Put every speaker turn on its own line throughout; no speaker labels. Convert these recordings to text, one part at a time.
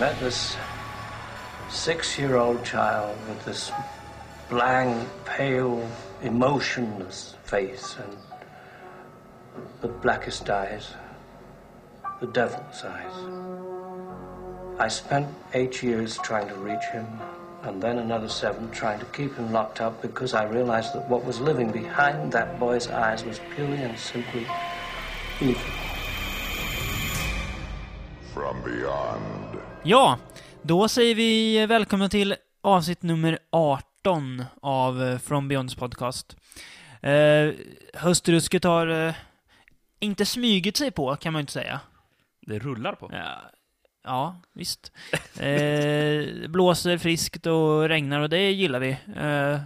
met this six year old child with this blank, pale, emotionless face and the blackest eyes, the devil's eyes. I spent eight years trying to reach him, and then another seven trying to keep him locked up because I realized that what was living behind that boy's eyes was purely and simply evil.
From beyond.
Ja, då säger vi välkomna till avsnitt nummer 18 av eh, From Beyonds podcast. Eh, höstrusket har eh, inte smygit sig på, kan man ju inte säga.
Det rullar på.
Ja, ja visst. Eh, blåser friskt och regnar och det gillar vi. Eh,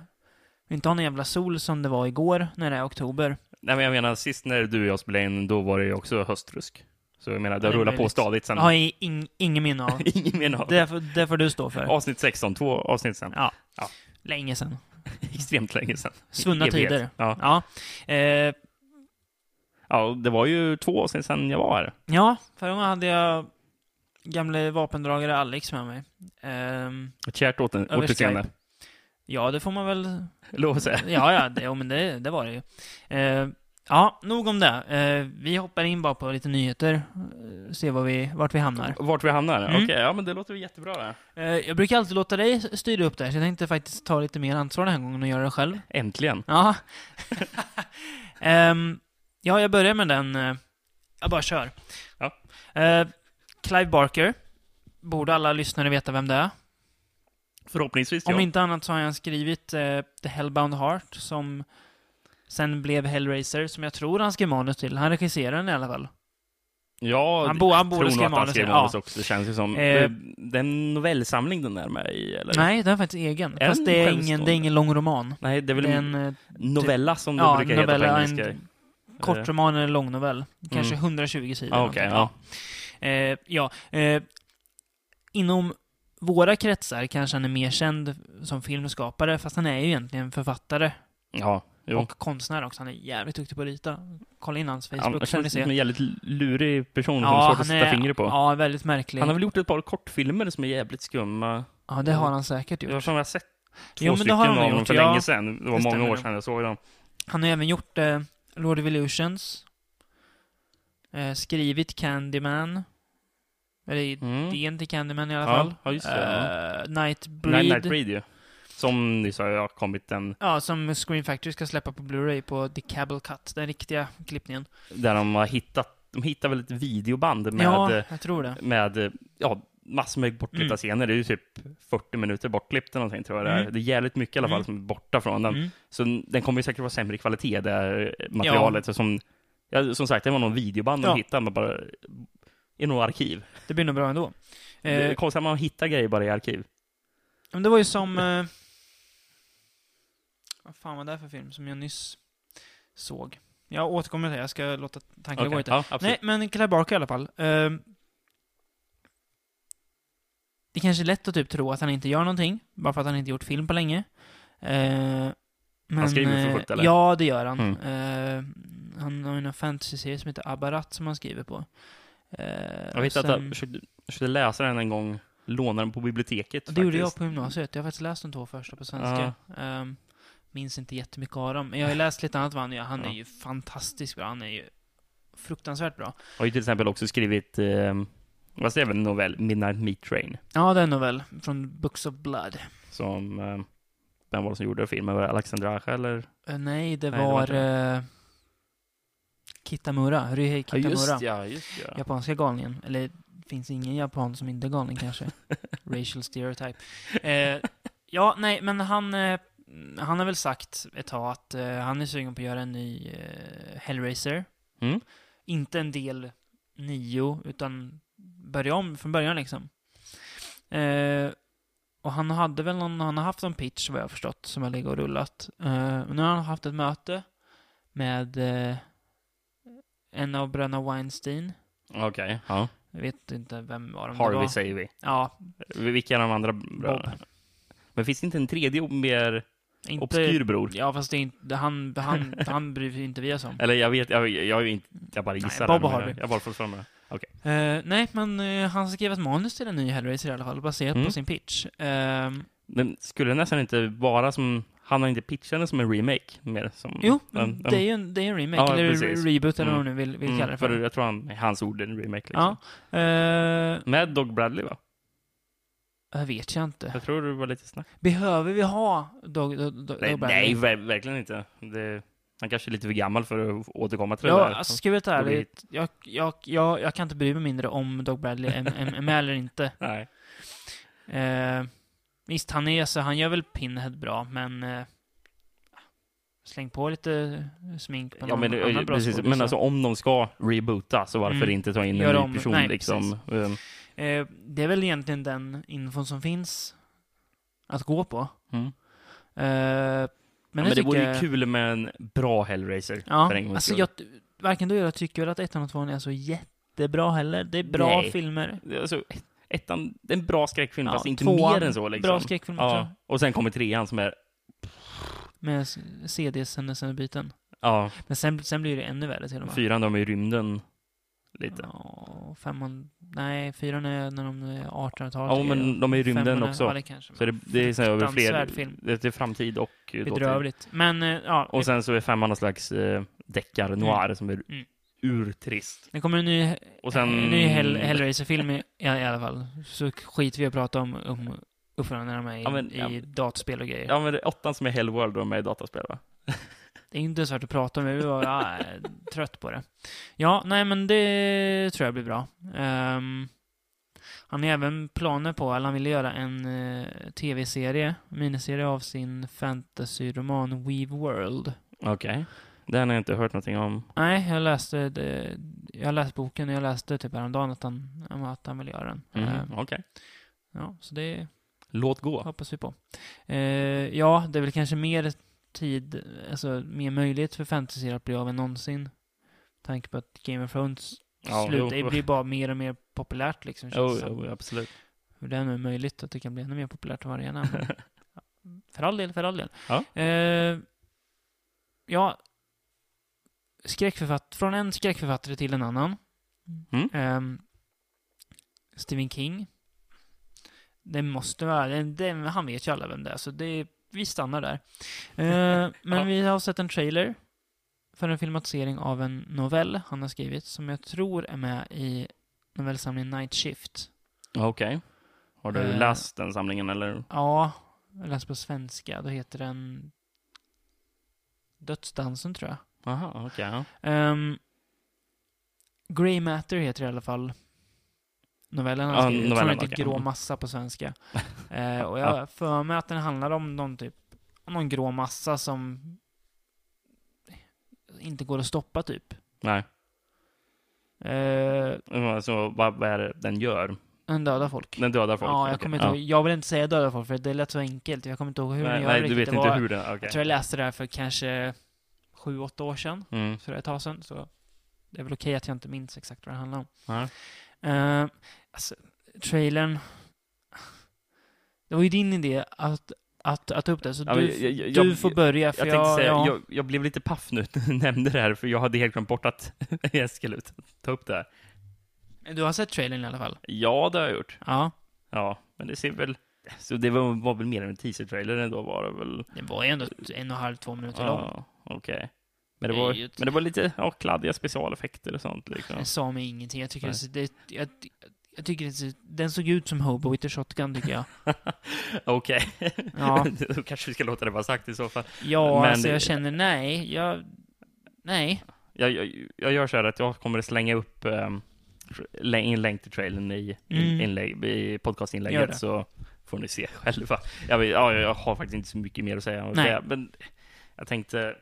vi inte ha någon jävla sol som det var igår när det är oktober.
Nej, men jag menar, sist när du och jag spelade in, då var det ju också höstrusk. Så jag menar, det
Ja, det är
rullar på
möjligt.
stadigt sen.
Jag har ing, ingen minne av.
Ingen menar av det.
Det, får- det får du stå för.
Avsnitt 16, två avsnitt sen.
Ja.
Ja.
Länge sedan.
Extremt länge sen.
Svunna
Evighet.
tider.
Ja.
Ja. Eh,
ja, och det var ju två avsnitt sen jag var här.
Ja, förra gången hade jag gamle vapendragare Alex med mig. Ehm,
Ett kärt åter-
Över
återseende.
Skype. ja, det får man väl...
Lov att säga.
Ja, ja, det, jo, men det, det var det ju. Ehm, ja, nog om det. Ehm, vi hoppar in bara på lite nyheter, uh, ser var vi, vart vi hamnar.
Vart vi hamnar?
Mm.
Okej, ja men det låter väl jättebra det.
Ehm, jag brukar alltid låta dig styra upp det här, så jag tänkte faktiskt ta lite mer ansvar den här gången och göra det själv.
Äntligen.
Ja. Ehm, ja, jag börjar med den. eh, Jag bara kör.
Ja.
Eh, Clive Barker. Borde alla lyssnare veta vem det är.
Förhoppningsvis
Om
ja.
inte annat så har han skrivit eh, The Hellbound Heart som sen blev Hellraiser, som jag tror han skrev manus till. Han regisserade den i alla fall.
Ja,
Han, bo, han
tror
borde
nog
skriva
att han
manus.
skrev
till-
manus
ja.
också. Det känns ju som.
Eh.
Eh. Det är en novellsamling den där med i, eller?
Nej, den är faktiskt egen.
Är
Fast
den
det är, ingen,
självstående?
det är ingen lång roman.
Nej, det är väl
Det är
en
en eh,
novella som det
ja,
brukar heta på
novella, en
engelska. Eh.
kort roman eller lång novell. Kanske 120 sidor.
Ja, Mm. Ah, okej.
någonting.
ja.
Eh, ja, eh, inom våra kretsar kanske han är mer känd som filmskapare, fast han är ju egentligen författare
Ja, jo.
och konstnär också. Han är jävligt duktig på att rita. Kolla in hans Facebook
Han
så får ni
känns som
se.
en jävligt lurig person som är svårt att sätta fingret på.
Ja, väldigt märklig.
Han har väl gjort ett par kortfilmer som är jävligt skumma.
Ja, det har han säkert
Jag har
gjort.
för mig att jag har sett två
Jo, men det
stycken
har han
av dem
gjort,
för
ja.
länge sedan. Det var
Det
många
stämmer
år
nog.
sedan jag såg dem.
Han har även gjort eh, Lord of Illusions. Eh, skrivit Candyman. Eller
Mm.
idén till Candyman i alla
Ja,
fall.
ja, just det,
Eh, Nightbreed.
Night, Nightbreed ju. Som nyss har jag kommit den,
Ja, som Screen Factory ska släppa på Blu-ray på The Cable Cut, den riktiga klippningen.
där de har hittat, de hittar väl ett videoband med,
ja, jag tror det.
med ja, massor med bortklippta
Mm.
scener. Det är ju typ 40 minuter bortklippt eller någonting tror jag det är.
Mm.
Det är jävligt mycket i alla fall
Mm.
som är borta från den.
Mm.
Så den kommer ju säkert vara sämre i kvalitet, det här materialet. Så Som, ja, som sagt, det var någon videoband de
Ja. Eh.
hittade, men bara i några arkiv.
Det blir nog bra ändå.
Det är
Eh,
konstigt att man hittar grejer bara i arkiv.
men det var ju som... Eh, vad fan var det för film som jag nyss såg? Jag återkommer till det, jag ska låta tankarna gå
Okej,
lite.
Ja, absolut.
Nej, men Clive Barker i alla fall. Eh, det kanske är lätt att typ tro att han inte gör någonting, bara för att han inte gjort film på länge. Eh, men,
skriver för
eh,
fullt, eller?
Ja, det gör han.
Mm.
Eh, han har ju en fantasy-serie som heter Abarat som han skriver på. Eh,
jag vet att jag
sen-
försökte, försökte läsa den en gång, låna den på biblioteket.
Det gjorde jag
faktiskt.
på gymnasiet. Jag har faktiskt läst de två första på svenska. Ehm, minns inte jättemycket av dem. Men jag har ju läst lite annat vad han gör. Han
Ja.
är ju fantastiskt bra. Han är ju fruktansvärt bra.
Har ju till exempel också skrivit, eh, vad säger jag, en novell, Midnight Meat Train.
Ja, det är en novell från Books of Blood.
Som, eh, vem var det som gjorde filmen? Var det Alexander Aja eller?
Eh, nej, det
Nej, det var
var...
inte
eh, Kitamura. Ryhei Kitamura.
ja, just ja.
Japanska galningen. Eller, finns ingen japan som inte är galning kanske. Racial stereotype. Eh, ja, nej, men han... Eh, han har väl sagt ett tag att eh, han är sugen på att göra en ny eh, Hellraiser.
Mm.
Inte en del nio, utan börja om från början liksom. Eh, och han hade väl någon, han har haft en pitch vad jag har förstått, som har legat och rullat. Eh, och nu har han haft ett möte med eh, en av bröderna Weinstein.
Okej, ja.
Jag vet inte vem var de det
Harvey
var.
säger vi.
Ja,
Vilka är de andra bröderna? Men finns det inte en tredje mer
inte...
obskyr bror?
Ja, fast det är inte, han, han, han bryr sig inte vi oss om.
Eller jag vet, jag, jag, är ju inte, jag bara gissar.
Bob
här,
har
men
vi.
jag, jag har bara fått fram det. Okej.
Eh, nej, men eh, han skrev ett manus till en ny Hellraiser i alla fall, baserat
Mm.
på sin pitch. Eh,
Den skulle nästan inte vara som... Han har inte pitchat den som en remake. Mer som,
jo,
den- den-
det är ju en, det är en remake,
Ja,
eller
precis.
reboot eller vad
Mm.
man nu vill, vill
Mm,
kalla det för.
Jag tror han, i hans ord, en remake. Liksom.
Ja. Eh,
Med Dog Bradley, va?
det vet jag inte.
Jag tror det var lite snack.
Behöver vi ha Dog, Dog, Dog
Nej,
Dog Bradley?
nej ver- verkligen inte. Det, han kanske är lite för gammal för att återkomma till det
Ja,
där.
alltså, ska vi vara
Det blir-
ärligt, jag, jag, jag, jag kan inte bry mig mindre om Dog Bradley är, är, är med eller inte.
Nej.
Eh, visst, han är så han gör väl Pinhead bra, men eh, släng på lite smink på
Ja,
någon
men, eh,
annan bra
precis,
skådis,
men
så.
alltså om de ska reboota, så varför
Mm.
inte ta in en
Gör
ny
om-
person
nej,
liksom? Ehm,
eh, Det är väl egentligen den infon som finns att gå på.
Mm.
Eh, men jag
Men, men det vore
tycker-
ju kul med en bra Hellraiser.
Ja,
för en gångs
alltså
skull.
jag, varken du eller jag tycker väl att ettan och tvåan är så jättebra heller. Det är bra
Nej.
filmer.
Alltså, ett- ettan, det är en bra skräckfilm,
Ja,
fast inte
tvåan,
mer än så. Liksom.
Bra skräckfilm
ja.
också.
Och sen kommer trean som är...
Med s- CD-sen-biten.
Ja,
Men sen, sen blir det ännu värre till och med.
fyran, de är i rymden. Lite.
Ja, femman... Nej, fyran är när de är 1800-talet.
Ja, men de är i rymden
Femman är-
också.
Ja, det kanske.
Så det, det är så här över fler...
Fruktansvärd film.
Det det är framtid och eh, dåtid.
Bedrövligt. Men eh, ja,
Och sen så är femman någon slags eh, deckare, noir, som är
Mm.
urtrist.
det kommer en ny,
Och sen...
en ny Hell, Hellraiser-film i, i alla fall. Så skit vi att prata om, om uppföljaren när de är i,
Ja, men-
i
ja.
dataspel och grejer.
Ja, men det är åttan som är Hellworld och med i dataspel, va?
Det är inte svårt att prata om, jag blir bara äh, trött på det. Ja, nej men det tror jag blir bra. Ehm, han har även planer på, eller han ville göra en eh, tv-serie, miniserie av sin fantasyroman Weave World.
Okej. Den har jag inte hört någonting om.
Nej, jag läste, det, jag läste boken och jag läste typ häromdagen att han, att han vill göra den.
Mhm,
Ehm,
Okej.
ja, så det
Låt gå.
hoppas vi på. Eh, ja, det är väl kanske mer tid, alltså mer möjlighet för fantasy att bli av än någonsin. Med Tanke på att Game of Thrones
Ja,
slut, det
jo.
blir bara mer och mer populärt liksom. känns
Jo,
det som.
jo, absolut.
Hur det är nu möjligt att det kan bli ännu mer populärt varje namn. för all del, för all del.
Ja.
Eh, ja. Skräckförfatt från en skräckförfattare till en annan.
Mm.
Ehm, Stephen King. Det måste vara, det, det, han vet ju alla vem det är, så det, vi stannar där. Eh, men
Ja.
vi har sett en trailer för en filmatisering av en novell han har skrivit, som jag tror är med i novellsamlingen Night Shift.
Okej. Har du
Eh.
läst den samlingen eller?
Ja, jag läste på svenska. Då heter den Dödsdansen, tror jag.
Aha, okej. ja.
Um, Grey Matter heter det i alla fall novellen han
Ja,
skrivit. Jag tror den
novellen,
heter
okej.
Grå
Mm.
massa på svenska. Eh, och jag har för mig att den handlar om någon typ, om någon grå massa som inte går att stoppa typ.
Nej. Mm,
Eh,
Så vad, vad är det den gör?
den dödar folk.
Den dödar folk?
ja, jag
okej.
kommer inte ihåg. Jag vill inte säga döda folk för det lät så enkelt. Jag kommer inte ihåg hur den
Nej,
gör
nej du
riktigt.
vet
Det
inte
var-
hur den... Okej.
Jag tror jag läste det här för kanske sju, åtta år sedan.
Mm.
Så det är ett tag sedan. Så det är väl okej att jag inte minns exakt vad det handlar om.
Ja.
Uh, alltså, trailern. Det var ju din idé att, att, att ta upp det. Så
Ja,
du,
men jag- jag-
du
jag-
får börja. För
Jag,
jag,
tänkte säga,
ja,
jag, jag blev lite paff nu när du nämnde det här, för jag hade helt glömt bort att jag skulle ut- ta upp det här.
Du har sett trailern i alla fall?
Ja, det har jag gjort.
Ja.
Ja, men det ser väl... Så det var, var väl mer än en teaser-trailer ändå, var det väl?
Det var ju ändå ett- en och en halv, två minuter lång.
Ja, okej. Men, det
Det är
var,
ju ett-
men det var lite ja, kladdiga specialeffekter och sånt. Liksom.
Den sa mig ingenting. Jag tycker,
Nej.
det, ser- det, jag, jag tycker det, ser- den såg ut som Hobo with a shotgun, tycker jag.
Okej.
Ja.
Då kanske vi ska låta det vara sagt i så fall.
Ja,
Men
alltså
det-
jag känner nej. Jag, nej.
Jag, jag, jag gör så här att jag kommer att slänga upp um, en länk till trailern i,
Mm.
i, inlägg, i
Gör det.
podcastinlägget så får ni se själva. Jag, vet, ja, jag har faktiskt inte så mycket mer att säga om
Nej.
det. Men jag tänkte,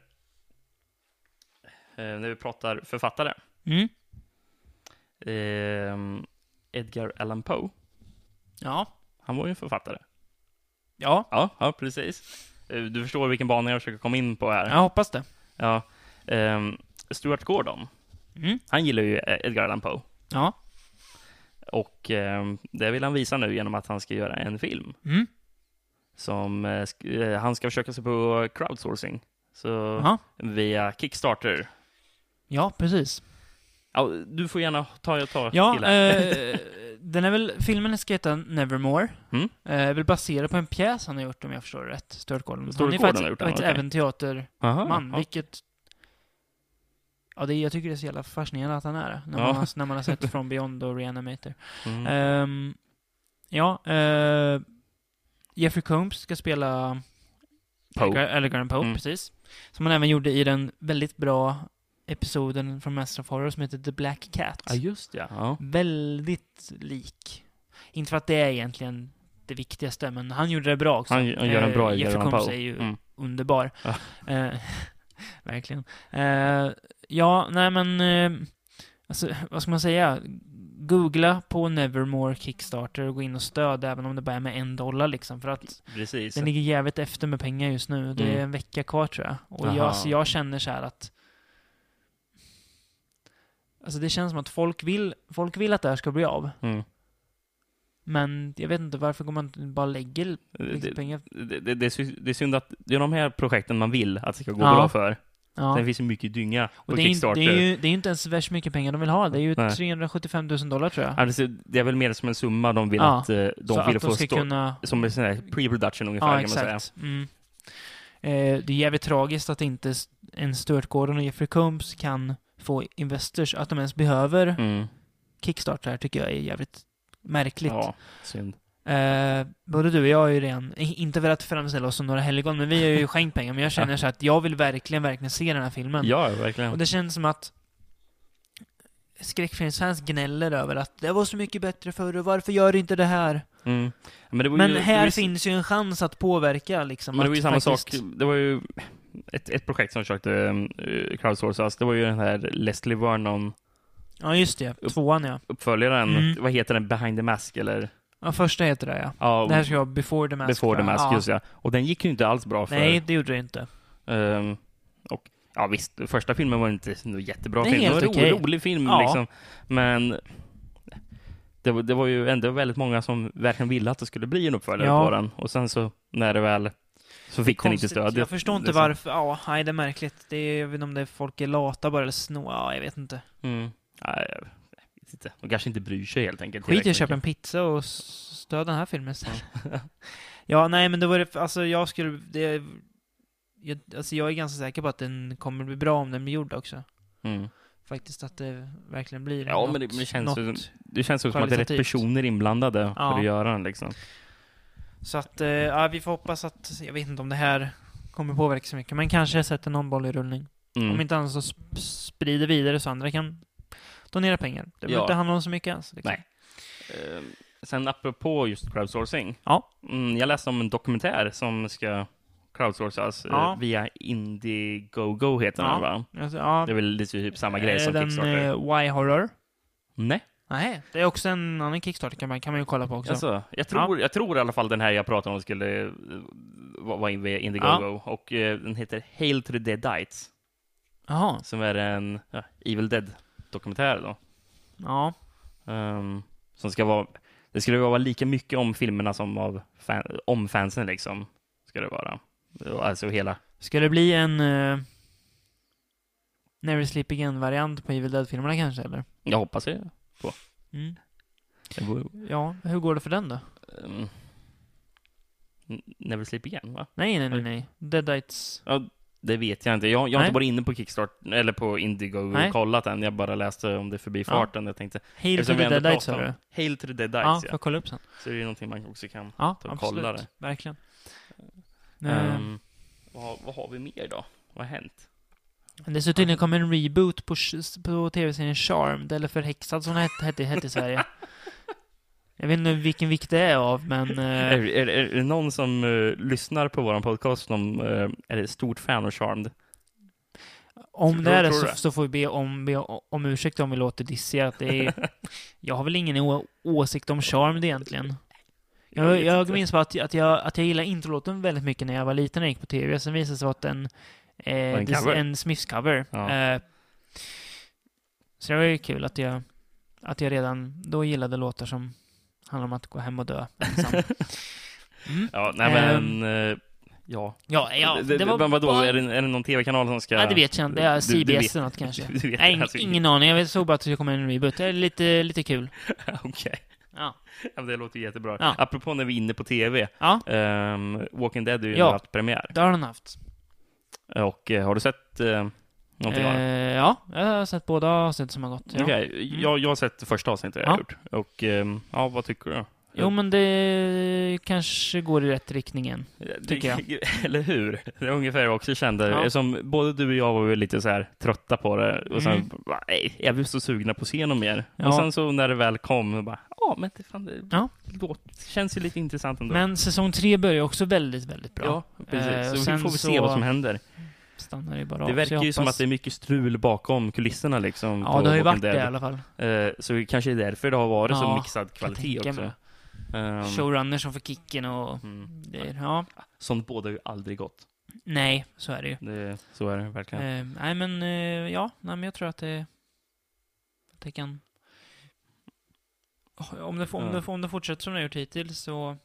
eh, när vi pratar författare,
Mm.
ehm, Edgar Allan Poe,
Ja.
han var ju en författare.
Ja,
Ja, ja precis. Eh, Du förstår vilken bana jag försöker komma in på här.
jag hoppas det.
Ja, ehm, Stuart Gordon,
Mm.
han gillar ju Edgar Allan Poe.
Ja.
Och ehm, det vill han visa nu genom att han ska göra en film.
Mm.
Som eh, sk- eh, han ska försöka sig på crowdsourcing. Så
Jaha.
via Kickstarter.
Ja, precis.
Ja, du får gärna ta, ta till
Ja,
här.
eh, den är väl, filmen ska heta Nevermore.
Mm.
Eh, är väl baserad på en pjäs han har gjort om jag förstår det rätt, Stuart Gordon.
Stuart
han är
Gordon
faktiskt,
har gjort den,
faktiskt
okej.
även teaterman,
Aha, ja.
vilket... Ja, det, är- jag tycker det är så jävla fascinerande att han är det. När,
Ja.
man, har- när man har sett From Beyond och Reanimator.
Mm.
Ehm, ja, eh, Jeffrey Combs ska spela
Poe.
eller Graham Pope,
Mm.
precis. Som han även gjorde i den väldigt bra episoden från Master of Horror som heter The Black Cat.
Ah, Ja, just ja. ja.
Väldigt lik. Inte för att det är egentligen det viktigaste, men han gjorde det bra också.
Han, han gör en bra
Eh, Jeffrey
Göran
Combs
Poe.
är ju
Mm.
underbar.
Ja.
Eh, verkligen. Eh, ja, nej men... Eh, alltså, vad ska man säga? Googla på Nevermore Kickstarter och gå in och stöd även om det bara är med en dollar liksom. För att
Precis.
den ligger jävligt efter med pengar just nu. Det är
Mm.
en vecka kvar tror jag. Och
Aha.
jag, så jag känner så här att... Alltså det känns som att folk vill, folk vill att det här ska bli av.
Mm.
Men jag vet inte varför går man inte bara lägger liksom,
Det,
pengar.
det, det, det är sy- det är synd att det är de här projekten man vill att det ska gå
Ja.
bra för.
Ja.
Sen finns det mycket dynga på
Och det, är, inte-
Kickstarter.
det, är ju, det är inte ens värst mycket pengar de vill ha. Det är ju
Nej.
375 000 dollar tror jag.
Alltså, det är väl mer som en summa de vill
Ja.
att eh, de
Så
vill
att
få
de ska
stå...
kunna...
Som en sån här pre-production ungefär
Ja,
kan man säga.
exakt. Mm. Eh, det är jävligt tragiskt att inte s- en Stuart Gordon och Jeffrey Combs kan få investors, att de ens behöver
Mm.
Kickstarter här tycker jag är jävligt märkligt.
Ja, synd.
Eh, både du och jag är ju redan, i- inte för att framställa oss som några helgon, men vi har ju skänkt pengar. Men jag känner så att jag vill verkligen, verkligen se den här filmen.
Ja, verkligen.
Och det känns som att skräckfilmsfans gnäller över att det var så mycket bättre förr, och varför gör du inte det här?
Mm. Men, det var
Men
ju, det var
här
ju-
finns ju en chans att påverka liksom.
Men det var
att
ju samma
faktiskt-
sak, det var ju ett, ett projekt som försökte eh, crowdsourcas, det var ju den här Leslie Vernon,
Ja, just det. Tvåan ja.
uppföljaren,
Mm.
vad heter den, Behind the Mask eller?
ja första heter det ja.
Ja,
Det här ska vara Before the Mask.
Before the
tror jag.
Mask,
ja.
just ja. Och den gick ju inte alls bra för...
Nej, det gjorde det inte.
ehm, och, ja visst, första filmen var inte en jättebra
Det är
film, det var
helt
en ro,
okej.
rolig film
Ja.
liksom. Men det, var- det var ju ändå väldigt många som verkligen ville att det skulle bli en uppföljare
Ja.
på den. Och sen så, när det väl, så fick den inte
Konstigt.
stöd.
Jag förstår inte
Det är så-
varför. Ja, nej, det är märkligt. Det är, jag vet inte om det är folk är lata bara eller snå. Ja, jag vet inte.
Mm. Nej, jag vet inte. De kanske inte bryr sig helt enkelt.
Skit i att
tillräckligt
köpa en
mycket.
pizza och s- stöd den här filmen istället. ja, nej, men då var det, alltså jag skulle, det, jag, alltså jag är ganska säker på att den kommer bli bra om den blir gjord också.
Mm.
Faktiskt att det verkligen blir
Ja,
något,
men det- men det känns ju
något.
Det känns som att det är rätt
Kvalitativt.
personer inblandade för
Ja.
att göra den liksom.
Så att, eh, ja, vi får hoppas att, jag vet inte om det här kommer påverka så mycket, men kanske sätter någon boll i rullning.
Mm.
Om inte annat så sp- sprider vidare så andra kan donera pengar. Det behöver
Ja.
inte handla om så mycket ens. Liksom.
Nej. Eh, Sen apropå just crowdsourcing.
Ja.
Mm, jag läste om en dokumentär som ska crowdsourcas eh,
Ja.
via Indiegogo heter den
Ja.
va?
Alltså, ja,
Det är väl lite typ samma grej
eh,
som
den,
Kickstarter?
eh, Y-horror.
Nej,
Nej, det är också en annan Kickstarter kan man, kan man ju kolla på också.
alltså, jag, tror, jag tror i alla fall den här jag pratade om skulle eh, vara vara in via Indiegogo. Och eh, den heter Hail to the Dead Dites.
Jaha,
Som är en ja, Evil Dead-dokumentär då.
ja.
Ehm, som ska vara... Det skulle vara lika mycket om filmerna som av fan, om fansen liksom. Ska det vara. Alltså hela.
Ska det bli en eh, Never Sleep Again-variant på Evil Dead-filmerna kanske, eller?
Jag hoppas det.
Mm.
det går,
Ja, hur går det för den då?
ehm, n- Never Sleep Again va?
Nej, nej, nej, nej. Deadites.
Ja, det vet jag inte. Jag, jag har
Nej.
inte varit inne på Kickstart eller på Indigo
Nej.
och kollat än. Jag bara läste om det förbi farten. Jag tänkte...
Hail to
eftersom
the
vi ändå
Deadites,
pratar
sa
om-
du?
Hail to the Dead
Ja,
Dites,
får
ja.
jag kolla upp sen.
Så är det någonting man också kan...
Ja,
Ta och
absolut.
kolla
Verkligen. Eh,
Ehm, vad, har- vad har vi mer då? Vad har hänt?
Det så tydligen kom en reboot på, sh- på tv-serien Charmed, eller Förhäxad som den hette, hette, hette i Sverige. Jag vet inte vilken vikt det är av, men...
Är,
Eh,
är, är det någon som eh, lyssnar på vår podcast som eh, är ett stort fan av Charmed?
om det är det
Tror du
så,
det?
så får vi be om, be om ursäkt om vi låter dissiga. Att det är, jag har väl ingen å, åsikt om Charmed egentligen.
Jag
Jag,
vet
jag
inte.
minns bara att, jag- att, jag, att jag gillade introlåten väldigt mycket när jag var liten och gick på tv. Sen visade det sig vara att en, eh,
en
dis-
cover?
en Smiths-cover.
Ja.
Eh, så det var ju kul att jag, att jag redan då gillade låtar som handlar om att gå hem och dö. ensam. Mm.
Ja, nej men...
Ehm.
eh, Ja.
Ja, ja.
det, det, men vadå,
bara-
är, det, är det någon tv-kanal som ska...
Nej, det vet jag inte. Det är
Du- du
CBS eller något kanske.
Du vet
Nej, ing-
alltså
ingen aning. Jag vet- såg bara att det kom en reboot. Det är lite, lite kul.
Okej.
Ja.
Ja, men Det låter jättebra.
Ja.
Apropå när vi är inne på tv.
Ja,
ehm, Walking Dead har ju
Ja.
haft premiär.
det har den haft.
Och eh, har du sett eh, någonting av
Eh,
den?
ja, jag har sett båda avsnitt som har gått. Ja.
Okej, jag, jag har sett det första avsnittet jag har
Ja.
gjort. Och ehm, ja, vad tycker du?
Jo, men det kanske går i rätt riktning än. tycker jag.
Eller hur? Det var ungefär vad jag också kände.
Ja.
Som både du och jag var väl lite så här trötta på det. Och sen,
Mm.
bara, nej, jag vill så sugna på att se något mer.
Ja.
Och sen så när det väl kom, jag bara, ja men det, fan, det
Ja.
låter, känns ju lite intressant ändå.
Men säsong tre börjar också väldigt, väldigt bra.
Ja, precis.
Eh, och
så
sen
vi får vi se
så-
vad som händer.
Stannar ju bara av.
Det
Så
verkar
jag
ju som
hoppas-
att det är mycket strul bakom kulisserna liksom.
Ja,
på
det har ju
Walking
varit det i alla fall.
Dead. Eh, Så det kanske är därför det har varit så
Ja,
mixad kvalitet
tänka
också. Ehm,
Showrunner som får kicken och...
mm.
det- Ja.
Sånt båda ju aldrig gott.
Nej, så är det ju.
Det, så är det verkligen.
Eh, nej, men eh, ja, nej, men jag tror att det, att det kan... Oh, Om det, får- om,
Ja.
det, får- om det fortsätter som det har gjort hittills så...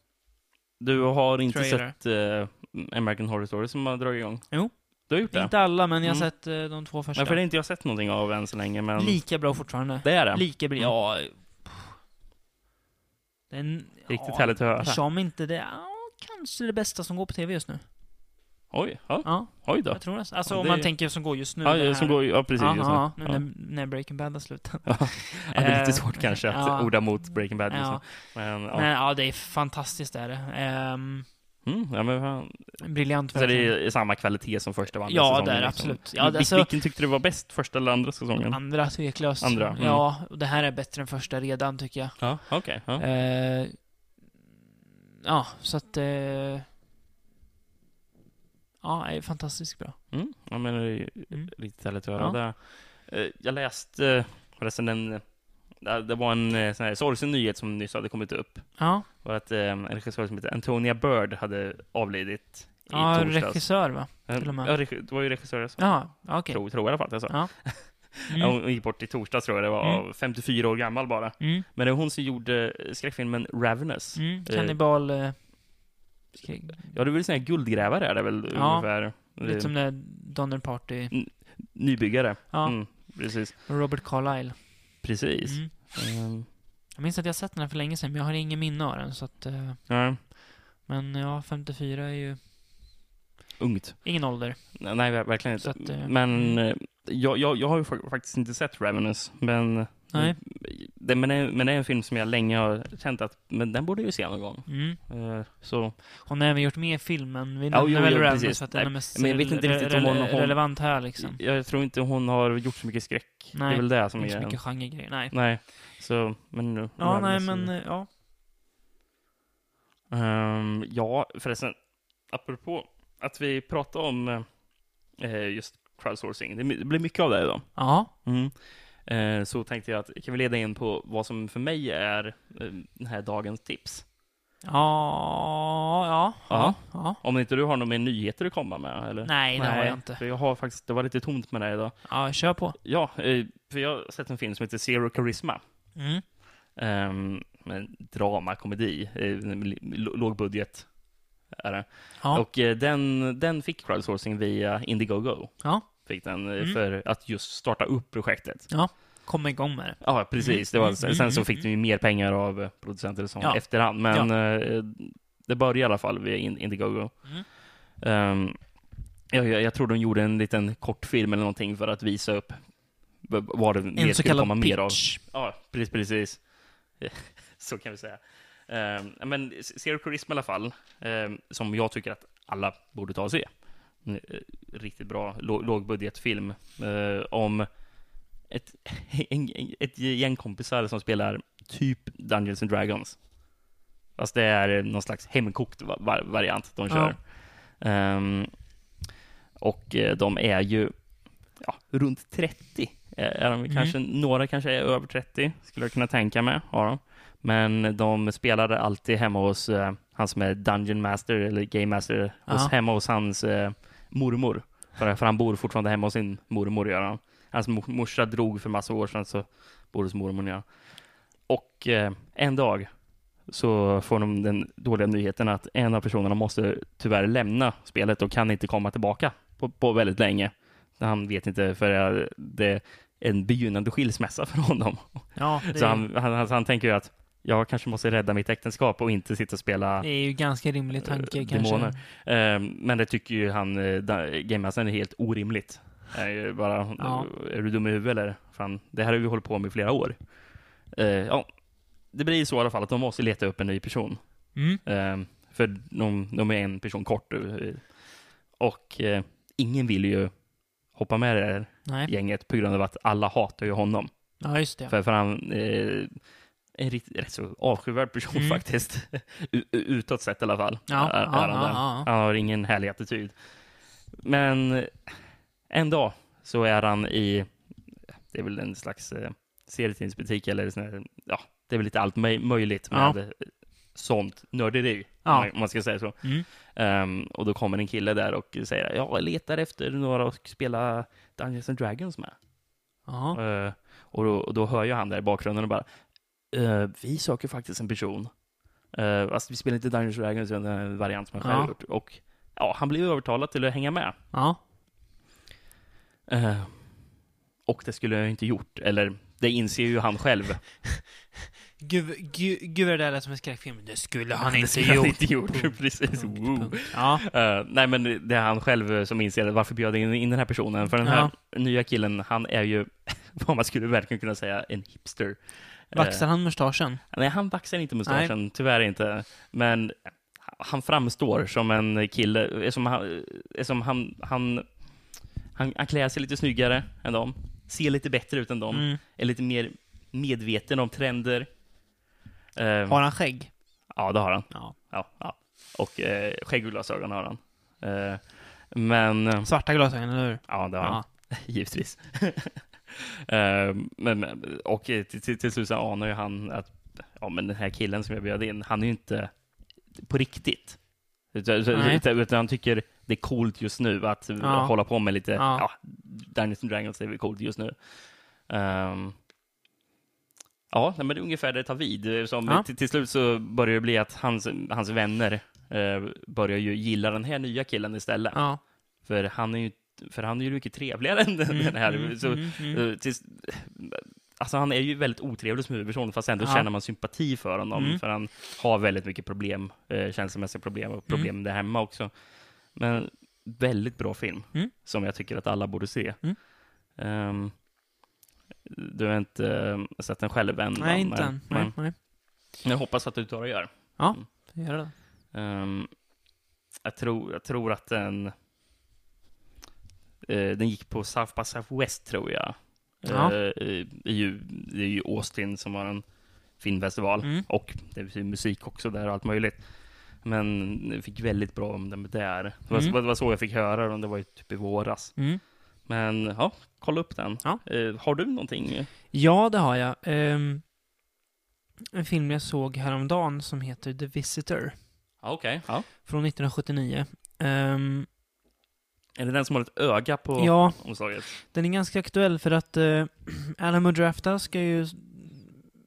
Du har inte
Tror jag gör
sett eh, American Horror Story som har dragit igång?
Jo.
Du har gjort det?
Inte alla, men jag har
Mm.
sett eh, de två första.
Nej, för det har inte jag sett någonting av än så länge, men
Lika bra fortfarande.
det är det.
Lika bra.
Mm.
Ja. Det är en,
Riktigt
ja,
härligt att höra.
Som inte det... Ja, kanske det bästa som går på tv just nu.
Oj, ja,
Ja,
oj då.
jag tror det. Alltså
Ja,
om
det-
man tänker som går just nu.
Ja,
det här.
som går, ja precis.
Ja,
just nu.
ja, nu
Ja.
när, när Breaking Bad har slutat.
Ja, det är lite
Eh,
svårt kanske att
ja.
orda mot Breaking Bad just
Ja.
nu. Men, ja.
Men ja, det är fantastiskt det är det. Ehm,
Mm, ja, men fan.
briljant
Så det
verkligen.
är samma kvalitet som första och andra
Ja,
säsongen?
det är det
liksom.
absolut. Ja,
Vil-
alltså-
Vilken tyckte du var bäst, första eller andra säsongen?
Andra tveklöst.
Andra, mm.
Ja, och det här är bättre än första redan tycker jag.
Ja, okej. ja.
Eh, ja, så att... Eh, ja, det är fantastiskt bra.
Mm. Ja, men det är ju
Mm.
riktigt härligt att höra det. Eh, Jag läste eh, förresten en... eh, Det var en eh, sån här sorgsen nyhet som nyss hade kommit upp.
Ja,
var att eh, en regissör som heter Antonia Bird hade avlidit i
ja
torsdags.
regissör va?
Eh,
till och med.
Ja, regi- det var ju regissör jag sa.
Ja, okej.
Tror, tror i alla fall att jag sa.
Ja.
Ja,
Mm.
Hon gick bort i torsdags tror jag det var,
Mm.
54 år gammal bara.
Mm.
Men det är hon som gjorde eh, skräckfilmen Ravenous.
Mm.
Eh,
Kannibal... Eh, skräck-
Ja, det är väl sån här guldgrävare är det väl
Ja,
ungefär.
lite
Eh,
som det här Donner Party.
Nybyggare.
Ja,
Mm, precis.
Robert Carlyle.
Precis.
Mm.
Ehm,
Jag minns att jag sett den här för länge sedan, men jag har ingen minne av den. Så att, eh,
ja,
men ja, 54 är ju
ungt.
ingen ålder.
Nej, ver- verkligen inte.
Så att, eh,
men eh, jag, jag, jag har ju fa- faktiskt inte sett Ravenous, men
Nej.
Det, men, det, men det är en film som jag länge har känt att men den borde jag ju se någon gång.
Mm.
Eh, så,
Hon har även gjort med i filmen. Vi
Ja, jo,
nämner väl
jo,
Ravenous
precis.
för att den är
Nej,
mest
men jag vet inte riktigt om hon-
rele-
hon-
relevant här liksom.
jag tror inte hon har gjort så mycket skräck.
Nej,
det är väl det som
Inte så
är...
mycket genregrejer. Nej.
Nej, så, men... nu-
Ja, nej
Ravenous-
men eh, ja.
Ehm, ja, förresten, apropå att vi pratade om eh, just crowdsourcing. Det my- det blir mycket av det idag.
Ja.
Mm. Eh, så tänkte jag att kan vi leda in på vad som för mig är eh, den här dagens tips.
Ja, ja.
Ja.
Ja. ja.
Om inte du har några mer nyheter att komma med? Eller?
Nej, det har jag inte.
För jag har faktiskt, det var lite tomt med det idag.
Ja, kör på.
Ja, eh, för jag har sett en film som heter Zero Charisma.
Mm.
Um, en dramakomedi, eh, l- låg budget är det.
Ja.
Och eh, den, den fick crowdsourcing via Indiegogo.
Ja.
Fick den eh,
Mm.
för att just starta upp projektet.
Kom igång med det.
Ja, precis. Det var,
Mm,
sen,
mm,
sen så
mm,
fick den ju mer pengar av eh, producenter och sånt
Ja.
efterhand. Men eh, det började i alla fall via In- Indiegogo.
Mm.
Ehm, jag, jag, jag tror de gjorde en liten kortfilm eller någonting för att visa upp v- vad det mer
En så
skulle komma
kallad
mer av.
pitch.
Ja, precis. precis. så kan vi säga. Ehm, men Zero Charisma i alla fall, ehm, som jag tycker att alla borde ta och se. Mm, eh, Riktigt bra lå- lågbudgetfilm eh, om ett, en, en, ett gäng kompisar som spelar typ Dungeons and Dragons. Fast det är någon slags hemkokt va- va- variant de
Ja.
kör. Ehm, och eh, de är ju ja, runt 30. Eh, Är de
Mm.
kanske, några kanske är över 30, skulle jag kunna tänka mig. Har de. Men de spelade alltid hemma hos eh, han som är Dungeon Master, eller Game Master, hos,
Ja.
hemma hos hans eh, mormor. För, för han bor fortfarande hemma hos sin mormor, gör han. Hans mor- morsa drog för massa år sedan, så bor hos mormor nu. Och eh, en dag så får de den dåliga nyheten att en av personerna måste tyvärr lämna spelet och kan inte komma tillbaka på, på väldigt länge. Han vet inte, för det är en begynnande skilsmässa för honom.
Ja, det,
Så
är-
han, han, han, han tänker ju att jag kanske måste rädda mitt äktenskap och inte sitta och spela
det är ju ganska rimlig tanke
eh,
kanske.
demoner. Eh, men det tycker ju han, eh, da- Game Mastern, är helt orimligt. Det Är, ju bara,
Ja.
är du dum i huvudet eller? Fan, det här har vi hållit på med i flera år. Eh, ja, det blir så i alla fall att de måste leta upp en ny person.
Mm.
Eh, för de, de är en person kort. eh, Och eh, ingen vill ju hoppa med det här
Nej,
gänget på grund av att alla hatar ju honom.
ja just det.
För, för han eh, en rikt, rätt så avskyvärd person
Mm.
faktiskt. U- u- Utåt sett i alla fall.
Ja,
är, är
ja,
han,
ja,
där.
ja.
han har ingen härlig attityd. Men en dag så är han i, det är väl en slags eh, serietidningsbutik eller sån här, ja, det är väl lite allt möj- möjligt
Ja.
med eh, sånt nörderi,
Ja.
om man- om man ska säga så.
Mm.
Ehm, och då kommer en kille där och säger, ja, jag letar efter några att spela Dungeons and Dragons med.
Ja.
Eh, och, då, och då hör ju han där i bakgrunden och bara eh, Vi söker faktiskt en person. Uh, alltså, vi spelar inte Dungeons and Dragons, utan en variant som han själv
Ja.
gjort. Och ja, han blir övertalad till att hänga med.
ja.
Eh, och det skulle jag inte gjort. Eller, det inser ju han själv.
Gud, gud, gud vad det där lät som en skräckfilm. Det skulle han
Det
inte
skulle han
gjort.
inte gjort.
Punkt,
Precis.
punkt,
Woo.
punkt. Ja,
Eh, nej, men det är han själv som inser det. varför bjöd jag in, in den här personen? För den här nya killen, han är ju vad man skulle verkligen kunna säga, en hipster. Eh,
vaxar han mustaschen?
Nej, han vaxar inte mustaschen, tyvärr inte. Men han framstår som en kille, eh, som han, eh, som han, han, han, han klär sig lite snyggare än dem, ser lite bättre ut än dem,
Mm.
är lite mer medveten om trender. Eh,
Har han skägg?
Ja, det har han.
Ja.
Ja, ja. Och eh, skägg och glasögon har han. Eh, men, eh,
Svarta glasögon, eller hur?
ja, det har han
Ja.
givetvis. Eh, men, men- och eh, till, till, till slut så anar ju han att ja, men den här killen som jag bjöd in, han är ju inte på riktigt. Utan,
Nej.
utan, utan han tycker det är coolt just nu att
Ja.
hålla på med lite,
Ja.
ja, Dungeons and Dragons är väl coolt just nu. Ehm, ja, nej, men det är ungefär där det tar vid. eh, Som
Ja.
till, till slut så börjar det bli att hans, hans vänner eh, börjar ju gilla den här nya killen istället.
Ja.
För han är ju, för han är ju mycket trevligare än den, den här.
mm,
så,
mm, mm.
eh, tills, alltså han är ju väldigt otrevlig som huvudperson, fast ändå
Ja.
känner man sympati för honom.
Mm.
För han har väldigt mycket problem, eh, känslomässiga problem
Mm.
och problem där hemma också. Men väldigt bra film,
Mm.
som jag tycker att alla borde se.
Mm.
Ehm, du har inte eh, sett den själv än? va?
Nej, inte än. Nej,
men
nej.
Jag hoppas att du tar och gör.
Gör det.
Ehm, jag, tror, jag tror att den... eh, den gick på South by Southwest, tror jag.
Ja.
Eh, eh, det, är ju, det är ju Austin som har en filmfestival.
Mm.
Och det är ju musik också där och allt möjligt. Men jag fick väldigt bra om den där. Det var,
Mm.
det var så jag fick höra den. Det var ju typ i våras.
Mm.
Men ja, kolla upp den.
Ja.
Eh, har du någonting?
Ja, det har jag. Ehm, en film jag såg häromdagen som heter The Visitor.
Ja, okej. Ja.
Från 1979. Ehm,
Är det den som har ett öga på
Ja,
omslaget?
den är ganska aktuell för att eh, Alamo Drafta ska ju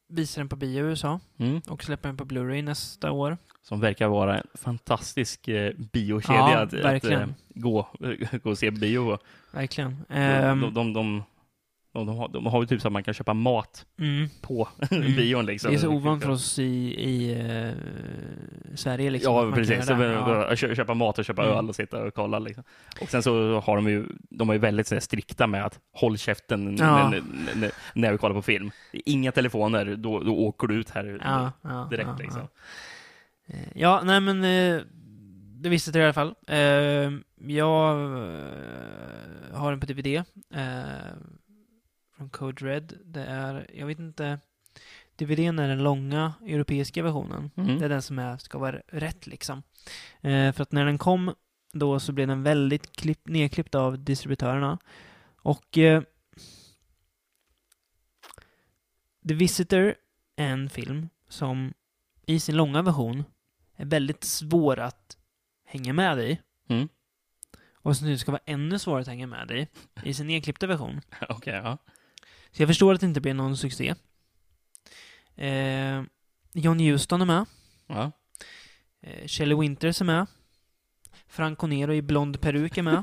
visa den på bio i USA
Mm.
och släppa den på Blu-ray nästa år.
Som verkar vara en fantastisk eh, biokedja
Ja,
att, att eh,
verkligen.
gå, gå och se bio.
Verkligen.
De,
Ehm,
de, de, de, de, de, har, de har ju typ så att man kan köpa mat
mm.
på
Mm.
bion. Liksom.
Det är så ovant för oss i, i eh, Sverige liksom. att
Ja,
man kan
precis. Så,
göra det. Ja.
kö- Köpa mat och köpa
Mm.
öl och sitta och kolla. Liksom. Och sen så har de ju, de är ju väldigt så här, strikta med att håll käften n-
Ja.
n- n- när vi kollar på film. Inga telefoner, då, då åker du ut här
Ja, ja,
direkt.
ja,
liksom.
Ja. Eh, ja, nej men eh, det visste jag i alla fall. Eh, jag eh, har den på DVD. Eh, från Code Red. Det är, jag vet inte. DVDn är den långa europeiska versionen.
Mm.
Det är den som är, ska vara rätt liksom. Eh, för att när den kom då så blev den väldigt klipp, nedklippt av distributörerna. Och eh, The Visitor är en film som i sin långa version är väldigt svår att hänga med i.
Mm.
Och som nu ska vara ännu svårare att hänga med i, i sin nedklippta version.
Okej, ja.
Så jag förstår att det inte blev någon succé. Eh, Johnny Houston är med.
Ja.
Eh, Shelley Winters är med. Frank Conero i blond peruk är med.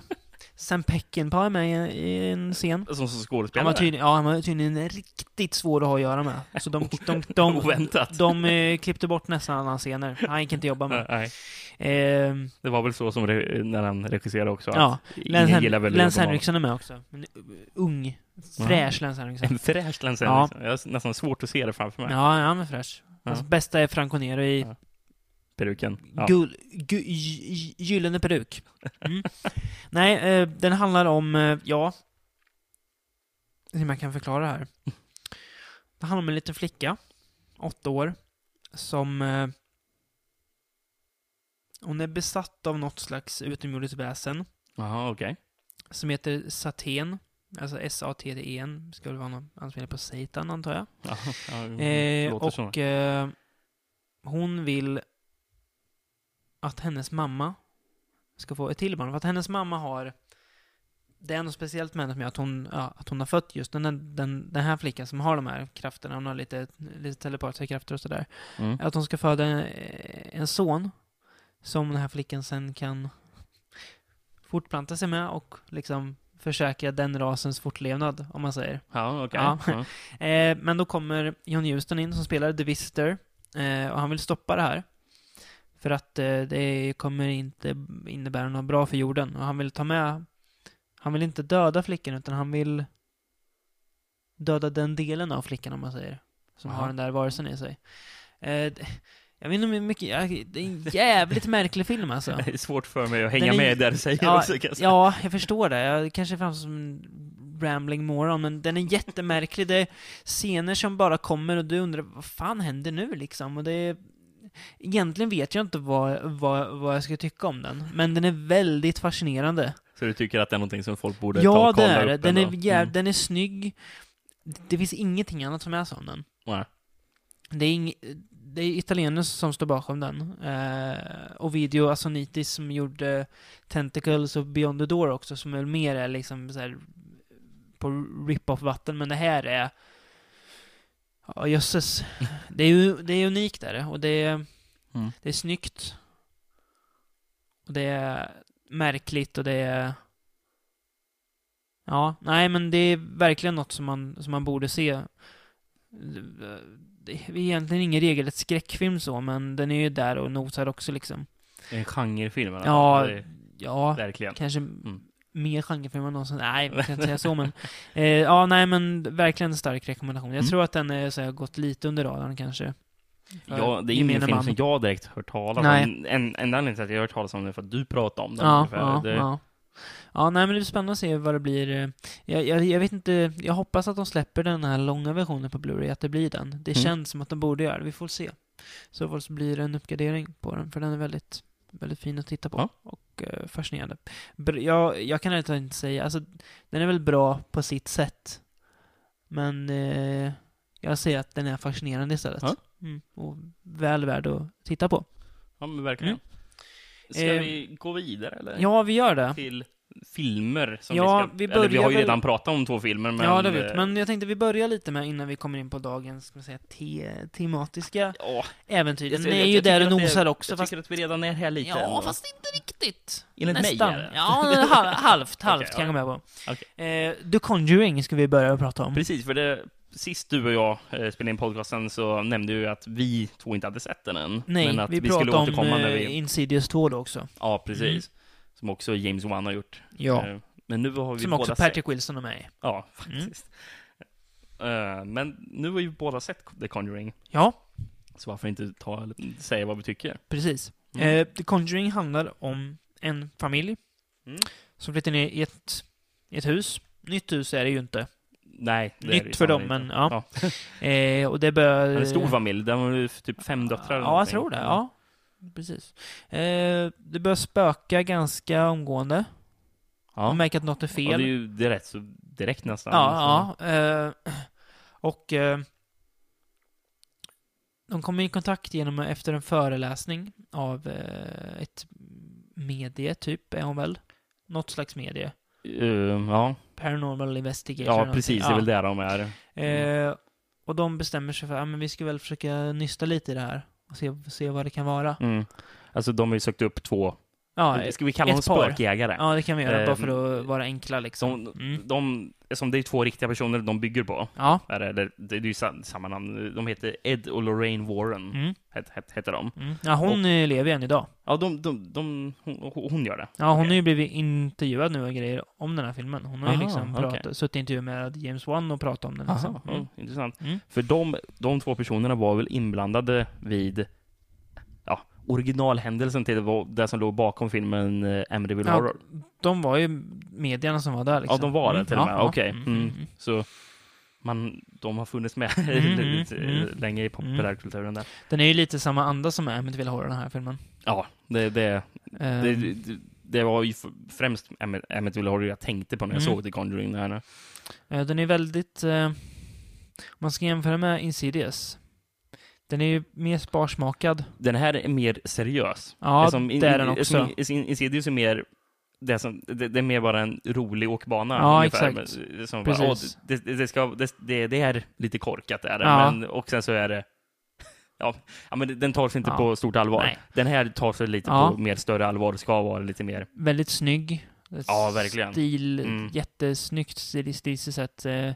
Sam Peckinpah är med i- i en scen.
Som, som
Han var,
skådespelare.
tydligen, ja, han var tydligen riktigt svår att ha att göra med. Så de, de, de, de,
Oväntat.
eh, klippte bort nästan alla scener. Han gick inte jobba med.
Nej,
Eh,
det var väl så som re, när han regisserade också. att
ja,
ingen
Lance, Hen-
gillar väl
Lance
honom.
Henriksen är med också. En ung, fräsch Lance Henriksen.
En fräsch Lance
Ja.
Henriksen. Jag har nästan svårt att se det framför mig.
Ja, han är fräsch. Hans
Ja.
bästa är Frank Conero i
Ja. Peruken. Ja.
Gull, gu, gy- gy- gyllene peruk. Mm. Nej, eh, den handlar om, eh, ja... Hur man kan förklara det här. Det handlar om en liten flicka, åtta år, som... Eh, hon är besatt av något slags utomjordiskt väsen
Jaha, okej.
som heter Saten. Alltså S-A-T-T-E-N. Ska väl vara någon anspelning på Satan, antar jag.
Ja, ja,
Eh,
Mm, låter så.
och eh, hon vill att hennes mamma ska få ett till barn. För att hennes mamma har... Det är något speciellt med henne som gör att hon, ja, att hon har fött just den, den, den här flickan som har de här krafterna. Hon har lite, lite telepatiska krafter och sådär.
Mm.
Att hon ska föda en, en son som den här flickan sen kan fortplanta sig med och liksom försäkra den rasens fortlevnad, om man säger.
Ja, okej.
Ja.
Ja.
Eh, men då kommer John Huston in som spelar The Visitor eh, och han vill stoppa det här. För att eh, det kommer inte innebära något bra för jorden och han vill ta med han vill inte döda flickan utan han vill döda den delen av flickan om man säger. Som
Aha.
har den där varelsen i sig. Eh, d- jag vet inte hur mycket, jag- det är en jävligt märklig film alltså.
Det är svårt för mig att hänga
Den är-
med där du säger
Ja,
också, kan jag säga.
ja, jag förstår det. Jag kanske framstår som en rambling moron, men den är jättemärklig. Det är scener som bara kommer och du undrar vad fan händer nu liksom? Och det är... Egentligen vet jag inte vad, vad, vad jag ska tycka om den, men den är väldigt fascinerande.
Så du tycker att det är någonting som folk borde ta
ja,
och
det
kolla
är det.
upp
Den är,
ändå? Mm.
jäv, den är snygg. Det finns ingenting annat som är som den.
Nej.
Det är, ing, det är italienare som står bakom den. Eh, och video Asonitis som gjorde Tentacles och Beyond the Door också, som väl mer är liksom så här på rip-off vatten, men det här är... Ja, jösses. Det är ju det är unikt där och det är,
Mm.
det är snyggt. Och det är märkligt och det är... Ja, nej men det är verkligen något som man, som man borde se det är egentligen ingen regelrätt skräckfilm så, men den är ju där och nosar också liksom.
Mm. En genrefilm, eller?
Ja,
Det är-
ja,
Verkligen. Mm.
kanske mer genrefilm än någonsin. Nej, jag kan inte säga så, men... Eh, ja, nej, men verkligen en stark rekommendation. Jag
Mm.
tror att den är, så här, gått lite under radarn kanske. För
Ja, det är ingen
gemene
film
man.
som jag direkt hört talas
Nej.
om. En, en anledning till att jag har hört talas om den är för att du pratade om den.
Ja,
ungefär.
ja,
det,
ja. Ja, nej men det blir spännande att se vad det blir. eh, Jag, jag, jag vet inte, jag hoppas att de släpper den här långa versionen på Blu-ray, att det blir den. Det
Mm.
känns som att de borde göra det, vi får se. Så fall så blir det en uppgradering på den, för den är väldigt, väldigt fin att titta på.
Ja.
Och eh, fascinerande. Br- jag, jag kan ärligt talat inte säga, alltså den är väl bra på sitt sätt. Men eh, jag säger att den är fascinerande istället.
Ja.
Mm, och väl värd att titta på.
ja men verkligen.
Mm.
Ska
Eh,
vi gå vidare, eller?
Ja, vi gör det.
Till filmer som
Ja,
vi
vi
ska... eller vi
börjar
har ju
väl-
redan pratat om två filmer, men...
ja, det vet
eh,
Men jag tänkte vi börjar lite med innan vi kommer in på dagens, ska man säga, te- tematiska
Ja,
äventyr. Den
eh, jag-
är
jag-
ju
jag
där
tycker
och
att det-
nosar också,
jag
fast...
tycker att vi redan är här lite.
Ja,
ändå.
fast inte riktigt.
Enligt mig
Nästan.
är det.
Ja, men hal- halvt, halvt
Okej,
kan jag gå med på.
Okej.
Eh, The Conjuring ska vi börja prata om.
Precis, för det, sist du och jag eh, spelade in podcasten så nämnde du ju att vi två inte hade sett den än.
Nej,
men att
vi,
vi, skulle
pratar om
återkomma när
eh, Mm.
vi...
Insidious 2 då också.
Ja, precis. Som också James Wan har gjort.
Ja.
Eh, Men nu har vi
Som
båda
också
sett...
Patrick Mm. Wilson och mig.
Ja, faktiskt. Eh, men nu har ju båda sett The Conjuring,
Ja,
så varför inte ta, säga vad vi tycker?
precis.
Mm.
Eh, The Conjuring handlar om en familj
Mm.
som flyttar ner i ett, i ett hus. Nytt hus är det ju inte.
Nej, det är det ju
Nytt för dem,
sannolikt
men
inte.
ja. Eh, och det börjar...
Det är en stor familj, den har ju typ fem döttrar eller
Ja, jag
någonting.
tror det. Ja, precis. Eh, det börjar spöka ganska omgående.
ja.
Man märker att något är fel.
Ja, det är ju det är rätt så direkt nästan. Alltså.
Ja, ja. Eh, och eh, de kommer i kontakt genom efter en föreläsning av eh, ett medie, typ, är hon väl? Något slags medie.
Eh, ja,
Paranormal investigation.
ja
eller
precis, det Mm. är
någonting.
väl där de
Ja.
är.
Eh, Och de bestämmer sig för att men vi ska väl försöka nysta lite i det här och se, se vad det kan vara.
Mm. Alltså de har ju sökt upp två,
Ja,
ska vi kalla
ett
dem
par.
spökjägare?
ja det kan vi göra,
Eh,
bara för att vara enkla liksom.
Som,
Mm.
de, som det är två riktiga personer de bygger på.
Ja.
Är det, eller, det är ju sa- samma namn. De heter Ed och Lorraine Warren,
Mm.
het, het, heter de.
Mm. ja, hon eh, lever än idag.
Ja, de, de, de, hon, hon gör det.
Ja, hon
Okej.
har ju blivit intervjuad nu och grejer om den här filmen. Hon har ju
Aha,
liksom
okej.
pratat, suttit i intervju med James Wan och pratat om den. Liksom.
Jaha,
Mm.
ja, intressant.
Mm.
För de, de två personerna var väl inblandade vid ja, originalhändelsen till det, var- det som låg bakom filmen eh, Amityville
Ja,
Horror.
De var ju medierna som var där liksom.
Ja, de var det
Mm.
till och med.
Ja, ja.
Okej.
Mm,
Mm.
mm, mm.
Så man, de har funnits med
Mm, mm,
lite
mm.
länge i populärkulturen där.
Den är ju lite samma anda som Amityville Horror, den här filmen.
Ja, det, det,
Ehm,
det, det, det var ju f- främst Emmet- Amityville Horror jag tänkte på när jag
Mm.
såg The Conjuring. Där. nu.
eh, Den är väldigt... eh, Om man ska jämföra med Insidious. Den är ju mer sparsmakad.
Den här är mer seriös.
Ja,
som in-
det är den
in-
också.
som in- in- Insidious är mer det, är som, det, det är mer bara en rolig åkbana.
Ja,
ungefär,
exakt.
men, eh, Som Bara, åh,
Precis.
det, det, det, ska, det, det, det är lite korkat, är det,
Ja.
men, och sen så är det... Ja, ja men det- den tar sig inte
Ja.
på stort allvar.
Nej.
Den här tar sig lite
Ja.
på mer större allvar, ska vara lite mer...
Väldigt snygg.
Ja, verkligen.
Stil,
Mm.
jättesnyggt stilistiskt sett. eh,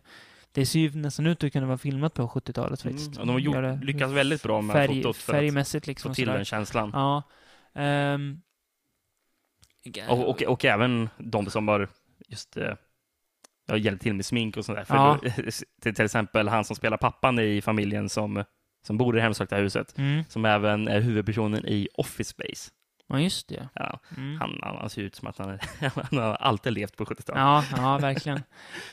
Det ser ju nästan ut att kunna vara filmat på 70-talet
Mm.
faktiskt.
Ja, de har gjort,
Gör det
lyckats väldigt bra med
färg,
fotot för att
Färgmässigt liksom.
få
och
till
sådär.
den känslan.
Ja. Ehm, g-
Och, och, och även de som har just eh, ja, hjälpt till med smink och sånt där. För
Ja.
då, eh, till, till exempel han som spelar pappan i familjen som, som bor i det hemsökta huset,
Mm.
som även är huvudpersonen i Office Space.
Ja, just det.
Ja,
Mm.
han, han, han ser ut som att han, är, han har alltid levt på 70-talet.
Ja, ja, verkligen.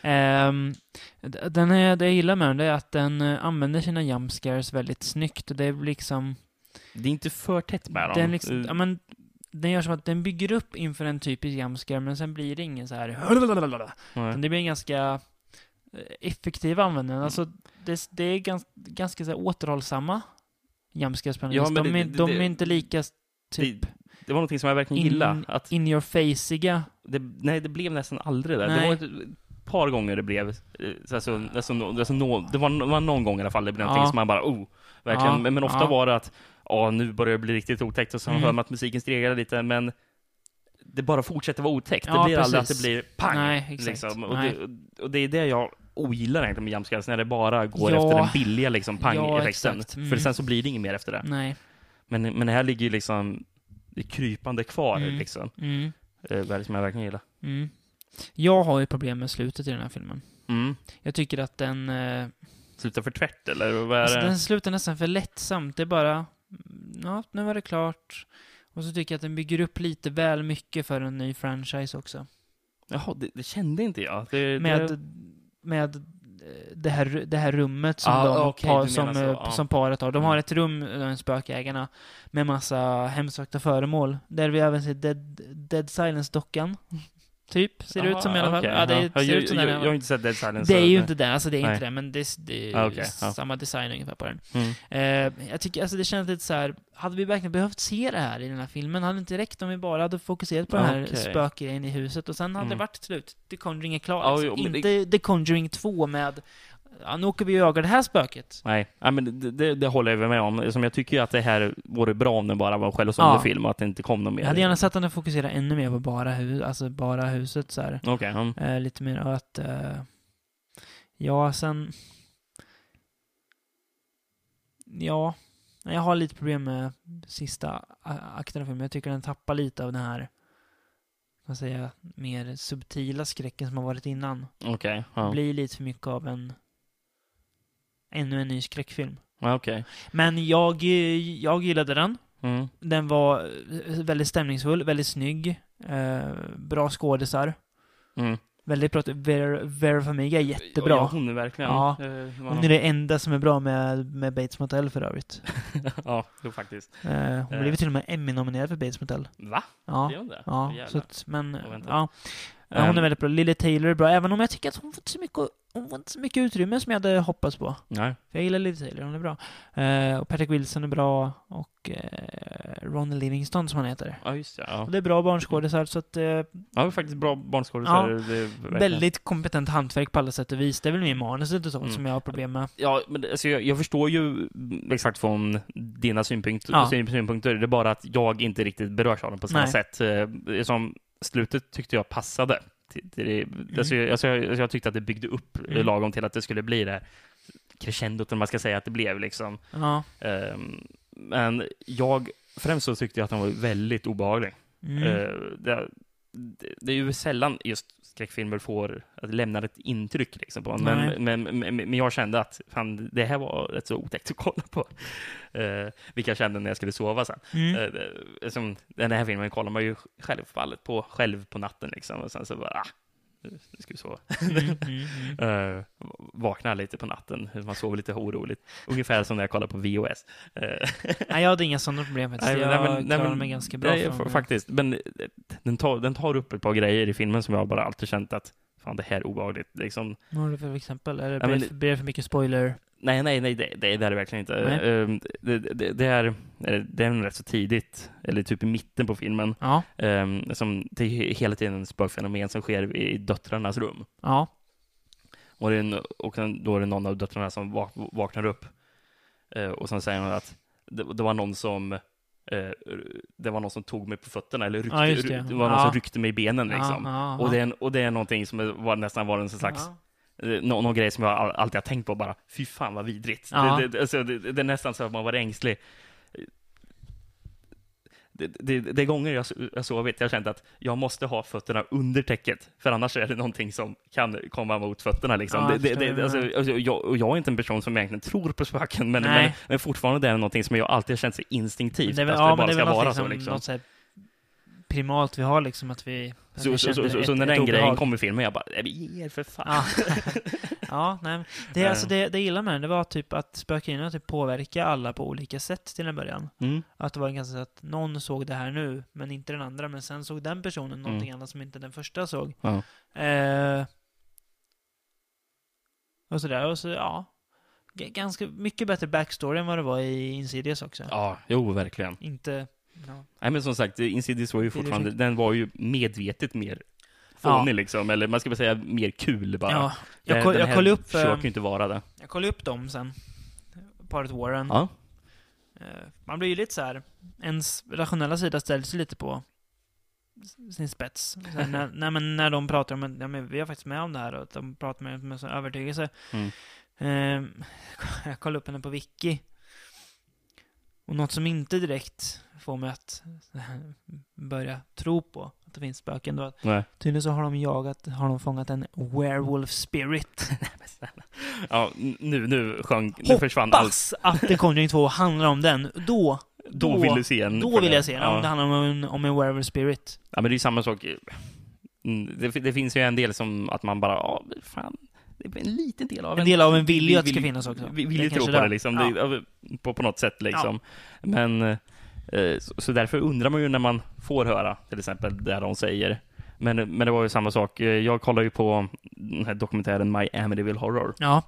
Ehm, d- den är, det jag gillar med den det är att den eh, använder sina jump scares väldigt snyggt. Och det är liksom...
Det är inte för tätt med dem.
Den, liksom, ja,
Eh,
men, den gör som att den bygger upp inför en typisk jamskare, men sen blir det ingen så här... "Hulalalala".
nej.
Utan Det blir en ganska eh, effektiv användning. Alltså, det, det är gans, ganska så här, återhållsamma jamskares
Ja,
ja,
men
de,
det-
är-
det-
de
det-
är inte lika typ
det, det var någonting som jag verkligen
In-
gillade. Att
in your faceiga.
det, nej, det blev nästan aldrig det. Det
Nej. Ah.
var ett par gånger det blev... eh, så Alltså, alltså, no- alltså, no, det var, det var någon gång i alla fall det blev någonting
Ja.
som man bara oh, verkligen.
Ja,
men, men ofta
ja.
var det att ja, nu börjar det bli riktigt otäckt och så
Ah. Mm.
hör man att musiken stegrade lite men det bara fortsätter vara otäckt. det
Ja,
blir aldrig att
precis.
det blir pang.
Nej, exakt.
Liksom. Och,
Nej.
Det, och det är det jag ogillar egentligen med jumpscares, när det bara går
Ja.
efter den billiga liksom, pang-effekten.
exakt. Mm.
För sen så blir det inget mer efter det.
Nej.
Men, men det här ligger ju liksom det är krypande kvar,
Mm.
liksom.
Mm,
Eh, vad är det som jag verkligen gillar.
mm. Jag har ju problem med slutet i den här filmen.
Mm.
Jag tycker att den... Eh,
Sluta för tvärt eller vad är
Alltså,
det?
den slutar nästan för lättsamt. Det är bara, mm, ja, nu var det klart. Och så tycker jag att den bygger upp lite väl mycket för en ny franchise också.
Jaha, det, det kände inte jag. Det, det...
Med, med eh, det här, det här rummet som,
Ah,
de,
okej,
par,
du
som,
menar så,
eh,
ja.
som paret har. De
Mm.
har ett rum, eh, spökjägarna, med massa hemsökta föremål. Där vi även ser Dead, Dead Silence-dockan. Typ, ser det ut som i alla fall.
Ah, okej.
Ja, det
Ja,
ser
jag,
ut som
jag,
den i
jag
alla
har
fall.
inte sett Dead Silence.
Det är
så-
ju
nej.
inte det, alltså det är
Nej.
inte det, men det, det är
Ah, okej, ja.
samma design ungefär på den.
Mm.
Eh, jag tycker, alltså det känns lite så här. hade vi verkligen behövt se det här i den här filmen? Hade det inte räckt om vi bara hade fokuserat på den här
Okej.
spökgrejen i huset och sen hade
Mm.
det varit slut. The Conjuring är klar.
Ja,
Alltså.
jo, men
inte The Conjuring 2 med, ja, nu åker vi och jagar det här spöket.
Nej, Nej, men det, det, det håller jag med om. Som jag tycker ju att det här vore bra om den bara var en självsåld
Ja.
film och att det inte kom någon mer.
Jag hade gärna sett henne fokusera ännu mer på bara, hu alltså bara huset så här.
Okej. mm.
Eh, lite mer och att, eh, ja sen, ja, Nej, jag har lite problem med sista a- akten av filmen. Jag tycker den tappar lite av den här, vad säger jag, mer subtila skräcken som har varit innan.
Okej.
Det
ja.
blir lite för mycket av en, ännu en ny skräckfilm.
Ja, okej.
Men jag, eh, jag gillade den.
Mm.
Den var eh, väldigt stämningsfull, väldigt snygg, eh, bra skådisar.
Mm.
Väldigt bra. typ Vera, Vera Famiga är jättebra.
Ja, hon är verkligen...
Ja.
eh, vad
Hon är det enda som är bra med, med Bates Motel för övrigt.
ja, jo, faktiskt.
Eh, hon blev ju till och med Emmy-nominerad för Bates Motel.
Va?
Ja.
Gör hon det?
Ja,
Jävlar.
så att, men
Oväntat.
ja. Eh, Hon
Ehm.
är väldigt bra. Lily Taylor är bra, även om jag tycker att hon får inte så mycket att oh, inte så mycket utrymme som jag hade hoppats på.
Nej.
För jag gillar Liv Taylor, hon är bra. Eh, och Patrick Wilson är bra och eh, Ronny Livingston som han heter.
Ja, just det. Ja.
Och det är bra barnskådisar så att eh,
Ja, det var faktiskt bra barnskådisar.
Ja,
Det är verkligen-
väldigt kompetent hantverk på alla sätt och vis. Det är väl mer manuset och sånt
Mm.
som jag har problem med.
Ja, men det- alltså jag, jag förstår ju mm, exakt från dina synpunkt,
Ja.
syn- synpunkter. Det är bara att jag inte riktigt berörs av dem på samma
Nej.
sätt. Eh, det är Som slutet tyckte jag passade. till- till det. Alltså, jag, alltså, jag, alltså, jag tyckte att det byggde upp eh,
Mm.
lagom till att det skulle bli det här crescendot, om man ska säga att det blev. Liksom.
Ja.
Ehm, men jag, främst så tyckte jag att den var väldigt obehaglig.
Mm.
Eh, det, det- det är ju sällan just skräckfilmer får, att lämnar ett intryck liksom på en.
Nej.
men, men, men, men jag kände att fan, det här var rätt så otäckt att kolla på. Eh, vilka jag kände när jag skulle sova sen.
Mm.
Eh, det- som, den här filmen kollar man ju självfallet på själv på natten liksom. Och sen så bara, ah, nu ska vi sova.
Mm. Mm. Mm.
Eh, vaknar lite på natten, man sover lite oroligt. Ungefär som när jag kollar på VOS. Eh,
Nej, jag hade inga sådana problem faktiskt.
Nej, men-
jag
nej, men- nej,
klarar
men-
mig ganska bra
nej,
från
fa-
det.
Faktiskt, men eh, den tar, den tar upp ett par grejer i filmen som jag bara alltid känt att fan det här är obehagligt. Liksom,
Vad har du för exempel? Eller
Ja,
blir,
men-
det- blir det för mycket spoiler?
nej, nej, nej, det, det, det är det verkligen inte.
Nej.
Ehm, Det, det, det, är, eh, det är nog rätt så tidigt, eller typ i mitten på filmen,
Ja.
ehm, som det är hela tiden ett spökfenomen som sker i döttrarnas rum.
Ja.
Och, det är en, och sen- då är det någon av döttrarna som vak, vaknar upp. Eh, och sen säger hon att det, det var någon som eh, det var någon som tog mig på fötterna eller ryckte,
Ja, just det.
ry- det var någon
Ja.
som ryckte mig i benen liksom.
Ja, ja,
Och, det
ja.
är, en- och det är någonting som är- var, nästan var en sån slags,
Ja.
eh, nå- någon grej som jag all- alltid har tänkt på bara, fy fan vad vidrigt.
Ja.
Det, det, alltså, det, det är nästan så att man var ängslig. Det, det, det är gånger jag, so- jag sovit, jag kände att jag måste ha fötterna under täcket, för annars är det någonting som kan komma mot fötterna. Liksom.
Ja,
det,
jag
det,
förstår vad du
det, alltså,
menar.
alltså, jag, och jag är inte en person som egentligen tror på spöken, men,
Nej.
men, men fortfarande är det någonting som jag alltid har känt sig instinktivt,
Det är väl,
att
ja,
det
men
bara
det är
ska
väl
vara
något,
så.
liksom,
Liksom.
något så här primalt vi har liksom att vi... att
Så,
vi
så, så,
känner
så, så
ett-
när
ett
den grejen
obehag.
kom i filmen, jag bara, "Nej, men ge er för fan.
Ja, ja nej. men Det,
Eh.
är alltså, det, det jag gillar med den, det var typ att spökerierna typ påverkar alla på olika sätt till en början.
Mm.
Att det var ganska så att någon såg det här nu, men inte den andra. Men sen såg den personen någonting annat som inte den första såg.
Mm. Ja.
Eh, och sådär, och så ja. G- ganska mycket bättre backstory än vad det var i Insidious också.
Ja, jo, verkligen.
Inte... Ja.
Nej, men som sagt, eh, Insidious var
Det
ju
är
fortfarande,
det
den var ju medvetet mer
Ja.
fånig liksom, eller man ska väl säga mer kul bara.
Ja, jag,
Eh,
koll,
den
jag
här
kollade upp, eh,
försöker ju inte vara det.
jag kollade upp dem sen. Paret Warren.
Ja.
Eh, Man blir ju lite så här. ens rationella sida ställs ju lite på s- sin spets. Så här, när, nej, men när de pratar om, ja, men vi har faktiskt med om det här och att de pratar med, med sån övertygelse.
Mm.
Eh, jag kollade upp henne på Wiki. Och något som inte direkt får mig att börja tro på att det finns spöken, då att
Nej.
tydligen så har de jagat, har de fångat en werewolf spirit.
ja, n- nu, nu sjönk, nu
Hoppas
försvann allt.
Bass! Att The Conjuring 2 handlar om den, då
Då,
då-
vill du se en.
Då
Mm, för
vill
det.
jag se den, om det
Ja.
handlar om en, om en werewolf spirit.
ja, men det är ju samma sak. Mm, Det, det finns ju en del som att man bara, ja, men fan, det är en liten del av
En del av en
vi-
vill ju att det
vi-
ska finnas också.
Vi
Det
vill
är
ju tro på
kanske
det
där.
liksom,
Ja.
det, är- på, på något sätt liksom. Men, eh, så, så därför undrar man ju när man får höra till exempel det de säger. Men, men det var ju samma sak. Eh, Jag kollar ju på den här dokumentären My Amityville Horror,
Ja.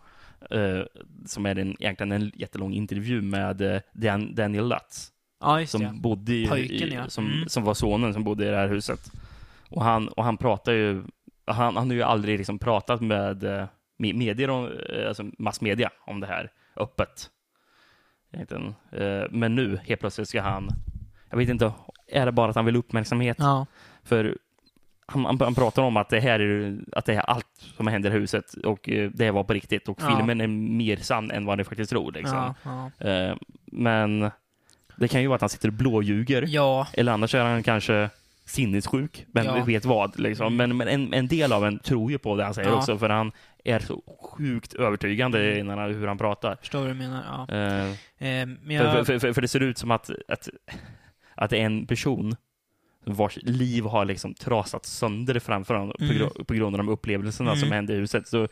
eh, som är en, egentligen en jättelång intervju med eh, Dan, Daniel Lutz,
ja, just
som
det.
bodde i,
Pojken,
i
ja.
som,
Mm.
som var sonen som bodde i det här huset. Och han, och han pratar ju, han, han har ju aldrig liksom pratat med eh, med- medier, om, eh, alltså massmedia om det här öppet. Egentligen. Eh, Men nu helt plötsligt ska han, jag vet inte, är det bara att han vill uppmärksamhet?
Ja.
För han, han, han pratar om att det här är att det här, allt som händer i huset och eh, det här var på riktigt och
Ja.
filmen är mer sann än vad ni faktiskt tror. Liksom.
Ja, ja.
Eh, Men det kan ju vara att han sitter och blåljuger.
ja,
Eller annars är han kanske sinnessjuk, men
Ja. Mm.
vet vad. Liksom. Men, men en, en del av en tror ju på det han säger
Ja. Mm.
också, för han är så sjukt övertygande innan han, hur han pratar.
förstår vad du menar. Ja.
Eh,
Eh, men
för,
jag,
för, för, för det ser ut som att, att, att det är en person vars liv har liksom trasat sönder framför honom
Mm.
på, gro- på grund av de upplevelserna som
Mm.
hände i huset. Så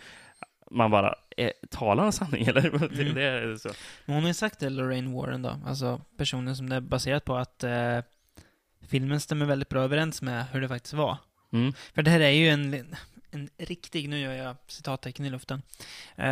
man bara, eh, talar han sanning eller? Det,
Mm.
det är så.
men hon har ju sagt det, Lorraine Warren då, alltså personen som det är baserat på, att eh, filmen stämmer väldigt bra överens med hur det faktiskt var.
Mm.
För det här är ju en, en riktig, nu gör jag citattecken i luften,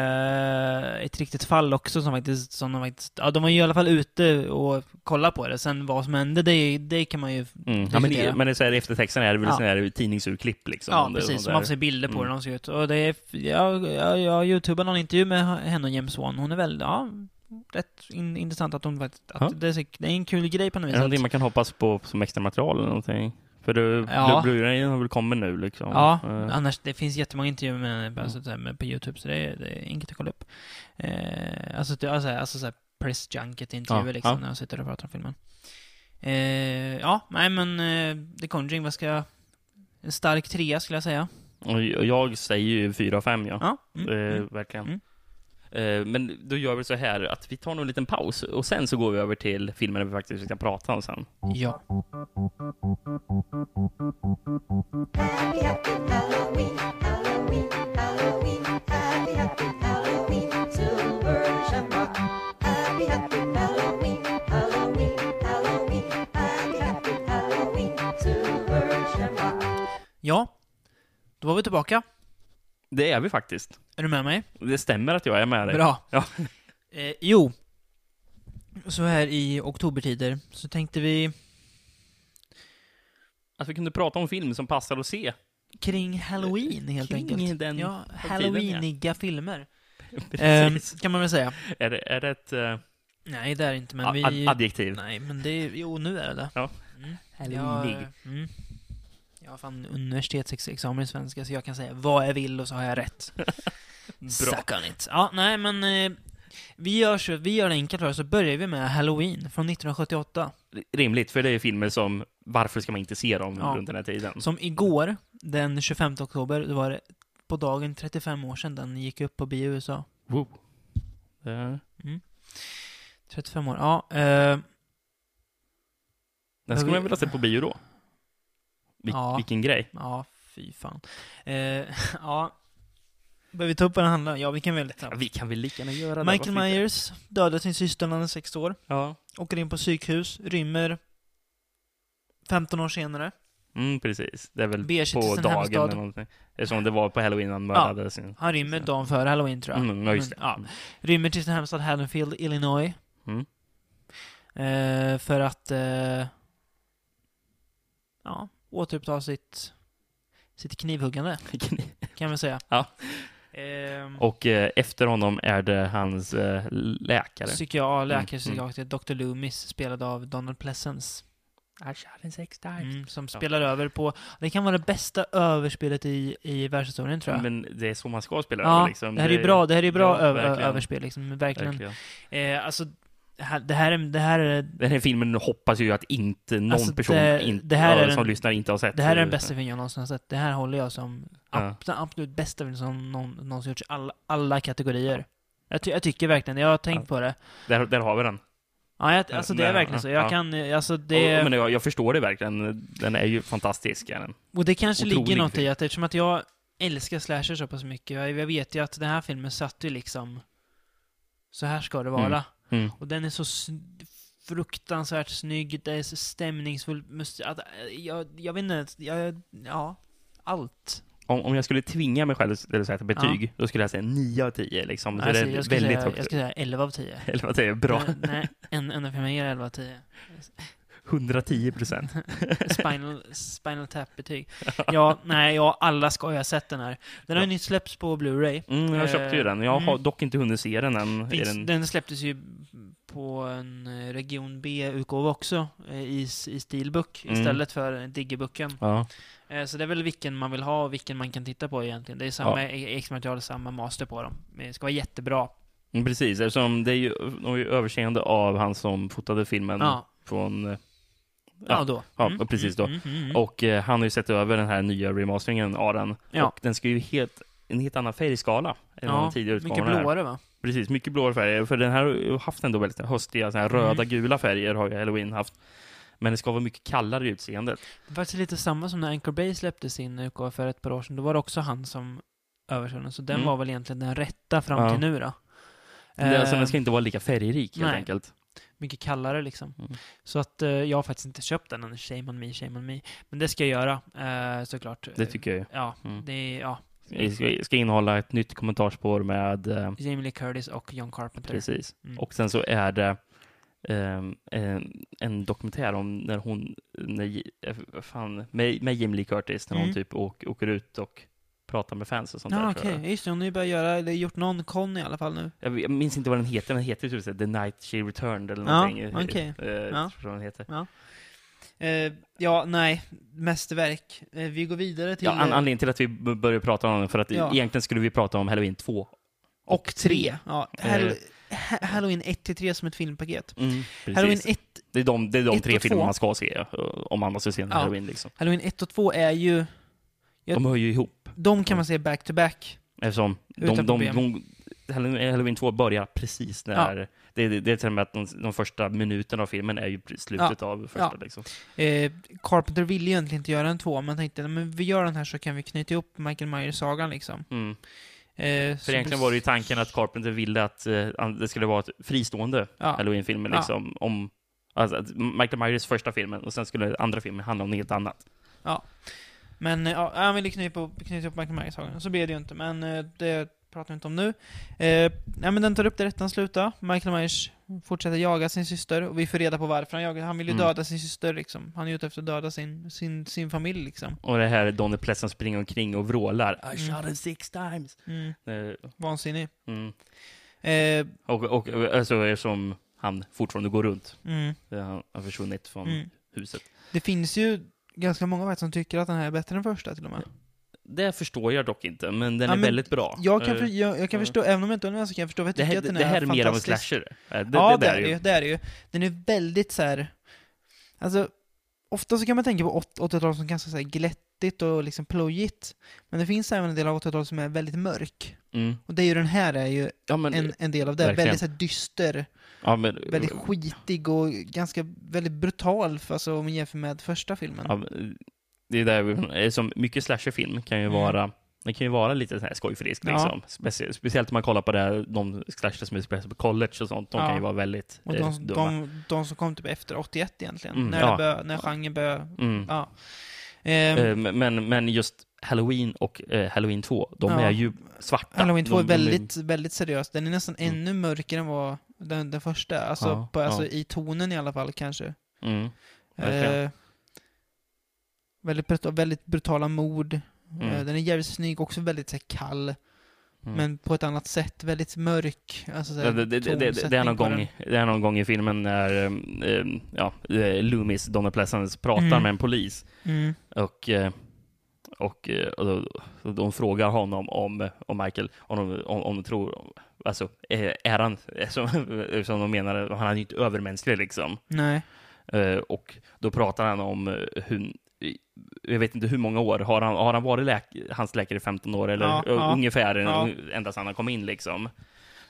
eh, ett riktigt fall också som faktiskt, som de faktiskt, ja de var ju i alla fall ute och kollade på det. Sen vad som hände, det, det kan man ju
Mm. Ja, men, det,
diskutera.
men det är så här, eftertexten är väl
Ja.
sån här tidningsurklipp liksom.
Ja,
om det- om
precis.
det
Man
är-
får se bilder på hur
Mm.
de ser ut. Och det är, jag, jag, jag youtubade någon intervju med henne och James Wan. Hon är väl, ja, rätt in, intressant att hon faktiskt, att
Ja.
det, är, så- det är en kul grej på något
Är
vis.
det någonting
Att,
man kan hoppas på som extra material eller någonting? För du,
Ja.
ja. Blu-rayen har väl kommit nu liksom?
ja,
Eh, Mm.
annars, det finns jättemånga intervjuer med henne alltså, så här, med, på youtube, så det är, det är inget att kolla upp. Eh, alltså, det- alltså, alltså så här press junket-intervjuer
Ja,
liksom,
ja.
när de sitter och pratar om filmen. Eh, ja, nej men, eh, The Conjuring, vad ska jag... En stark trea skulle jag säga.
och jag- jag säger ju 4 av 5 ja.
Ja. Mm,
Eh,
mm.
Verkligen.
Mm.
Eh, men då gör vi så här att vi tar nog en liten paus och sen så går vi över till filmen där vi faktiskt ska prata om sen.
Ja.
Happy, happy Halloween, Halloween, Halloween. Happy, happy Halloween, Silver Shamrock. Happy, happy Halloween, Halloween, Halloween. Happy, happy Halloween, Silver Shamrock.
Ja. Då var vi tillbaka.
Det är vi faktiskt.
Är du med mig?
Det stämmer att jag är med dig.
Bra.
Ja.
Eh, jo. Så här i oktobertider så tänkte vi
Att vi kunde prata om film som passar att se.
kring halloween helt
Kring
enkelt.
den
ja,
ja.
halloweeniga filmer.
Precis.
Eh, kan man väl säga.
Är, det, är det ett eh,
Nej, det är det inte, men
ad-
vi...
adjektiv?
Nej, men det är... Jo, nu är det det.
Ja.
Mm. Jag,
Halloweenig.
mm. jag har fan universitetsexamen i svenska, så jag kan säga vad jag vill och så har jag rätt. Suck on it. Ja, nej men... Eh, vi, gör så, vi gör det enkelt för oss, så börjar vi med Halloween från 1978.
Rimligt, för det är ju filmer som varför ska man inte se dem
Ja.
runt den här tiden?
Som igår, den 25 oktober, det var det på dagen 35 år sedan den gick upp på bio i USA.
Wow. Eh,
35 år, ja. Eh,
Den skulle man vilja se på bio då. Vil-
Ja.
Vilken grej.
ja, fy fan. Eh, ja. Behöver vi ta upp vad den handlar om? Ja, vi kan väl ta
Ja,
upp.
vi kan väl lika gärna göra det.
Michael
varför inte?
Myers dödar sin syster när han är 6 år.
Ja.
Åker in på psykhus, rymmer 15 år senare.
Mm, precis. Det är väl
Beger sig till
på
sin
dagen
hemstad.
eller någonting. Det är som det var på halloween han mördade sin...
Han rymmer dagen före halloween tror jag.
Mm, ja, just det.
ja. Rymmer till sin hemstad Haddonfield, Illinois.
Mm.
Eh, för att eh, ja, återuppta sitt, sitt knivhuggande, kan man säga.
Ja.
Ehm,
Och eh, efter honom är det hans eh, läkare.
psykia- ja,
Mm,
läkarpsykiater Dr. Loomis, spelad av Donald Pleasence.
Jag kör en sexstark.
Mm, som
Ja.
spelar över på, det kan vara det bästa överspelet i, i världshistorien tror jag.
Men det är så man ska spela
ja,
över, liksom.
det här är ju bra, det här är ju bra
ja,
ö- ö-
verkligen.
överspel liksom, verkligen.
Verkligen.
Eh, alltså, det här, det här är, det här är
Den här filmen hoppas ju att inte någon
Alltså,
person
det-
inte-
det här är
som
den-
lyssnar inte har sett.
Det här är den bästa film jag någonsin har sett. Det här håller jag som
Ja.
ab- den absolut bästa film som någon, någonsin gjorts i alla, alla kategorier. Jag, ty jag tycker verkligen Jag har tänkt på det.
Där, där har vi den.
Ja, jag, alltså det är
Nej,
verkligen så. Jag
ja.
kan, eh, alltså
Ja,
det...
Men jag, jag förstår det verkligen. Den är ju fantastisk. Är den.
Och det kanske
otrolig
ligger något i
film.
att eftersom att jag älskar slasher så pass mycket. Jag, jag vet ju att den här filmen satte ju liksom... Så här ska det vara.
Mm. Mm.
Och den är så sn- fruktansvärt snygg. Det är så stämningsfull musik. Att, eh, Jag, jag vet inte. Jag, ja. Allt.
Om, om jag skulle tvinga mig själv till att sätta betyg, då skulle jag säga 9 av 10. Liksom. Så
Alltså,
det är
jag, skulle
väldigt
säga, jag
högt.
skulle säga 11 av 10.
Eller vad säger jag? Bra.
Nej, Nej, en, en av filmerna ger 11 av 10.
110 procent.
Spinal, spinal Tap-betyg. Ja, nej, ja, alla ska ju ha sett den här. Den har ju nyss släppts på Blu-ray.
Mm, jag köpte ju
Eh,
den. Jag har
mm.
dock inte hunnit se den än. Är
Finns,
den...
den... släpptes ju på en eh, Region B-utgåva också, eh, i, s- i Steelbook,
Mm.
istället för Digibucken.
Ja.
Eh, Så det är väl vilken man vill ha och vilken man kan titta på egentligen. Det är samma e-, X-material, samma master på dem. Eh, Det ska vara jättebra.
Mm, Precis, eftersom det är ju, de är ju överseende av han som fotade filmen
Ja. Mm.
från... eh,
Ja,
Ja,
då.
ja, precis då.
Mm, mm, mm.
Och eh, han har ju sett över den här nya remasteringen av den.
Ja.
Och den ska ju helt, en helt annan färgskala än de
ja,
tidigare
mycket
utgåvorna. här.
blåare va?
Precis, mycket blåa färger. För den här har ju haft ändå väldigt höstiga, så här
Mm.
röda, gula färger har ju halloween haft. Men det ska vara mycket kallare i utseendet.
Det var faktiskt lite samma som när Anchor Bay släppte sin utgåva för ett par år sedan. Då var det också han som översatte den. Så den
Mm.
var väl egentligen den rätta fram
Ja.
till nu då.
Det, alltså,
Eh,
den ska inte vara lika färgrik helt
nej.
enkelt.
Mycket kallare liksom.
Mm.
Så att eh, jag har faktiskt inte köpt den än. Shame on me, shame on me. Men det ska jag göra, eh, såklart.
Det tycker jag ju.
Ja,
Mm.
det är, ja.
Vi ska- ska innehålla ett nytt kommentarsspår med... eh,
Jamie Lee Curtis och John Carpenter.
Precis.
Mm.
Och sen så är det ehm, en, en dokumentär om när hon, när, J- eh, fan, med, med Jim Lee Curtis, när hon
Mm.
typ åk, åker ut och pratar med fans och sånt
Ja,
där. tror
okej.
jag.
Just det, hon har ju börjat göra, eller gjort någon kon i alla fall nu.
Jag, jag minns inte vad den heter, men den heter ju typ så här The Night She Returned eller
Ja,
någonting. eh,
okej.
eh, jag
Ja.
tror den heter.
Eh, ja, nej. Mästerverk. Eh, vi går vidare till... eh,
Ja, an, anledningen till att vi b- började prata om den, för att
Ja.
egentligen skulle vi prata om Halloween 2.
och tre. Ja, Hall-
Eh.
Ha- Halloween 1 till 3 som ett filmpaket.
Mm,
Halloween
precis.
1,
Det är de, det är de
ett
tre
och två.
filmer man ska se, eh, om man måste se en
Ja.
Halloween. Liksom.
Halloween 1 och 2 är ju... Jag-
De hör ju ihop.
De kan man se back-to-back.
Eftersom de,
Utan
de,
problem.
de, Halloween Halloween 2 börjar precis när... Det, det, det är till och med att de, de första minuterna av filmen är ju slutet av första.
Ja.
Liksom.
Eh, Carpenter ville ju egentligen inte göra en 2, men tänkte "Nej, men vi gör den här så kan vi knyta ihop Michael Myers-sagan liksom.
Mm.
Eh,
För egentligen var det ju tanken att Carpenter ville att eh, an- det skulle vara ett fristående
Ja.
Halloween-film.
Ja.
Liksom, om, alltså, att Michael Myers första filmen och sen skulle andra filmen handla om något helt annat.
Men eh, ja, han ville knyta ihop, knyta ihop Michael Myers-sagan, så blev det ju inte. Men eh, det pratar vi inte om nu. Eh, nej, men den tar upp där rättan slutar. Michael Myers fortsätter jaga sin syster och vi får reda på varför han jagar. Han vill ju
Mm.
döda sin syster liksom. Han är ute efter att döda sin, sin, sin familj liksom.
Och det här Donny Pleasant som springer omkring och vrålar. I
Mm.
shot him six times.
Mm.
Eh,
Vansinnig.
Mm.
Eh,
Och, och alltså, eftersom han fortfarande går runt.
mm,
eh, Han har försvunnit från
mm.
huset.
Det finns ju ganska många vet, som tycker att den här är bättre än första till och med.
Det förstår jag dock inte, men den
Ja,
är
men
väldigt bra.
Jag kan,
Eh,
för, jag, jag kan
ja.
förstå, även om jag inte är den så kan jag förstå vad jag
det
tycker
här,
att den
det här är mer av en
fantastisk.
slasher. Eh, Det,
ja, det, är det ju. Det är det ju. Den är väldigt så här... Alltså, ofta så kan man tänka på åt- 80-talet som ganska så här glättigt och liksom plojigt. Men det finns även en del av 80-talet som är väldigt mörk.
Mm.
Och det är ju den här är ju
Ja, men,
en, en del av det.
verkligen. Mm.
Väldigt så här dyster,
ja, men,
väldigt skitig och ganska väldigt brutal för, alltså, om man jämför med första filmen.
ja, men, det är där vi, eh, som mycket slasherfilm kan ju
Mm.
vara den kan ju vara lite så här skojfrisk.
Ja.
Liksom. Specie- speciellt om man kollar på det, här, de slasher som utspelar sig på college och sånt. De
Ja.
kan ju vara väldigt
och
eh,
de,
dumma.
de, de som kom typ efter 81 egentligen.
Mm,
när,
ja.
det bör, när genren började...
Mm.
Ja. Ehm,
Eh, men- Men, men just Halloween och eh, Halloween 2, de
Ja.
är ju svarta.
Halloween 2
de,
är
de
väldigt, väldigt seriös. Den är nästan
Mm.
ännu mörkare än vad den, den första. Alltså,
Ja,
på, alltså
ja.
i tonen i alla fall kanske.
Mm. Verkligen.
Eh, väldigt, brut- väldigt brutala mord.
Mm.
Eh, den är jävligt snygg, också väldigt så här, kall.
Mm.
Men på ett annat sätt, väldigt mörk. Alltså, så här,
Ja, Det, det, det, det, det, är
tonsättning
någon
på
gång,
den.
det är någon gång i filmen när ehm, ehm, ja, eh, Loomis, Donald Pleasants, pratar
Mm.
med en polis
Mm.
och, eh, och, eh, och då- och de frågar honom om, om Michael, om de, om, om de tror, alltså eh, är han, som, som de menar, han är ju inte övermänsklig liksom.
Nej.
Eh, Och då pratar han om eh, hur, jag vet inte hur många år, har han, har han varit läk, hans läkare i 15 år eller
Ja,
eh,
ja.
ungefär,
Ja.
ända sedan han kom in liksom.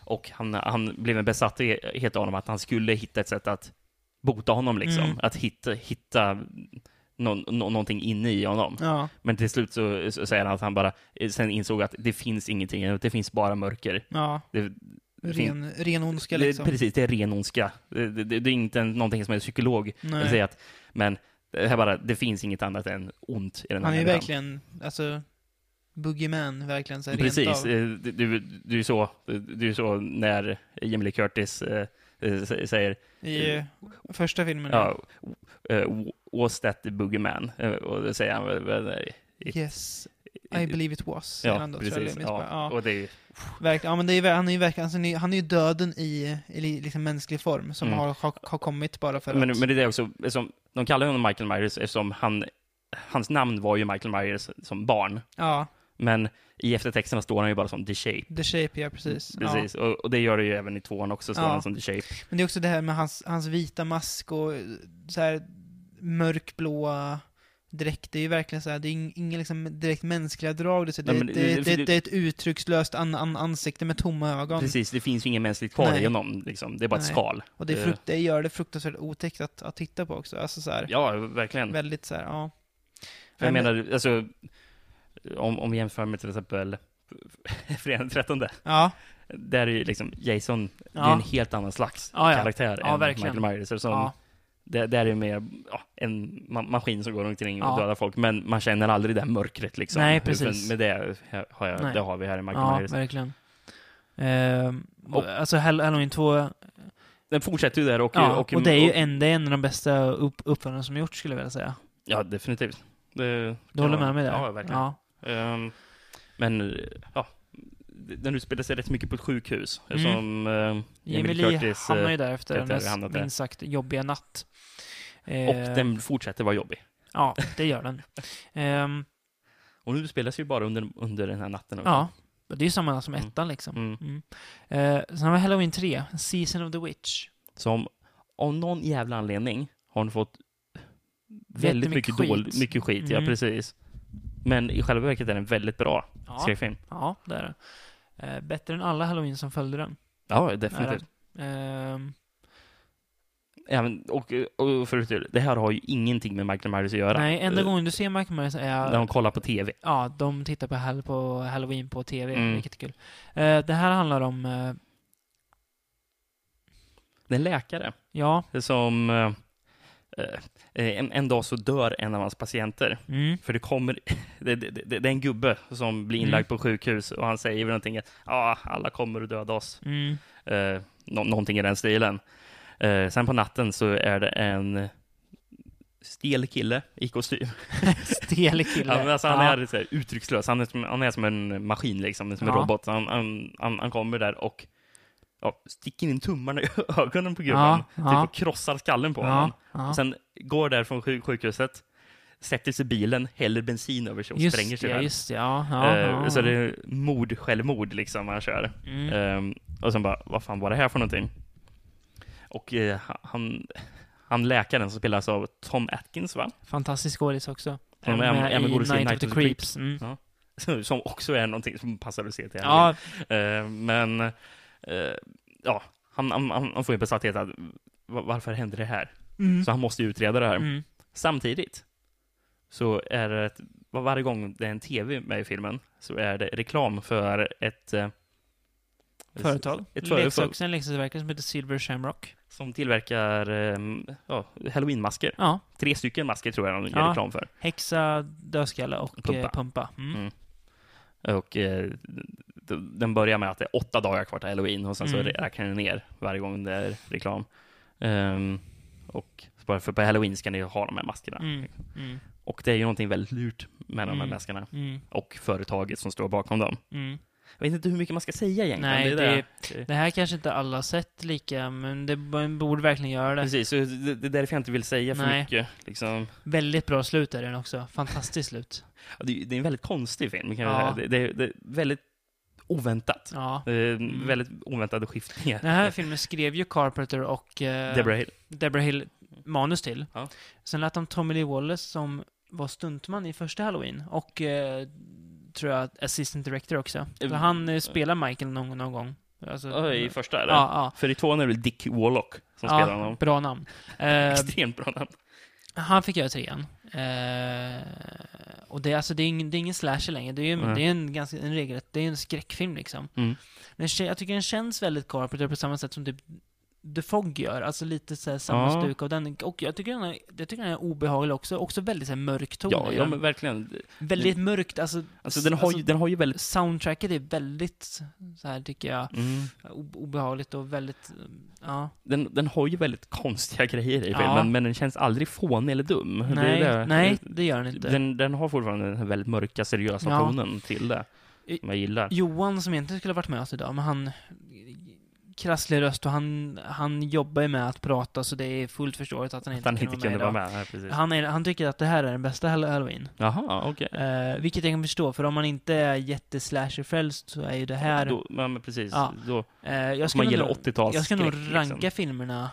Och han, han blev en besatthet av honom att han skulle hitta ett sätt att bota honom liksom.
Mm.
Att hitta, hitta någon, nå- någonting inne i honom.
Ja.
Men till slut så, så säger han att han bara, eh, sen insåg att det finns ingenting, det finns bara mörker.
ja.
Det, det finns-
Ren, ren ondska
det-
liksom.
Precis, det är ren ondska. Det, det, det, det är inte en, någonting som en psykolog
Nej.
säger att, men det här bara, det finns inget annat än ont i den här
Han är ju
människan.
verkligen, alltså, boogeyman verkligen. Så här, rent
Precis,
av.
eh, det, det, det är ju så, det, det är ju så när Jamie Lee Curtis eh, eh, sä- säger
I eh, första filmen.
ja, eh, was that the boogeyman? Eh, Och då säger han väl- väl, nej.
Yes, I believe it was. säger
Ja,
han då, tror jag,
precis.
eller jag minns bara.
Ja, och det är ju,
Verkligen. Ja, men det är, ver- han är ju verkligen, alltså, ni- han är ju döden i, i li- liksom mänsklig form som
Mm.
har, har, har kommit bara för
men,
att...
men det är också, eftersom, de kallar honom Michael Myers eftersom han, hans namn var ju Michael Myers som barn.
Ja,
Men i eftertexterna står han ju bara som The Shape.
the shape, ja precis.
Precis, och, och det gör det ju även i tvåan också, står
Ja.
han som The Shape.
Ja. Men det är också det här med hans, hans vita mask och eh, så här mörkblåa dräkt. Det är ju verkligen så här, det är ing- inga liksom direkt mänskliga drag. Det, så det,
Nej, men
det,
det-
det, det,
det-
är ett uttryckslöst an, an, ansikte med tomma ögon.
Precis, det finns ju inget mänskligt kvar
Nej.
i honom, liksom. det är bara
Nej.
ett skal.
Och det, är
Eh,
frukt, det gör det fruktansvärt otäckt att, att titta på också. Alltså så här,
Ja, verkligen.
väldigt så här, ja.
För jag
Nej, men-
menar, alltså, om, om vi jämför med till exempel Fredag den 13,
Ja,
där är ju liksom Jason, det
Ja.
är en helt annan slags
Ja, ja.
karaktär
Ja,
än
verkligen.
Michael Myers. Som,
ja.
Det, det här är mer ja, en ma- maskin som går omkring och
Ja.
dödar folk, men man känner aldrig det här mörkret liksom.
Nej,
Utan
precis.
Med det, har jag,
Nej.
det har vi här i Michael
Ja,
Myers.
verkligen. Ehm,
Och-
alltså Hall- Halloween 2,
Den fortsätter ju där och...
ja, och, det är ju en, det är en av de bästa upp, uppföljarna som gjorts skulle jag vilja säga.
Ja, definitivt. Det,
Du håller med mig där?
Ja, verkligen.
Ja,
Ehm, men, ja. Den utspelar sig rätt mycket på ett sjukhus.
Mm.
Som uh,
Jimmy Lee hamnar ju där efter
eh, Peter
den där
hamnat där.
minst sagt jobbiga natt. Eh,
Och den fortsätter vara jobbig.
Ja, det gör den. Ehm,
Och nu spelas ju bara under, under den här natten. också.
ja, det är ju samma som
Mm.
ettan liksom.
Mm.
Mm. Eh, sen har vi Halloween 3, Season of the Witch.
Som av någon jävla anledning har den fått väldigt
Jättemycket
mycket, dålig,
skit.
mycket skit. Ja,
Mm.
precis. Men i själva verket är den väldigt bra
Ja,
skräckfilm.
ja det är det. Eh, bättre än alla Halloween som följde den.
Ja, definitivt.
Ehm,
Även, och, och förut, det här har ju ingenting med Michael Myers att göra.
nej, enda
Eh,
gången du ser Michael Myers är...
När de kollar på TV.
Ja, de tittar på, hall på Halloween på TV,
Mm.
vilket är kul. Eh, det här handlar om... eh,
Det är en läkare
ja,
som... eh, eh, En, en dag så dör en av hans patienter.
mm,
För det kommer... Det, det, det, det är en gubbe som blir inlagd
Mm.
på sjukhus och han säger väl någonting att ah, alla kommer att döda oss.
mm,
Eh, nå- någonting i den stilen. Eh, sen på natten så är det en stel kille i kostym.
stel kille.
Han, alltså, han
Ja.
är så här, uttryckslös. Han är, som, han är som en maskin, liksom, som en
Ja.
robot. Han, han, han, han kommer där och ja, sticker in tummarna i ögonen på gubben.
Ja,
typ
ja.
och krossar skallen på honom.
ja, ja.
Sen går där från sjuk- sjukhuset, sätter sig i bilen, häller bensin över sig och
just
spränger sig
det,
där.
just det, ja. ja,
Eh,
ja.
Så det är mord, självmord liksom han kör.
Mm.
Ehm, och sen bara, vad fan var det här för någonting? Och eh, han, han läkaren som spelas av Tom Atkins, va?
Fantastisk skådis också.
Ja, men
Är
även-
med
även
i
går det att se
eh, Night of the Creeps. Mm.
Som också är någonting som passar att se till.
Ja,
Eh, men, eh, ja, han, han, han han får ju besatthet att "Va- varför hände det här?
mm.
Så han måste ju utreda det här.
Mm.
Samtidigt så är det ett, var- varje gång det är en tv med i filmen så är det reklam för ett eh,
Företag.
Ett företag
Leksaks, en leksakstillverkare som heter Silver Shamrock.
som tillverkar eh, ja, halloweenmasker.
Ja.
Tre stycken masker tror jag de gör
Ja.
reklam för.
Häxa, dödskalle och
Pumpa.
pumpa. Eh, pumpa. Mm.
Mm. Och eh, d- den börjar med att det är åtta dagar kvar till halloween och sen så
Mm.
rä- räknar den ner varje gång det är reklam. Ehm, och bara för på halloween ska ni ha de här maskerna.
Mm. Mm.
Och det är ju någonting väldigt lurt med de här
Mm.
maskerna
Mm.
och företaget som står bakom dem.
Mm.
Jag vet inte hur mycket man ska säga egentligen.
Nej,
är
det, det här kanske inte alla har sett lika, men det b- borde verkligen göra det.
Precis, så det, det är därför jag inte vill säga för
Nej.
mycket. Liksom.
Väldigt bra slut är den också. Fantastiskt slut.
Ja, Det, det är en väldigt konstig film. Kan
Ja.
ja. det, det, det är väldigt oväntat.
Ja.
Eh, Väldigt oväntade skiftningar.
Den här filmen skrev ju Carpenter och eh,
Deborah Hill.
Deborah Hill manus till.
Ja.
Sen lät de Tommy Lee Wallace, som var stuntman i första Halloween, och eh, tror jag assistant director också. Så
Eh,
han eh, spelar Michael någon, någon gång. Alltså,
Ja, I första, eller?
Ja, ja.
För i tvåan är det väl Dick Warlock som spelar
ja
honom.
bra namn. Eh,
Extremt bra namn.
han fick göra trean. Eh, och det, är alltså, det, är ingen, det är ingen slasher längre, det är, ju-
Nej.
det är en, ganska, en regelrätt, det är en skräckfilm liksom.
Mm.
Den, kä- jag tycker den känns väldigt Carpenter på samma sätt som typ The Fog gör, alltså lite så här samma
Ja.
stuk av den. Och jag tycker den är, jag tycker den är obehaglig också, också väldigt så här mörk ton.
Ja,
i
ja,
den.
men verkligen.
Väldigt mörkt, alltså,
Alltså, den, har ju, den har ju väldigt...
soundtracket är väldigt så här tycker jag,
Mm.
o- obehagligt och väldigt, ja.
Den, den har ju väldigt konstiga grejer i
Ja.
filmen, men den känns aldrig fånig eller dum. Det är
Nej,
det. Eh,
nej, det gör den inte.
Den, den har fortfarande den här väldigt mörka, seriösa
Ja.
tonen till det.
I-
Som jag gillar.
Johan som egentligen skulle ha varit med oss idag, men han krasslig röst och han, han jobbar ju med att prata så det är fullt förståeligt att han
Att
inte,
han inte kunde
idag.
vara med. Här, precis.
Han, är, han tycker att det här är den bästa hall- halloween.
Jaha, okej.
Eh, vilket jag kan förstå, för om man inte är jätteslasher-frälst så är ju det här...
Då- Ja, men precis.
Ja.
Då,
eh, jag
man
skulle
gillar
nog,
80-tals
jag ska nog ranka
liksom.
filmerna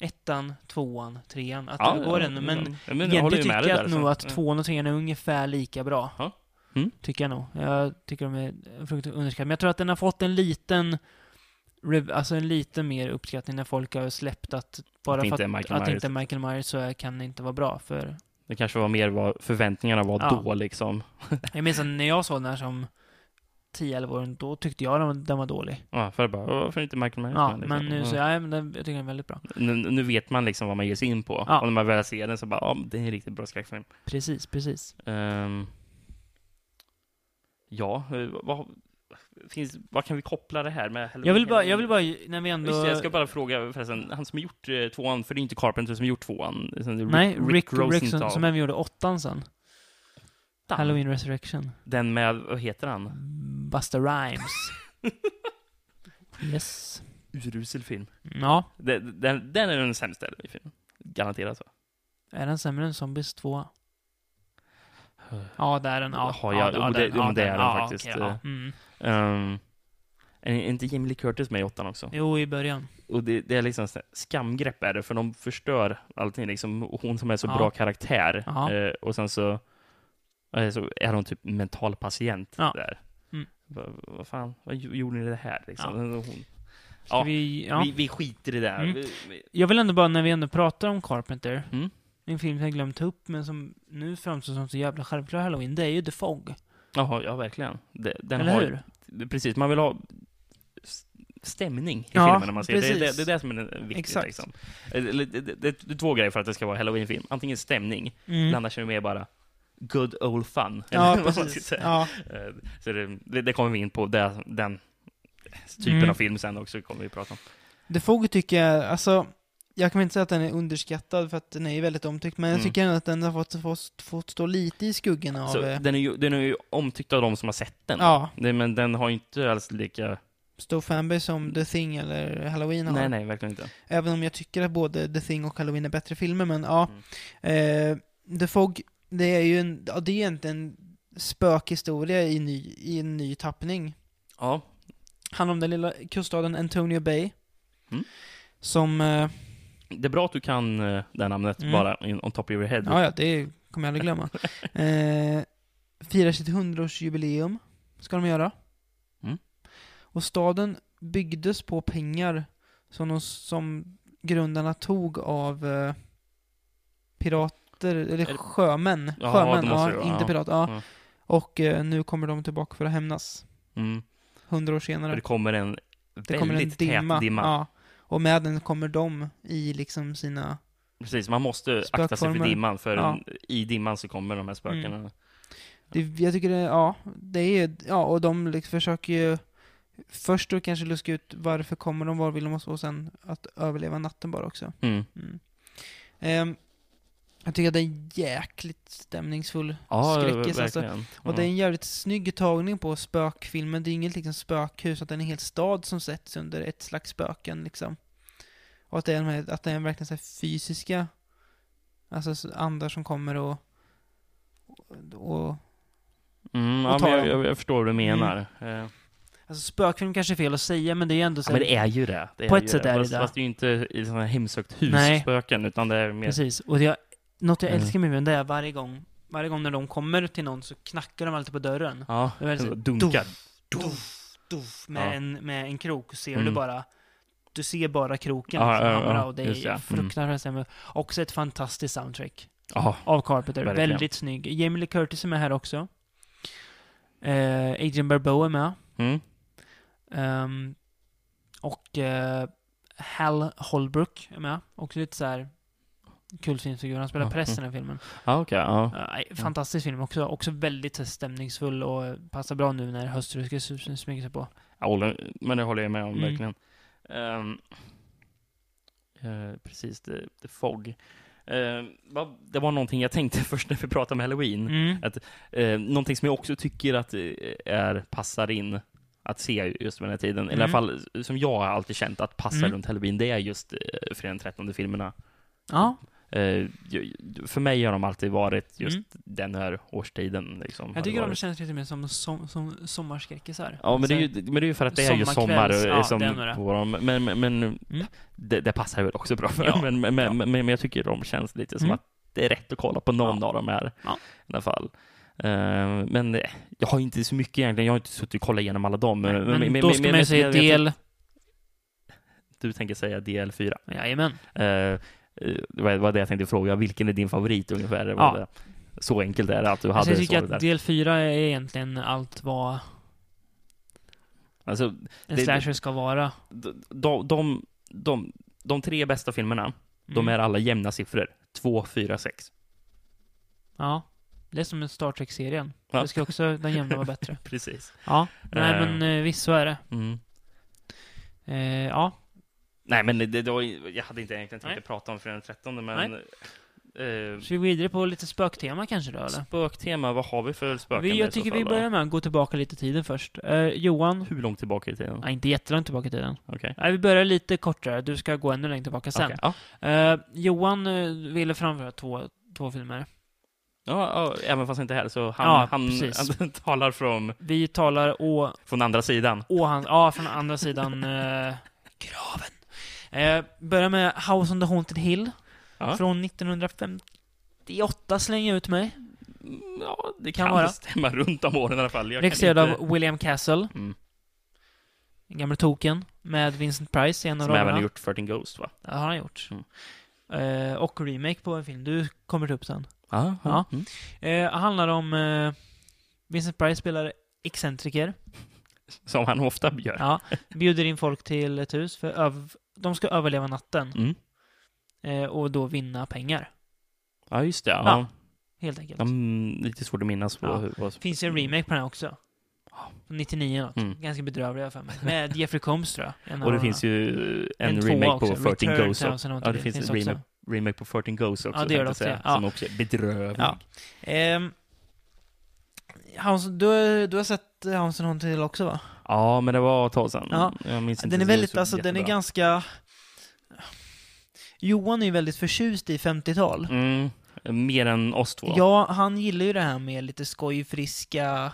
ettan, tvåan, trean. Att
Ja,
det går
ja,
ändå, men
ja, men jag håller
Egentligen
ju med
tycker
dig
jag
där.
att
så.
nog att
Ja.
tvåan och trean är ungefär lika bra.
Ja. Mm.
Tycker jag nog. Jag tycker de är fruktansvärt underskattade. Men jag tror att den har fått en liten, rev- alltså en liten mer uppskattning när folk har släppt att bara
Att det inte
för
är
att,
Michael
att det
Myers.
inte är Michael Myers så är- kan det inte vara bra. För
Det kanske var mer vad förväntningarna var
Ja.
då, liksom.
jag minns att när jag såg den här som 10-11 åren, då tyckte jag den var, den var dålig.
Ja, för jag bara, varför inte Michael Myers?
Ja,
med, liksom?
men nu så, ja, men den, jag tycker den är väldigt bra.
nu, nu vet man liksom vad man ger sig in på.
Ja.
Och när man väl ser den så bara, ja, men det är en riktigt bra skräckfilm.
Precis, precis.
Ehm, ja, eh, vad, finns, vad kan vi koppla det här med?
Jag vill bara, jag vill bara, när vi ändå...
Just det, jag ska bara fråga förresten, han som har gjort eh, tvåan, för det är inte Carpenter som har gjort tvåan. utan det är
Nej, Rick, Rick Rosenthal,
Rosenthal.
som även gjorde åttan sen. Halloween Resurrection.
Den med, vad heter han?
Busta Rhymes. yes.
Urusel film.
Ja,
Den, den, den är den sämsta i filmen. Garanterat så.
är den sämre än Zombies 2? Ja, det är den. Ja,
Jaha,
ja,
ja,
ja,
jo, det- jo, men det är den
ja,
faktiskt. eh.
okej, ja. Mm.
Ehm, är inte Jamie Lee Curtis med i åttan också?
Jo, i början.
Och det, det är liksom sån här skamgrepp är det, för de förstör allting. Liksom, Och hon som är så
Ja.
bra karaktär.
Ja.
Eh, och sen så, eh, så är hon typ mental patient
Ja.
där.
Mm.
Va- Vad fan, vad gj- gjorde ni det här liksom?
Ja.
Hon,
Ska
Ja,
vi, ja.
vi, vi skiter i det. här.
Mm.
Vi, vi,
Jag vill ändå bara, när vi ändå pratar om Carpenter,
Mm.
en film som jag glömt ta upp, men som nu framstår som så jävla självklar halloween, det är ju The Fog.
jaha, ja verkligen. Det- Den
Eller
har,
hur?
Precis, man vill ha s- stämning i
Ja,
filmen när man ser det. Det,
precis.
det. det är det som är viktigt.
Exakt.
Liksom. Eller, Det, det, det, det är två grejer för att det ska vara halloweenfilm. Antingen stämning,
Mm.
Det annars är det mer bara good old fun.
Ja,
eller vad man ska
precis.
säga.
Ja.
Eh, Så det, det- det kommer vi in på, det, den typen
Mm.
av film sen också kommer vi prata om.
The Fog tycker jag, alltså, jag kan inte säga att den är underskattad för att den är ju väldigt omtyckt, men jag
Mm.
tycker ändå att den har fått, fått, fått stå lite i skuggan av...
Så Mm.
eh,
den, är ju, den är ju omtyckt av de som har sett den.
Ja,
Nej, men den har ju inte alls lika...
stor fanbase som The Thing eller Halloween har.
Nej, nej, verkligen inte.
Även om jag tycker att både The Thing och Halloween är bättre filmer, men ja.
Mm.
Eh, The Fog, det är ju en, ja, det är egentligen en spökhistoria i, ny, i en ny tappning.
Ja,
Handlar om den lilla kuststaden Antonio Bay.
Mm.
Som, eh,
det är bra att du kan eh, det här namnet
Mm.
bara in, on top of your head.
ja ja, det kommer jag aldrig glömma. eh, firar sitt 100-årsjubileum, ska de göra.
Mm.
Och staden byggdes på pengar som, de, som grundarna tog av eh, pirater, eller
det-
sjömän.
Ja,
sjömän,
det måste
ja,
det vara,
inte
ja.
pirater. Ja.
Ja.
Och eh, nu kommer de tillbaka för att hämnas,
Mm.
100 år senare.
För det kommer en
Det
väldigt
kommer en dimma.
tät dimma.
Ja. Och med den kommer de i liksom sina...
Precis, man måste akta sig för
Spökformer.
dimman, för
Ja. Mm.
i dimman så kommer de här spökena.
Det, jag tycker det, ja, det är ja, och de liksom försöker ju först då kanske luska ut varför kommer de, var vill de oss och sen att överleva natten bara också.
Mm.
Mm. Ehm, jag tycker att det är en jäkligt stämningsfull
Ja,
skräckis alltså.
verkligen.
Och det är en jävligt snygg tagning på spökfilmen. Det är inget liksom spökhus, att det är en hel stad som sätts under ett slags spöken liksom. Och att det är, de här, att det är verkligen så här fysiska, alltså så- andar som kommer och, och, och
Mm,
och
ja,
ta
men jag,
dem. Mm.
jag, jag förstår vad du menar. Eh,
Alltså spökfilm kanske är fel att säga, men det är ändå så
Ja,
här,
men det är ju det. det
På
är
ett
ju
sätt är det
fast,
det.
Fast det är ju inte i sådana här hemsökt
Nej.
hus-spöken, utan det är mer...
Precis. Och det jag, något jag
Mm.
älskar med den, det är varje gång, varje gång när de kommer till någon så knackar de alltid på dörren.
Ja,
Det är väldigt så-
dunkar.
Doff, doff, med,
Ja.
en, med en krok. Ser du
Mm.
bara, du ser bara kroken
Ja,
liksom,
ja, ja,
hamra och det
just det,
är
ja. Mm.
fruktansvärt stämning. Också ett fantastiskt soundtrack
Ja,
av Carpenter.
Verkligen.
Väldigt snygg. Jamie Lee Curtis är med här också. Eh, Adrian Barbeau är med.
mm.
Ehm, och eh, Hal Holbrook är med. Också lite så här kul filmfigur. Han spelar
Ja,
präst i den här filmen.
ja okej. ja.
Eh, nej, fantastisk film också. Också väldigt så här stämningsfull och eh, passar bra nu när höstruskeshusen smyger sig på.
Jag håller- Men det håller jag med om,
Mm.
verkligen. Ehm, eh, precis, The, the Fog. Ehm, vad- det var någonting jag tänkte först när vi pratade om Halloween.
Mm.
Eh, någonting som jag också tycker att eh, är, passar in att se just vid den här tiden, eller i alla
Mm.
fall eh, som jag har alltid känt att passar
Mm.
runt Halloween, det är just eh, Fredag den 13 filmerna.
Ja,
Eh, ju- ju- för mig har de alltid varit just
Mm.
den här årstiden. Liksom, har
jag tycker
det
de
varit.
känns lite mer som, som, som sommarskräckisar.
Ja, men det, är ju,
Så-
men det är ju för att det är ju sommar
Sommarkvälls-
eh,
ja,
som
det är nog det. Mm.
på dem. Men, men, men det, det passar väl också bra för
Ja,
men, men, men,
ja.
men, men jag tycker de känns lite som
Mm.
att det är rätt att kolla på någon av dem här
Ja.
i alla fall. Eh, men eh, jag har inte så mycket egentligen. Jag har inte suttit och kollat igenom alla dem. eh,
Nej, men, då ska man ju säga
jag vet
del...
att Du tänker säga DL4.
Jajamän.
Eh, eh, det var- var det jag tänkte fråga. Vilken är din favorit ungefär? Det var
Ja.
det. Så enkelt är det att du hade
Alltså jag
så
tycker
det där.
att del fyra är egentligen allt vad
Alltså,
En
Det-
slasher ska vara.
de, de, de, de, de tre bästa filmerna, de
Mm.
är alla jämna siffror. 2, 4, 6.
Ja. Det är som en Star Trek-serien.
Ja.
Det ska också den jämna vara bättre.
Precis.
Ja. Nej,
Eh.
men eh, visst så är det.
Mm.
Eh, ja.
Nej, men det, det var, jag hade inte egentligen tänkt
Nej.
att prata om fredag den 13, men... Eh,
Ska vi gå vidare på lite spöktema kanske då, eller?
spöktema, vad har vi för spöken
Vi,
där i
jag
så
tycker
fall
vi
då?
börjar med att gå tillbaka lite i tiden först. Eh, Johan?
Hur långt tillbaka i tiden?
Nej, inte jättelångt tillbaka i tiden.
Okej.
Nej, vi börjar lite kortare. Du ska gå ännu längre tillbaka sen.
Okej, Ja.
Eh, Johan eh, ville framföra två, två filmer.
Ja, ja, även fast han inte är här, så han,
Ja,
han,
precis.
han talar från,
Vi talar å,
från andra sidan.
å han, ja, från andra sidan eh, graven. Eh, börjar med House on the Haunted Hill.
Ja.
Från 1958 slänger jag ut mig.
Ja, det
Kan
kan,
vara.
stämma runt om åren i alla fall. Jag kan
Regisserad
inte-
av William Castle.
Mm.
Den gamle token. Med Vincent Price i en av
Som även
rollerna.
har gjort 13 Ghost, va?
Det har han gjort.
Mm.
Eh, och remake på en film. Du kommer ta upp sen.
Ja.
Ja.
Mm.
Eh, handlar om... Eh, Vincent Price spelar excentriker.
Som han ofta gör.
Ja. Bjuder in folk till ett hus för öv- de ska överleva natten.
Mm.
Eh, och då vinna pengar.
Ja, just det. Ja.
Ja. Helt enkelt.
Mm, lite svårt att minnas vad...
Ja.
hur- vad som...
Finns ju en remake på den här också. Från 99 något.
Mm.
Ganska bedrövlig har jag för mig. Med Jeffrey Combs tror jag. En
Och det
av
finns ju eh, en,
de- tvåa
remake
också.
på 13
Return
Ghosts
to House
också.
and
Ja,
Haunted
det
Hill
finns en
också.
remake, remake på 13 Ghosts också,
Ja, det gör
tänkte
det
jag
också,
säga,
ja.
som också är bedrövlig.
Ja. Ehm, Hans, du, du har sett Hansen Hon till också va?
Ja, men det var ett tag sedan.
Ja.
Jag minns inte
Den är
så-
väldigt,
så
alltså den är
jättebra.
ganska... Johan är ju väldigt förtjust i 50-tal.
Mm, mer än oss två.
Ja, han gillar ju det här med lite skojfriska,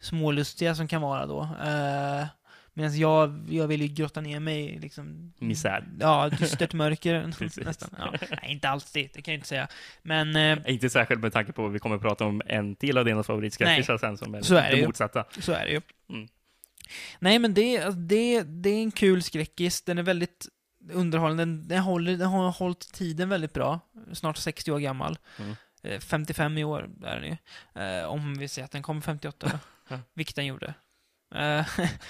smålustiga som kan vara då. Eh, Medan jag, jag vill ju grotta ner mig i liksom...
Misär.
Ja, dystert mörker
Precis.
nästan. Ja. Nej, inte alls det, det kan jag inte säga. Men eh,
Inte särskilt med tanke på att vi kommer att prata om en till av dina favoritskräckisar
Nej.
sen, som är,
Så är det
det
ju.
motsatta.
så är det ju.
Mm.
Nej, men det, alltså, det, det är en kul skräckis. Den är väldigt underhållande. Den, den, håller, den har hållit tiden väldigt bra. Snart 60 år gammal.
Mm.
Eh, 55 i år är den ju. Eh, om vi säger att den kom 58, då. vilket den gjorde. Eh,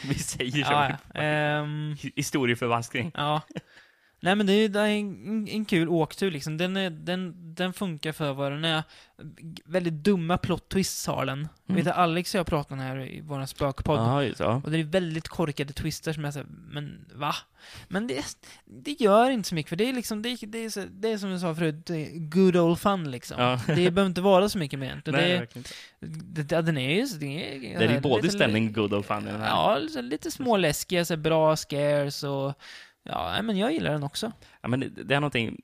Vi säger så.
ja, ja. Ehm,
Historieförvanskning.
ja. Nej men det är, det är en, en kul åktur liksom. Den, är, den, den funkar för vad den är. G- Väldigt dumma plot twists har den. Vet du, Alex och jag pratade om det här i vår spökpodd.
Mm. Ja, just det, ja.
Och det är väldigt korkade twister som jag säger, men va? Men det, det gör inte så mycket, för det är liksom, det, det, är, så, det är som du sa förut, det är good old fun liksom.
Ja.
Det behöver inte vara så mycket mer egentligen.
Nej,
Det,
verkligen inte.
det, det, den är ju... så- Det är,
det är ju både
lite-
stämning good och fun i den här.
Ja, lite, lite småläskiga, så här, bra scares och... Ja, nej, men jag gillar den också.
Ja, men det, det är någonting...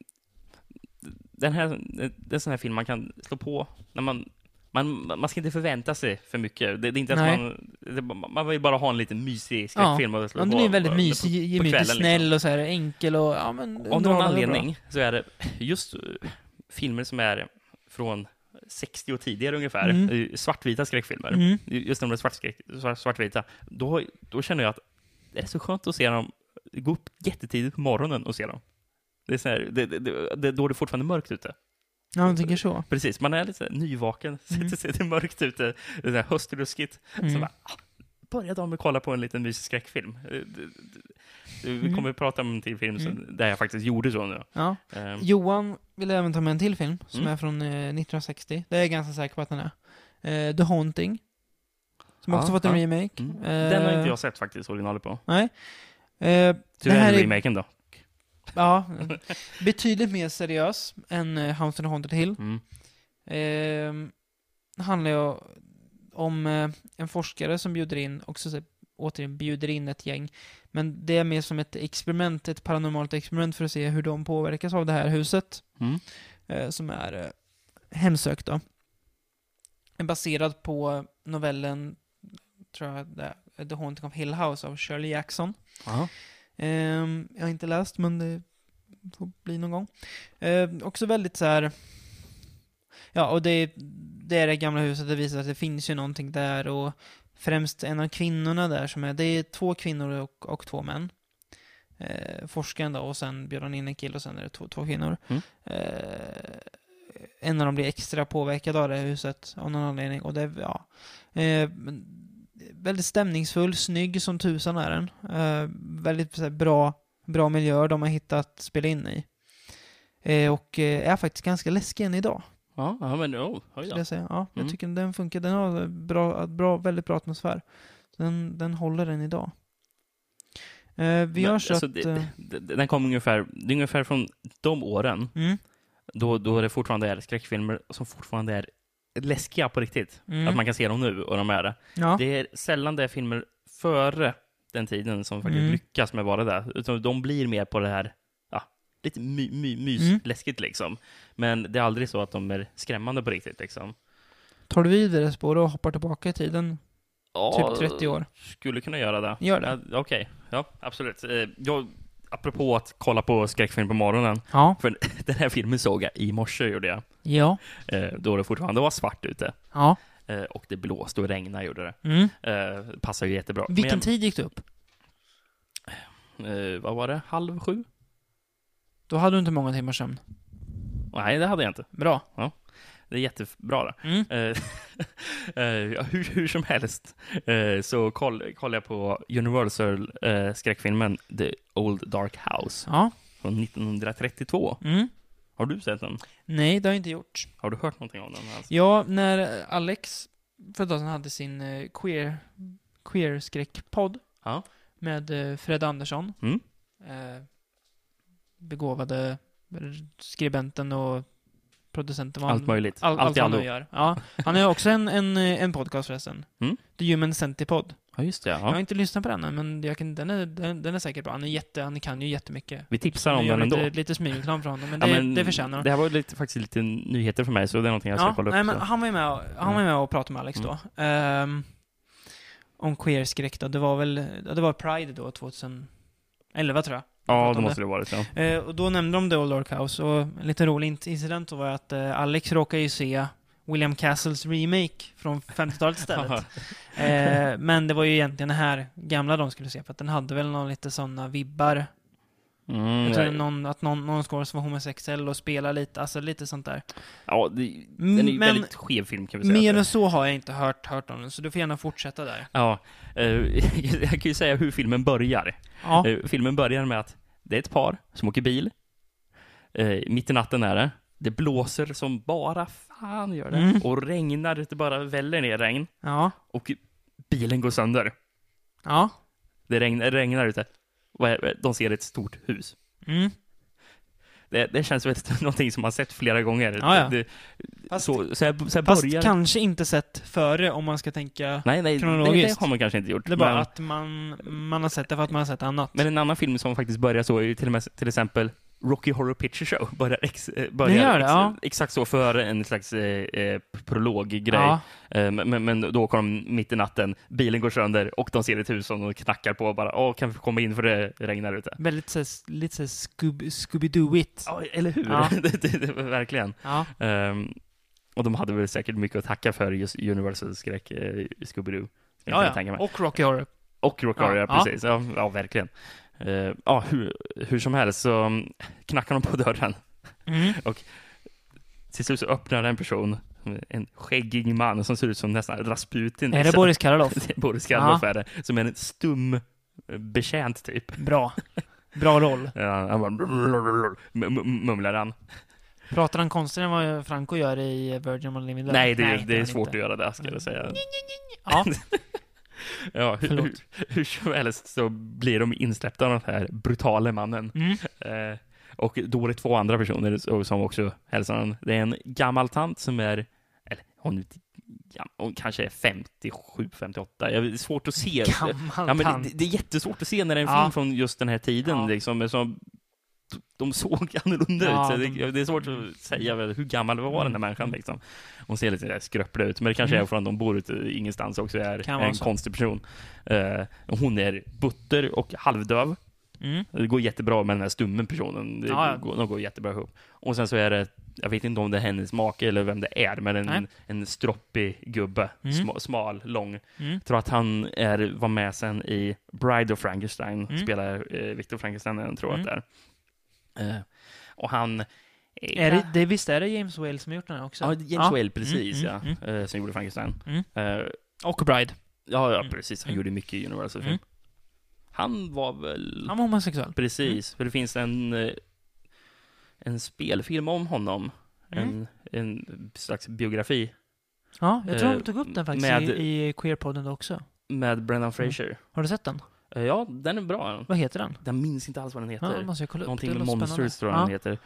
Den här, det är en sån här film man kan slå på när man... Man, man ska inte förvänta sig för mycket. Det, det är inte
Nej.
att man, det, man vill bara ha en liten mysig skräckfilm. och slå
Ja, den
på-
är ju väldigt
på-
mysig, gemytligt
kvällen, liksom?
snäll och så här enkel och... Ja, men,
Av någon
underhållande och
anledning så är det just eh, filmer som är från 60 och tidigare ungefär,
Mm.
eh, svartvita skräckfilmer,
Mm.
just när de är svartskräck, svart- svartvita, då, då känner jag att det är så skönt att se dem, gå upp jättetidigt på morgonen och se dem. Det är, så här, det, det, det, det, då är det fortfarande mörkt ute.
bra. Ja, jag tycker så.
Precis, man är lite så här nyvaken,
Mm.
så det är mörkt ute, det är så här höstruskigt. Så
Mm.
bara, ah, börja dagen med att kolla på en liten mysig skräckfilm. Eh, det- det- det- Vi
Mm.
kommer att prata om en till film som- där jag faktiskt gjorde så nu.
Ja.
Ehm,
Johan vill även ta med en till film som
Mm.
är från eh, 1960. Det är jag ganska säker på att den är. Eh, The Haunting. Som
Ja,
också fått en
ja.
remake.
Mm.
Eh,
Den har inte jag sett faktiskt, originalet på.
Nej. Eh, det
Tyvärr
här är
remaken då.
ja, betydligt mer seriös än eh, House on the Haunted Hill.
Mm.
Eh, handlar ju om eh, en forskare som bjuder in, också så, här, återigen bjuder in ett gäng. Men det är mer som ett experiment, ett paranormalt experiment för att se hur de påverkas av det här huset.
Mm.
eh, som är eh, hemsökt då. Är baserad på novellen, tror jag det är, The Haunting of Hill House av Shirley Jackson. Ehm, jag har inte läst, men det får bli någon gång. Ehm, också väldigt så här... Ja, och det, det är det gamla huset, det visar att det finns ju någonting där och främst en av kvinnorna där som är, det är två kvinnor och, och två män. Eh, forskaren då, och sen bjöd han in en kille och sen är det två, två kvinnor.
Mm.
Eh, en av dem blir extra påverkad av det här huset av någon anledning och det, ja. Eh, men väldigt stämningsfull, snygg som tusan är den. Eh, väldigt så här, bra, bra miljö de har hittat spela in i. Eh, och eh, är faktiskt ganska läskig än idag.
Ja, ja men oh, oj
skulle
då.
jag säga. Ja,
Mm.
Jag tycker den funkar. Den har bra, bra, väldigt bra atmosfär. Den, den håller den idag. Eh, vi
Men,
har kört...
alltså, det-
eh,
det- Den kom ungefär, det är ungefär från de åren
mm,
då, då det fortfarande är skräckfilmer som fortfarande är läskiga på riktigt.
mm,
Att man kan se dem nu och de är det.
ja,
Det är sällan det är filmer före den tiden som faktiskt
Mm.
lyckas med att vara där. Utan de blir mer på det här, ja, lite my, my,
Mm.
mysläskigt liksom. Men det är aldrig så att de är skrämmande på riktigt liksom.
Tar du vidare spår och hoppar tillbaka i tiden,
Ja,
typ 30 år?
Skulle kunna göra det.
Gör det.
Ja, Okej, ja absolut. Eh, Jag, apropå att kolla på skräckfilm på morgonen.
Ja.
För den här filmen såg jag i morse, gjorde jag.
Ja.
Eh, Då det fortfarande var svart ute.
Ja.
Eh, Och det blåste och regnade, gjorde det.
Mm.
Eh, Passar ju jättebra.
Vilken
Men,
tid gick du upp?
eh, Vad var det? Halv sju?
Då hade du inte många timmars sömn.
Nej, det hade jag inte.
Bra.
Det är jättebra det.
Mm.
Eh, eh, ja, hur, hur som helst eh, så koll, kollade jag på Universal-skräckfilmen The Old Dark House
Ja.
från 1932.
Mm.
Har du sett den?
Nej, det har jag inte gjort.
Har du hört någonting om den? Hans?
Ja, när Alex för ett tag sedan hade sin eh, queer, queer-skräckpodd
Ja.
med eh, Fred Andersson.
Mm.
Eh, begåvade skribenten och producenten. vad han-
Allt möjligt.
All,
Allt
allt
i
han
allo.
nu gör. Ja, han har ju också en, en, eh, en podcast förresten.
Mm.
The Human Centipod.
Ja, just det.
Jag
Ja.
har inte lyssnat på den än, men jag kan, den, är, den, den är säkert bra. Han, är jätte, han kan ju jättemycket.
Vi tipsar
Nu
om
gör
den ändå.
lite, lite smygreklam för honom, men det,
Ja, men
det förtjänar han.
Det här var lite, faktiskt lite nyheter för mig, så det är någonting jag ska
Ja,
kolla upp.
nej, men
så. Mm.
han var ju med, och- han var ju med och pratade med Alex då. Ehm, om queer-skräck då. Det var väl, ja, det var Pride då, 2011 tror jag.
ja
pratade
det
om
måste det varit. Ja.
Eh, och då nämnde de The Old Dark House och en lite rolig in- incident då var att eh, Alex råkade ju se William Castles remake från 50-talet istället. eh, men det var ju egentligen den här gamla de skulle se för att den hade väl någon lite sådana vibbar.
Mm,
Jag tror
nej.
det är någon, att någon, någon skådis var homosexuell och spelade lite, alltså lite sånt där.
ja, det, den är ju
Mm, Men-
väldigt skev film kan vi säga. att
Mer
det är.
än så har jag inte hört, hört om den så du får gärna fortsätta där.
Ja, eh, jag kan ju säga hur filmen börjar.
Ja.
Eh, filmen börjar med att det är ett par som åker bil. Eh, mitt i natten är det. Det blåser som bara fan gör det.
Mm.
Och regnar, det bara väller ner regn.
Ja.
Och bilen går sönder.
Ja.
Det regnar, regnar ute. Vad är- De ser ett stort hus.
Mm.
Det, det känns väl som någonting som man sett flera gånger.
Ja, ja.
Det,
Fast,
så, så här, så här
fast
börjar...
kanske inte sett före om man ska tänka
Nej, nej, det, det
kronologiskt.
har man kanske inte gjort.
Det är bara
men,
att man, man har sett det för att man har sett annat.
men en annan film som faktiskt börjar så är ju till, och med, till exempel Rocky Horror Picture Show. Börjar, ex, eh, börjar
Den gör det,
ex,
ja.
exakt så, för en slags eh, eh, prologgrej.
Ja,
Eh, men, men- men då åker de mitt i natten, bilen går sönder och de ser ett hus som de knackar på och bara åh, kan vi komma in för det regnar ute.
väldigt så, här- lite såhär Scooby-Doo-igt.
Ja, eller hur?
Ja.
det, det, det, verkligen.
Ja.
Ehm, och de hade väl säkert mycket att tacka för just Universal skräck, eh, Scooby-Doo. Jag kan
Ja,
tänka
ja.
mig.
Och Rocky Horror.
Och Rock ja,
Ja,
ja,
ja.
precis. Ja, ja verkligen. Eh, ja, hur, hur som helst så mm, knackar de på dörren.
Mm.
Till slut så öppnar en person, en skäggig man som ser ut som nästan Rasputin.
Är det Boris Karloff?
Det är Boris Karloff är det. Som är en stum eh, betjänt typ.
Bra. Bra roll.
Ja, han bara m- m- mumlar han.
Pratar han konstigare än vad Franco gör i Virgin on Living
Nej, det, är det är svårt att göra det ska jag säga.
Mm. Ja.
Ja, hur, hur,
Förlåt.
hur som helst så blir de insläppta av den här brutale mannen.
Mm.
Eh, och då är det två andra personer så- som också hälsar honom. Det är en gammal tant som är, eller hon, är inte gam- hon kanske är 57, 58. Jag- Det är svårt att se.
Gammal
Ja, men
tant.
det, det är jättesvårt att se när det är en
Ja.
film från just den här tiden.
Ja.
Liksom, men som, de såg annorlunda
Ja,
ut. Så det,
de-
det är svårt att säga väl, hur gammal var den här människan. Liksom. Hon ser lite där skröplig ut, men det kanske
Mm.
är från att de bor ute ingenstans också. är
Kan vara
en
så.
konstig person. Eh, hon är butter och halvdöv.
Mm.
Det går jättebra med den här stummen personen. Det
Ja, ja.
Går, de går jättebra ihop. Och sen så är det, jag vet inte om det är hennes make eller vem det är, men en,
Nej.
en stroppig gubbe.
Mm.
Sma, smal, lång.
Mm.
Jag tror att han är, var med sen i Bride of Frankenstein.
Mm.
Spelar eh, Victor Frankenstein, jag tror att det är. Eh, och han...
Är det, det, visst är det James Whale som har gjort den här också?
Ja, James Whale, precis
Mm, mm,
ja. Eh, som gjorde Frankenstein.
Mm.
Eh,
Och Bride.
Ja, ja
Mm.
precis. Han
Mm.
gjorde mycket i Universal-film.
Mm.
Han var väl...
Han Mm. var homosexuell.
Precis, för det finns en, eh, en spelfilm om honom.
Mm.
En, en slags biografi
Ja, jag tror
Eh,
de tog upp den faktiskt
med-
i, i Queerpodden också.
med
Mm.
Brendan Fraser.
Har du sett den?
Eh, Ja, den är bra.
Vad heter den?
Den minns inte alls vad den
Mm. Ja,
heter.
den måste jag kolla upp.
Någonting
Det
med
låter
Monsters
spännande.
tror jag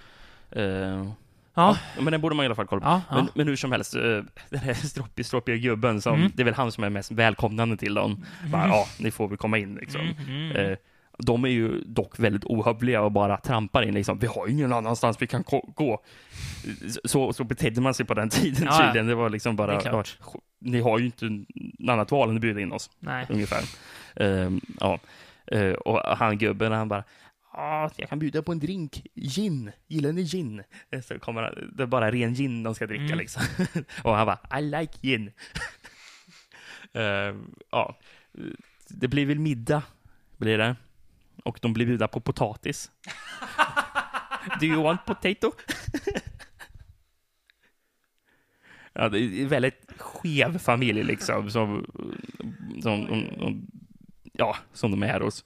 den heter. Eh,
Ja.
ja, men den borde man i alla fall kolla på.
Ja, ja.
Men, men hur som helst, eh, den här stroppiga, stroppiga gubben, som,
Mm.
det är väl han som är mest välkomnande till dem. Bara,
Mm-hmm.
ja, ni får väl komma in liksom.
Mm, mm.
Eh, de är ju dock väldigt ohövliga och bara trampar in liksom. Vi har ju ingen annanstans vi kan ko- gå. Så, så betedde man sig på den tiden
Ja, ja.
tydligen. Det var liksom
Det
bara,
är klart.
ja, ni har ju inte något annat val än att bjuda in oss,
Nej.
ungefär. Ehm, ja. Eh, och han gubben, han bara, ja, jag kan bjuda på en drink. Gin. Gillar ni gin? Eh, Så kommer han, det är bara ren gin de ska dricka
Mm.
liksom. och han bara, I like gin. Ehm, ja. Det blir väl middag, blir det. Och de blir bjudna på potatis. Do you want potato? ja, det är en väldigt skev familj liksom, som, som, som, som, ja, som de är hos.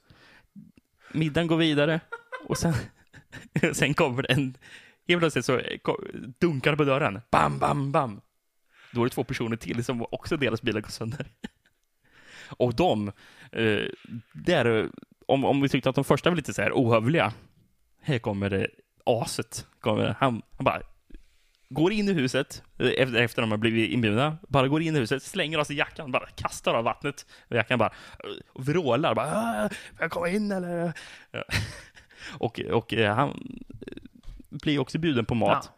Middagen går vidare och sen, sen kommer det en... Helt plötsligt så ko- dunkar det på dörren. Bam, bam, bam. Då är det två personer till som också deras bilar går sönder. Och de, eh, där, om, om vi tyckte att de första var lite så här ohövliga, här kommer det aset. Kommer, han, han bara går in i huset eh, efter, efter de har blivit inbjudna, bara går in i huset, slänger av sig jackan, bara kastar av vattnet. Och jackan bara eh, och vrålar, bara "Ah, får jag komma in eller? Ja. Och, och eh, han eh, blir också bjuden på mat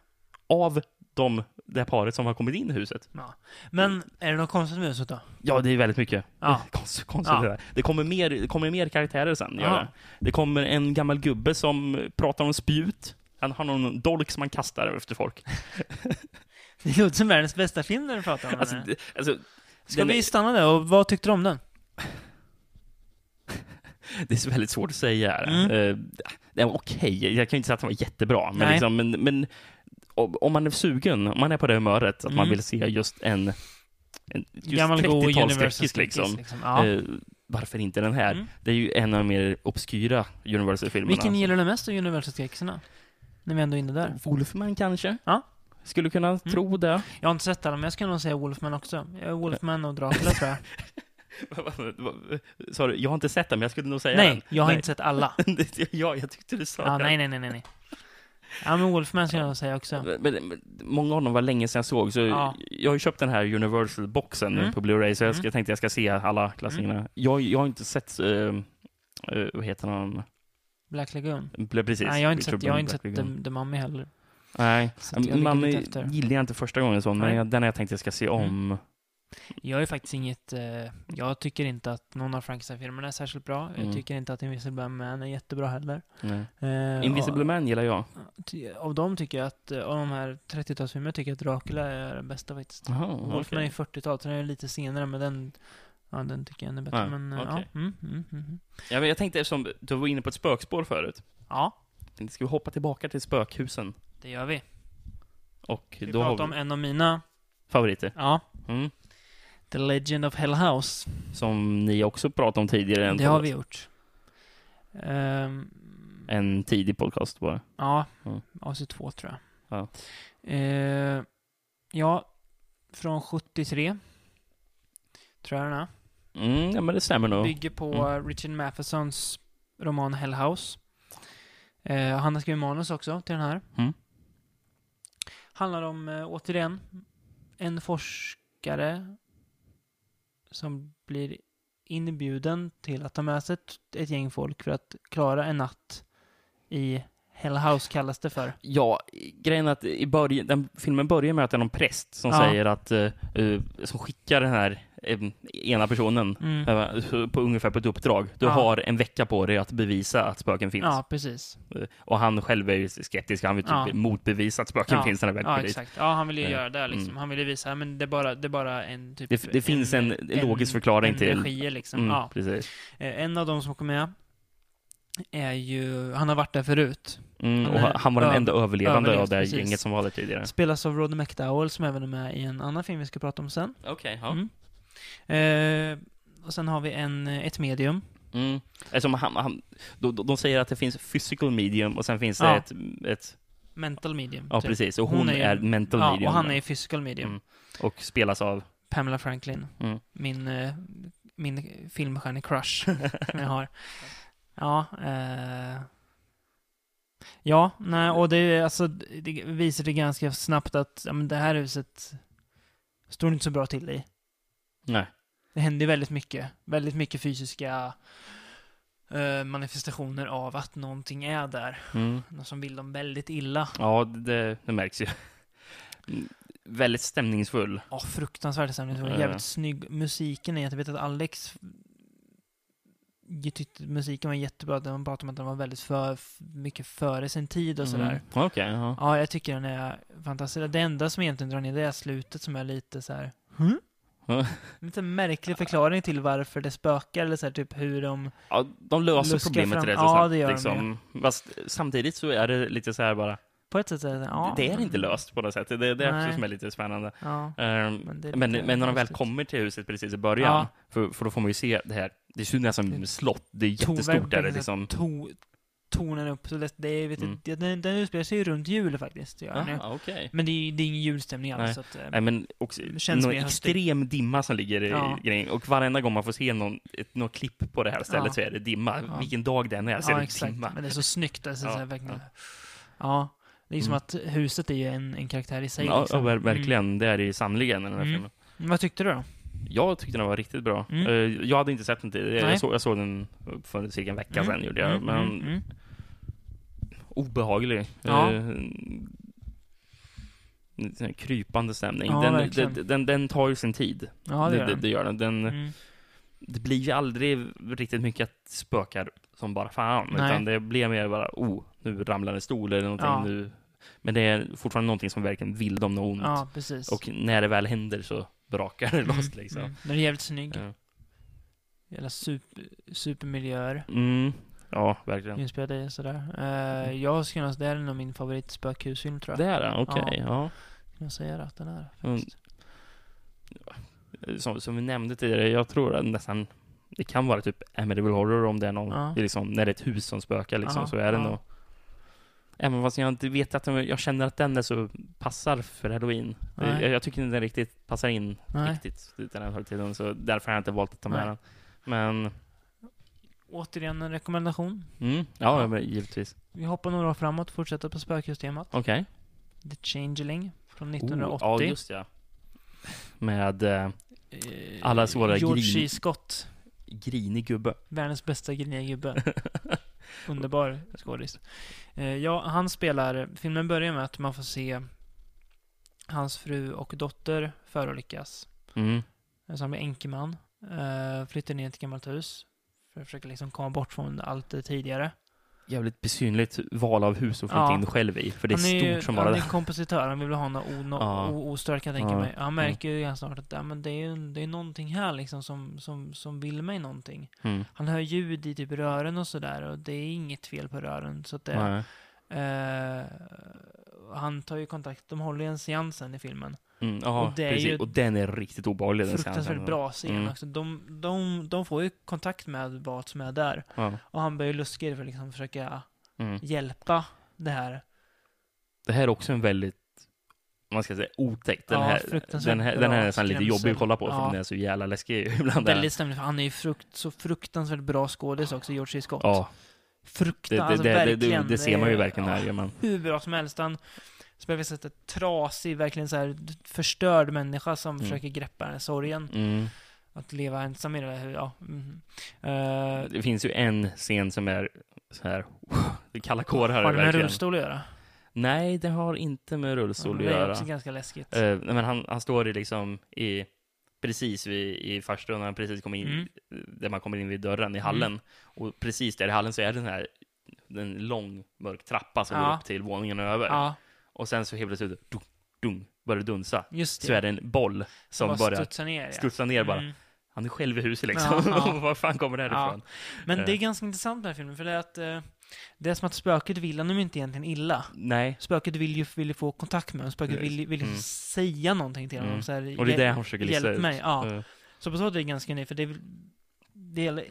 av de, det här paret som har kommit in i huset.
Ja. Men är det något konstigt med huset då?
Ja, det är väldigt mycket.
Ja.
Konst, konstigt
Ja.
det där. Det kommer mer, det kommer mer karaktärer sen. gör
Ja.
det. det kommer en gammal gubbe som pratar om spjut. Han har någon dolk som han kastar efter folk.
Det låter som världens bästa film när du pratar om den.
Alltså,
här.
det- alltså,
Ska
den
vi
är-
stanna där och vad tyckte du om den?
det är så väldigt svårt att säga. här.
Mm.
Eh, Det är okej. Jag kan ju inte säga att den var jättebra, men,
Nej.
liksom, men, men om om man är sugen, om man är på det humöret, att man
Mm.
vill se just en, en just
Gammal god
30-talsskräckis
Universal
liksom.
liksom. Ja.
Eh, varför inte den här?
Mm.
Det är ju en av de mer obskyra Universal-filmerna.
Vilken gillar du mest av Universal-skräckisarna? När vi ändå är inne där.
Wolfman kanske?
Ja. Mm.
Skulle kunna tro det.
Jag har inte sett alla, men jag skulle nog säga Wolfman också. Jag är Wolfman och Dracula tror jag.
Sa du, jag har inte sett den, men jag skulle nog säga
Nej,
den.
jag har inte sett alla.
sett Ja, jag tyckte du sa
Ja,
det.
nej, nej, nej, nej, nej. Ja, men Wolfman skulle jag nog säga också.
Men, men, många av dem var länge sedan jag såg, så
Ja.
jag har ju köpt den här Universal-boxen nu
Mm.
på Blu-ray, så jag ska, tänkte jag ska se alla klassikerna. Jag, jag har inte sett, eh, eh, vad heter han?
Black Lagoon.
Bl- Precis.
Nej, jag har inte sett,
Trouble
jag har
in
inte
Black
sett
Lagoon.
The, The Mummy heller.
Nej,
Så att jag
man
ligger lite efter.
gillar jag inte första gången så, men
Nej. Mm.
jag, den har jag tänkt jag ska se om.
Jag är faktiskt inget... Eh, jag tycker inte att någon av Frankenstein-filmerna är särskilt bra.
Mm.
Jag tycker inte att Invisible Man är jättebra heller.
Nej.
Eh,
Invisible Man gillar jag.
och- ty- Av dem tycker jag att, eh, av de här 30-talsfilmerna tycker jag att Dracula är den bästa faktiskt.
Aha,
Wolfman
okej.
är 40-tal, så den är lite senare, men den, ja, den tycker jag är bättre.
Ja,
men, eh,
okej.
ja, mm, mm, mm, mm.
Ja, men jag tänkte eftersom du var inne på ett spökspår förut.
ja,
tänkte, Ska vi hoppa tillbaka till spökhusen?
det gör vi.
Och
Vi
då har vi
pratar om en av mina,
favoriter.
ja,
Mm.
The Legend of Hell House.
Som ni också pratade om tidigare. i en
Det har
podcast.
vi gjort. Ehm,
En tidig podcast bara.
ja,
Mm.
AC2 tror jag.
Ja.
Eh, ja, från 73. Tror jag den är.
Mm, ja, Mm. men det stämmer nog.
Bygger på eh, Richard Mathesons roman Hell House. Eh, han har skrivit manus också till den här.
Mm.
Handlar om, eh, återigen, en forskare som blir inbjuden till att ta med sig ett, ett gäng folk för att klara en natt i Hell House kallas det för.
Ja, grejen är att i början, den filmen börjar med att det är någon präst som
Ja.
säger att, eh, eh, som skickar den här eh, ena personen
Mm.
eh, på ungefär på ett uppdrag. Du
Ja.
har en vecka på dig att bevisa att spöken finns.
Ja, precis.
Eh, Och han själv är ju skeptisk, han vill typ
Ja.
motbevisa att spöken
Ja.
finns när det väl
Ja,
kommer dit.
exakt. Ja, han ville ju
Eh,
göra det liksom.
mm.
Han ville visa, men det är bara, det är bara en typ...
Det- det finns en logisk förklaring
en
till-
Energi, liksom.
Mm,
ja.
Precis.
Eh, En av dem som kommer med är ju, han har varit där förut.
Mm,
Han
och
är
han var den
över-
enda överlevande av
överlevt,
det här
precis.
gänget som var där tidigare.
Spelas av Roddy McDowell som även är med i en annan film vi ska prata om sen.
Okej,
Mm. Eh, Och sen har vi en, eh, ett medium.
Mm. Eftersom han, han, de, de säger att det finns physical medium och sen finns det
Ja.
ett, ett...
Mental medium.
Ja,
typ.
precis. Och hon,
Hon är ju-
är, mental
Ja,
medium.
och han är physical medium.
Mm. och spelas av...
Pamela Franklin.
Mm.
Min, eh, min filmstjärne-crush som jag har. Ja, eh, ja nej, och det, är alltså, det visar det ganska snabbt att ja, men det här huset står inte så bra till i.
Nej.
Det händer ju väldigt mycket. Väldigt mycket fysiska eh, manifestationer av att någonting är där.
Mm.
Någon som vill dem väldigt illa.
Ja, det, det märks ju. Mm. Väldigt stämningsfull.
Ja, fruktansvärt stämning. Det var
Ja, ja.
jävligt snygg. Musiken är, jag vet att Alex jag tyckte musiken var jättebra. Den pratade om att den var väldigt för, f- mycket före sin tid och sådär.
Mm. Okej, ja.
Ja, jag tycker den är fantastisk. Det enda som egentligen drar ner det är slutet som är lite så här.
Ja.
Lite märklig förklaring till varför det spökar eller så här, typ hur de...
ja. De löser
Luskar
problemet
fram-
rätt så
ja,
snabbt.
det gör de
liksom. Fast samtidigt så är det lite så här bara...
På ett sätt så är det, ja,
det är inte löst på något sätt. Det, det är
Nej.
också som är lite spännande.
Ja,
Ehm,
men, det är
Men,
lite
men när de väl
konstigt.
kommer till huset precis i början,
Ja.
för, för då får man ju se det här. Det ser ju nästan ut som ett slott. Det är
Ton-
jättestort där det
verkligen
liksom.
To, tonen upp. Så det, det, är- vet du,
Mm.
det, den, den utspelar sig ju runt jul faktiskt. Gör den ju.
Ah, okej.
Men det är, det är ingen julstämning
Nej.
alls. Så att, eh,
Nej, men också
Det känns
någon
mer höstigt.
extrem dimma som ligger i
Ja.
grejen. Och varenda gång man får se någon, ett, något klipp på det här stället
Ja.
så är det dimma.
Ja.
Vilken dag den är så är
ja,
det
exakt.
dimma.
Men det är så snyggt. Alltså,
Ja,
så här, verkligen.
ja. Mm.
Ja. Det är ju som att huset är ju en, en karaktär i sig.
Ja, ja,
liksom.
ver- verkligen. Det är det ju sannerligen i den här
Mm.
filmen.
Mm. Vad tyckte du då?
Jag tyckte den var riktigt bra.
Mm.
Eh, Jag hade inte sett den tidigare.
Nej.
Jag, såg- jag såg den för cirka en vecka
Mm.
sedan, gjorde jag.
Mm,
Men
mm, mm.
obehaglig.
Ja.
Eh, en sån här krypande stämning.
Ja,
den,
verkligen.
den, den, den tar ju sin tid.
Ja, det,
det,
gör
det
det.
gör den. den
Mm.
Det blir ju aldrig riktigt mycket att spökar som bara fan.
Nej.
Utan det blir mer bara, oh, nu ramlar en stol eller någonting.
Ja.
Nu. Men det är fortfarande någonting som verkligen vill dem något ont.
Ja, precis.
Och när det väl händer så brakar det loss
Mm,
liksom.
mm. Den är jävligt snygg.
Ja.
Jävla super, supermiljöer.
Mm. Ja, Mm. verkligen.
Inspelade i sådär. Uh, jag skulle nog det är nog min favoritspökhusfilm tror jag.
Det är det? Okej. Ja.
Kan jag säga det, att den är
Mm.
faktiskt.
Som, som vi nämnde tidigare, jag tror att nästan det kan vara typ Amityville Horror om det är någon,
Ja.
det är liksom, när det är ett hus som spökar liksom,
Ja,
så är det
ja.
nog. Även fast jag inte vet att den, jag känner att den är så passar för halloween.
Nej.
Jag, jag tycker inte den riktigt passar in
Nej.
riktigt i den här högtiden, så därför har jag inte valt att ta
Nej.
med den. Men,
Återigen en rekommendation.
mm, ja, ja. Men, givetvis.
Vi hoppar några år framåt, fortsätter på spökhustemat.
Okej.
The Changeling från
Oh,
1980.
ja, just ja. Med eh,
Eh,
Alla svåra
George
grin-
C. Scott,
grinig gubbe.
världens bästa griniga gubbe. Underbar skådis. Eh, ja, han spelar, filmen börjar med att man får se hans fru och dotter förolyckas.
Mm.
Så han blir enkeman. Eh, flyttar ner till ett gammalt hus. För att försöka liksom komma bort från allt det tidigare.
Jävligt besynligt val av hus att flytta
Ja.
in själv i, för det är,
han
stort
ju,
som
Han
bara
är
det.
kompositör, han vill ha något ono,
Ja.
o, ostört kan jag tänka
Ja. Mm.
mig. Han märker ju ganska snart att ja, men det, är, ju- det är någonting här liksom som, som, som vill mig någonting.
Mm.
Han hör ljud i typ rören och sådär och det är inget fel på rören. Så att det,
Nej.
eh, han tar ju kontakt, de håller ju en seans sen i filmen.
Mm, ja,
Och det är
precis.
ju-
Och den är riktigt obehaglig. den
Fruktansvärt
scenen.
bra scen
Mm.
också. De, de, de får ju kontakt med vad som är där.
Ja.
Och han börjar ju luska i det för att liksom försöka
Mm.
hjälpa det här.
Det här är också en väldigt, om man ska säga otäckt. Den,
Ja,
här,
fruktansvärt
den, här,
bra
den här är nästan lite
skrämsel.
jobbig att kolla på, för
Ja.
den är så jävla läskig ibland.
Väldigt stämning, för han är ju frukt, så fruktansvärt bra skådis också, George C. Scott.
Ja, det,
Fruktansvärt,
det,
alltså,
det, det, det,
verkligen.
det ser man ju
är-
verkligen
ja.
här. gör man.
hur bra som helst. Han spelar visst ett trasig, verkligen så här förstörd människa som
Mm.
försöker greppa den här sorgen.
Mm.
Att leva ensam i det här, ja. Mm. Eh,
Det finns ju en scen som är så här, det är kalla kårar
har det med
verkligen.
rullstol att göra?
Nej, det har inte med rullstol
det
att
är
göra.
också ganska läskigt.
Eh, nej, men han, han står i liksom i precis vid, i farstun, när han precis kommer in,
Mm.
där man kommer in vid dörren i hallen. Och precis där i hallen så är det den här, den lång mörk trappa som går
Ja.
upp till våningen över.
ja,
Och sen så helt plötsligt, dung, dung, börjar det dunsa.
just det.
Så är det en boll som
Bara
börjar
studsa ner, ja.
studsa ner bara.
Mm.
Han är själv i huset liksom.
Ja, ja.
Var fan kommer det här
Ja.
ifrån?
Men det är
Eh.
ganska intressant den här filmen, för det är att eh, det är som att spöket vill honom inte egentligen illa.
Nej.
Spöket vill ju, vill ju få kontakt med honom, spöket
Precis.
vill, ju- vill ju
Mm.
säga någonting till honom.
Mm.
Så här,
Och det är
"Hjäl-
det han försöker lista
Hjälp
ut.
mig, ja.
Eh,
Så på så sätt är det ganska unikt, för det är väl det gäller,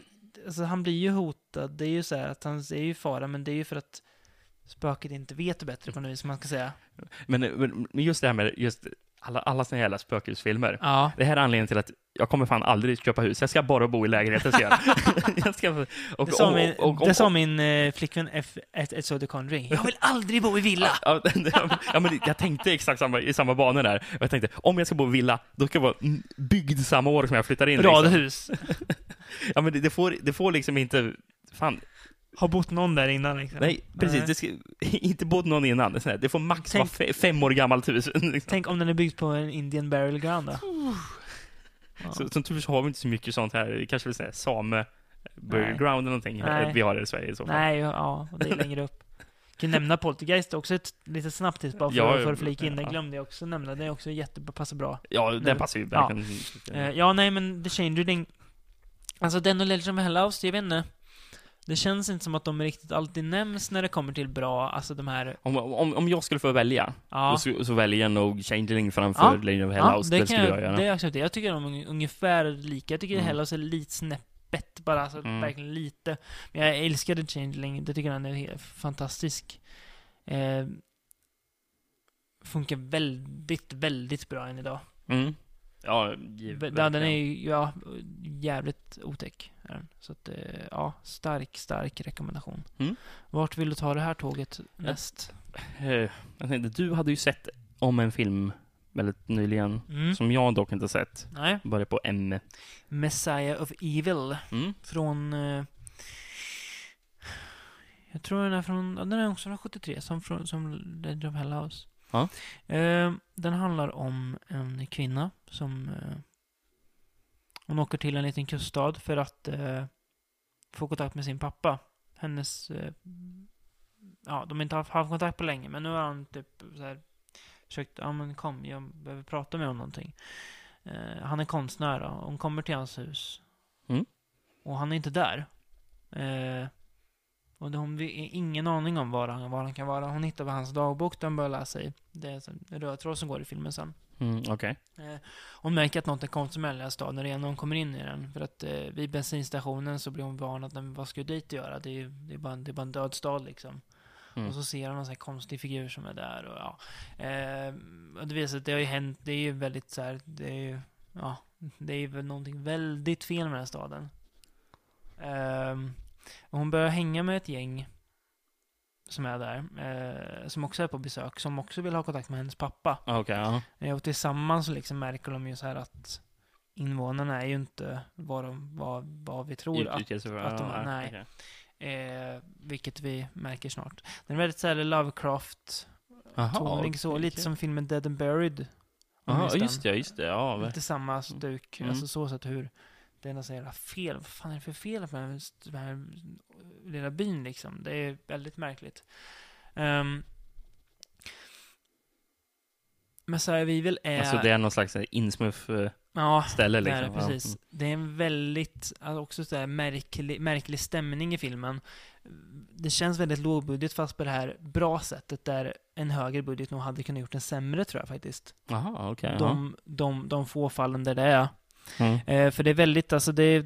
alltså han blir ju hotad. Det är ju så här att han är ju i fara, men det är ju för att spöket inte vet bättre på något vis, som man ska säga.
Men, men men just det här med just alla, alla såna här jävla spökhusfilmer.
Ja.
Det här är anledningen till att jag kommer fan aldrig köpa hus. Jag ska bara bo i lägenheten, ska jag. jag ska, och,
Det sa
om-
min,
och- och-
det sa min eh, flickvän F, ett, ett Söder Conry. Jag vill aldrig bo i villa!
Ja, ja, men jag tänkte exakt samma, i samma banor där. Jag tänkte, om jag ska bo i villa, då ska jag vara mm, byggd samma år som jag flyttar in. Liksom.
Radhus.
Ja, men det, det, får, det får liksom inte... Fan,
Har bott någon där innan liksom.
nej, precis. Det ska, inte bott någon innan. Det, är sån här, det får max
Tänk-
vara fe, fem år gammalt hus. Liksom.
Tänk om den är byggd på en Indian Burial Ground då? Ja.
Så, som tur så har vi inte så mycket sånt här. Vi kanske vill säga same
Nej.
burial ground eller någonting
Nej.
vi har i Sverige i så fall.
Nej, ja, ja, det är längre upp. Jag kan nämna Poltergeist också ett, lite snabbt hit bara för,
Ja,
för
ja,
att flika in. Den
ja.
glömde jag också nämna. Det är också jättebra, passar bra.
Ja, den passar ju
Ja.
verkligen.
Eh, ja, nej men The Changeling. Alltså den och Legend of Hellhouse, jag vet inte. Det känns inte som att de riktigt alltid nämns när det kommer till bra, alltså de här...
Om, om, om jag skulle få välja,
Ja,
då så, så väljer jag nog Changeling
Ja.
framför Lady of Hell
ja
House.
det,
det
kan
skulle jag,
jag,
göra.
det accepterar jag. Jag tycker de är un- ungefär lika. Jag tycker
Mm.
Hellhouse är lite snäppet bara, alltså
Mm.
verkligen lite. Men jag älskar The Changeling, det tycker han är helt fantastisk. Eh, funkar väldigt, väldigt bra än idag.
Mm. Ja,
Ve- Ja, den är ju, ja, jävligt otäck. Är den. Så att, eh, ja, stark, stark rekommendation.
Mm.
Vart vill du ta det här tåget näst?
Eh, Jag tänkte, du hade ju sett om en film väldigt nyligen,
Mm.
som jag dock inte sett.
Nej.
Börjar på M.
Messiah of Evil
Mm.
från... Eh, jag tror den är från... Ja, den är också från 73, som, från, som Legend of Hell House.
Ja.
Eh, den handlar om en kvinna som... Eh, hon åker till en liten kuststad för att eh, få kontakt med sin pappa. Hennes... Eh, ja, de har inte haft, haft kontakt på länge, men nu har han typ så här, försökt... Ja, men kom, jag behöver prata med om någonting. Eh, han är konstnär då. Hon kommer till hans hus.
Mm.
Och han är inte där. Eh, och det, hon har ingen aning om var han, var han kan vara. Hon hittar vad hans dagbok den börjar läsa i. Det är en röd tråd som går i filmen sen.
Mm, Okej.
Eh, Hon märker att något är konstigt med den lilla staden redan när hon kommer in i den. För att eh, vid bensinstationen så blir hon varnad, "Men vad ska du dit göra? Det är, ju- det är, bara, en, det är bara en död stad liksom.
Mm.
Och så ser hon någon sån här konstig figur som är där och ja. Eh, och det visar sig att det har ju hänt, det är ju väldigt så här, det är ju, ja, det är väl någonting väldigt fel med den här staden. Ehm, och hon börjar hänga med ett gäng som är där, eh, som också är på besök, som också vill ha kontakt med hennes pappa.
Ah, okej, ja.
Eh, Och tillsammans så liksom märker de ju så här att invånarna är ju inte vad, de, vad, vad vi tror.
Ut-
Att,
utges för-
att de-
ja,
nej.
okej.
eh, vilket vi märker snart. Den är väldigt såhär Lovecraft-toning,
Jaha,
så
okej.
lite som filmen Dead and Buried. Om
Jaha,
just
just
den.
det, just det. Ja, ver-
Lite samma stuk,
Mm.
alltså så sätt hur det är något så jävla fel. Vad fan är det för fel på den här, den här lilla byn liksom? Det är väldigt märkligt. Um, Messiah Evil är...
Alltså det är någon slags insmuff-ställe
ja, det
liksom.
är det,
Ja.
precis. Det är en väldigt, alltså också så här märklig, märklig stämning i filmen. Det känns väldigt lågbudget fast på det här bra sättet där en högre budget nog hade kunnat gjort en sämre tror jag faktiskt.
Jaha, okej. ja.
De, de, de få fallen där det är.
Mm.
Eh, för det är väldigt, alltså det är,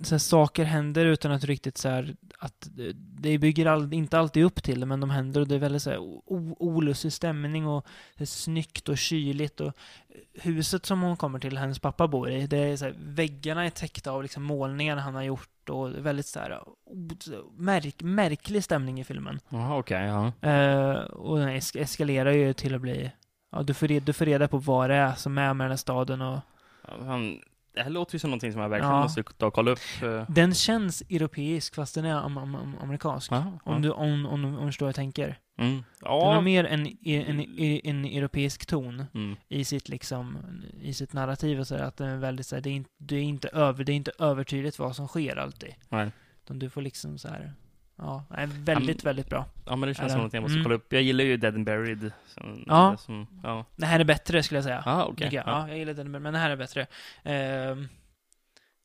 så här, saker händer utan att riktigt så här, att eh, det bygger all, inte alltid upp till det, men de händer och det är väldigt så här o- o- olustig stämning och det är snyggt och kyligt och eh, huset som hon kommer till, hennes pappa bor i, det är så här, väggarna är täckta av liksom målningar han har gjort och det är väldigt så här o- så- märk, märklig stämning i filmen.
Jaha, okej. ja.
Eh, och den es- eskalerar ju till att bli, ja du får, re- du får reda på vad det är som är med den här staden och
Ja, fan, Det här låter ju som någonting som jag verkligen
Ja.
måste ta och kolla upp. eh.
Den känns europeisk fast den är am am am amerikansk.
Jaha, ja.
Om, du, om, om, om du förstår vad jag tänker.
Mm.
Den har
Ja.
mer en, e, en, en, en europeisk ton
Mm.
i sitt, liksom, i sitt narrativ och sådär. Att den är väldigt såhär, det är, inte, det, är inte över, det är inte övertydligt vad som sker alltid.
Nej.
Utan du får liksom så här. ja, nej, väldigt, väldigt bra.
Ja, men det
Är
känns
det?
som någonting jag måste
Mm.
kolla upp. Jag gillar ju Dead and Buried. Som,
Ja.
det Som, ja.
Det här är bättre skulle jag säga.
Ah, okej.
tycker jag.
Ja.
Ja, jag gillar den, men den här är bättre. Ehm,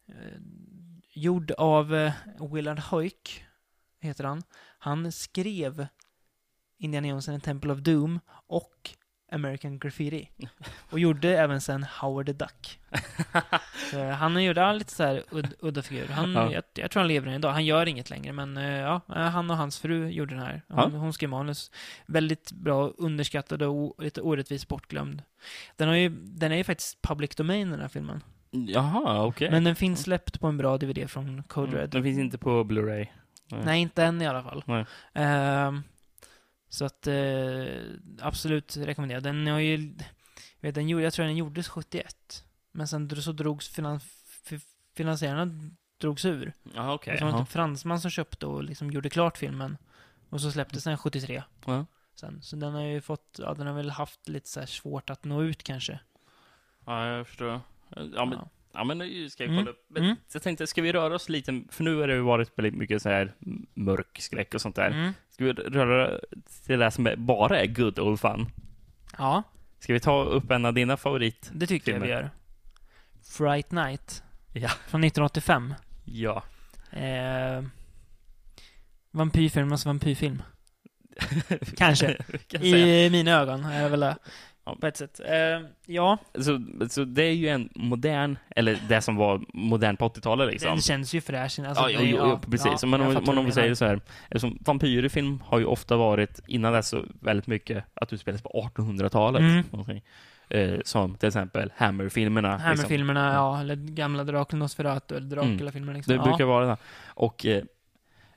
eh, gjord av eh, Willard Hoyk, heter han. Han skrev Indiana Jones and the Temple of Doom och American Graffiti. Och gjorde även sen Howard the Duck. så eh, han gjorde ja, lite så här ud, udda figurer. Han,
Ja.
jag, jag tror han lever än idag. Han gör inget längre, men eh, ja, eh, han och hans fru gjorde den här. Hon,
Ja.
hon skrev manus. Väldigt bra, underskattad och o, lite orättvist bortglömd. Den, har ju, den är ju faktiskt public domain den här filmen.
Jaha, okej.
Men den finns släppt på en bra DVD från Code
Mm,
Red.
Den finns inte på Blu-ray. Nej.
Nej, inte än i alla fall.
Nej.
Ehm, så att eh, absolut rekommenderad. Den har ju, vet, den gjorde, jag tror den gjordes 71. Men sen dro- så drogs finan, fi- finansiärerna drogs ur.
Jaha, okej.
det var en
ja.
typ fransman som köpte och liksom gjorde klart filmen. Och så släpptes den 73.
Ja.
Sen. Så den har ju fått, ja, den har väl haft lite så här svårt att nå ut kanske.
ja, jag förstår. Ja, men,
Ja.
ja, men nu ska jag
Mm,
kolla upp. Men
mm.
Jag tänkte, ska vi röra oss lite? För nu har det ju varit väldigt mycket så här mörk skräck och sånt där.
Mm.
Ska vi röra till det som är- bara är good old fun?
ja,
Ska vi ta upp en av dina favorit?
det tycker jag vi
Filmen.
gör. Fright Night.
Ja.
Från 1985.
Ja.
Eh, vampyrfilmernas vampyrfilm. Kanske.
Vi kan säga.
I mina ögon är det väl det.
Ja.
På ett sätt. Eh, ja,
Så, så det är ju en modern, eller det som var modern på 80-talet liksom.
den känns ju fräsch. Alltså,
Ja,
det
ja,
är-
ja, ja, precis.
ja,
men
jag
om,
fattar
men om vi
vad du menar.
säger så här. Eftersom vampyrer i film har ju ofta varit, innan dess, så väldigt mycket att du spelas på 1800-talet.
Mm.
någonting. Eh, som till exempel Hammer-filmerna. liksom. Mm.
Hammerfilmerna, ja, eller gamla Draken Nosferatu, eller Dracula-filmerna liksom.
Det
ja.
brukar vara det. Och eh,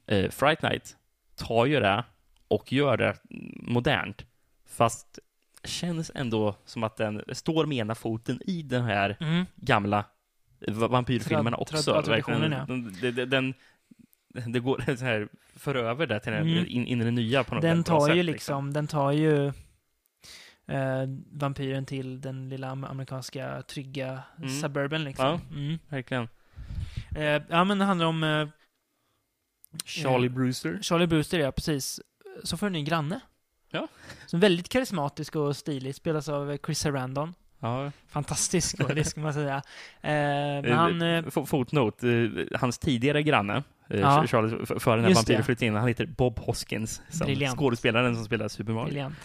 eh, Fright Night tar ju det och gör det modernt. Fast känns ändå som att den står med ena foten i den här
Mm.
gamla va- vampyrfilmerna
Trad-
också.
trad- traditionen,
Verkligen. Den, den, den, den- det går så här, för över det till den,
Mm.
in, in i det nya på något
Den
väldigt bra
tar ju
sätt,
liksom, den tar ju eh, vampyren till den lilla am- amerikanska trygga
Mm.
suburban liksom. Mm.
Verkligen.
Eh, ja, men det handlar om eh,
Charlie
Eh,
Brewster.
Charlie Brewster, ja precis. Så får du en ny granne.
Ja.
Som är väldigt karismatisk och stilig, spelas av Chris Sarandon.
Ja.
Fantastisk och det ska man säga. Eh, men han... Eh,
Eh, fo- Fotnot. eh, Hans tidigare granne, eh,
Ja.
Charlie, f- före den här
Just
vampyren
det.
flyttade in, han heter Bob Hoskins. Som
Briljant.
skådespelaren som spelar Super Mario.
briljant.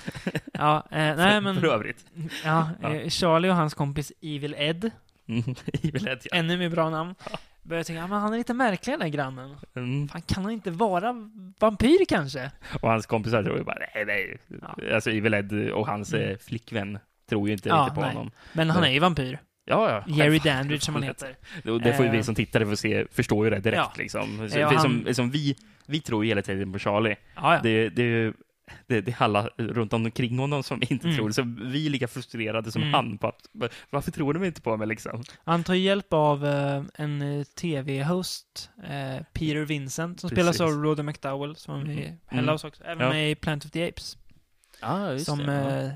Ja, eh, nej men...
För övrigt.
Ja,
Ja.
eh, Charlie och hans kompis Evil Ed,
Mm, Evil Ed, ja.
ännu mer bra namn, börjar tänka, ja, men han är lite märklig den där grannen.
Mm.
Fan, kan han inte vara vampyr kanske?
Och hans kompisar tror ju bara, nej, nej.
Ja.
Alltså Evil Ed och hans
Mm.
eh, flickvän tror ju inte
Ja,
riktigt på
nej.
honom.
Men han
Nej.
är ju vampyr.
Ja, ja.
Jerry
självklart.
Dandridge som han heter.
Och det får ju
Eh.
vi som tittare få se, förstår ju det direkt
Ja.
liksom. Så,
Ja,
vi,
han-
som, som vi, vi tror ju hela tiden på Charlie.
Ja, ja.
Det, det, är ju- det, det är alla runt omkring honom som inte
Mm.
tror. Så vi är lika frustrerade som
Mm.
han på att "Va- varför tror de inte på mig liksom?
Han tar hjälp av eh, en eh, tv-host, eh, Peter Vincent, som
Precis.
spelas av Rhoda McDowell, som är med i
Mm.
Hellhouse också. Även
Ja.
med i Plant of the Apes.
Ah, just
som
det. Ja.
eh,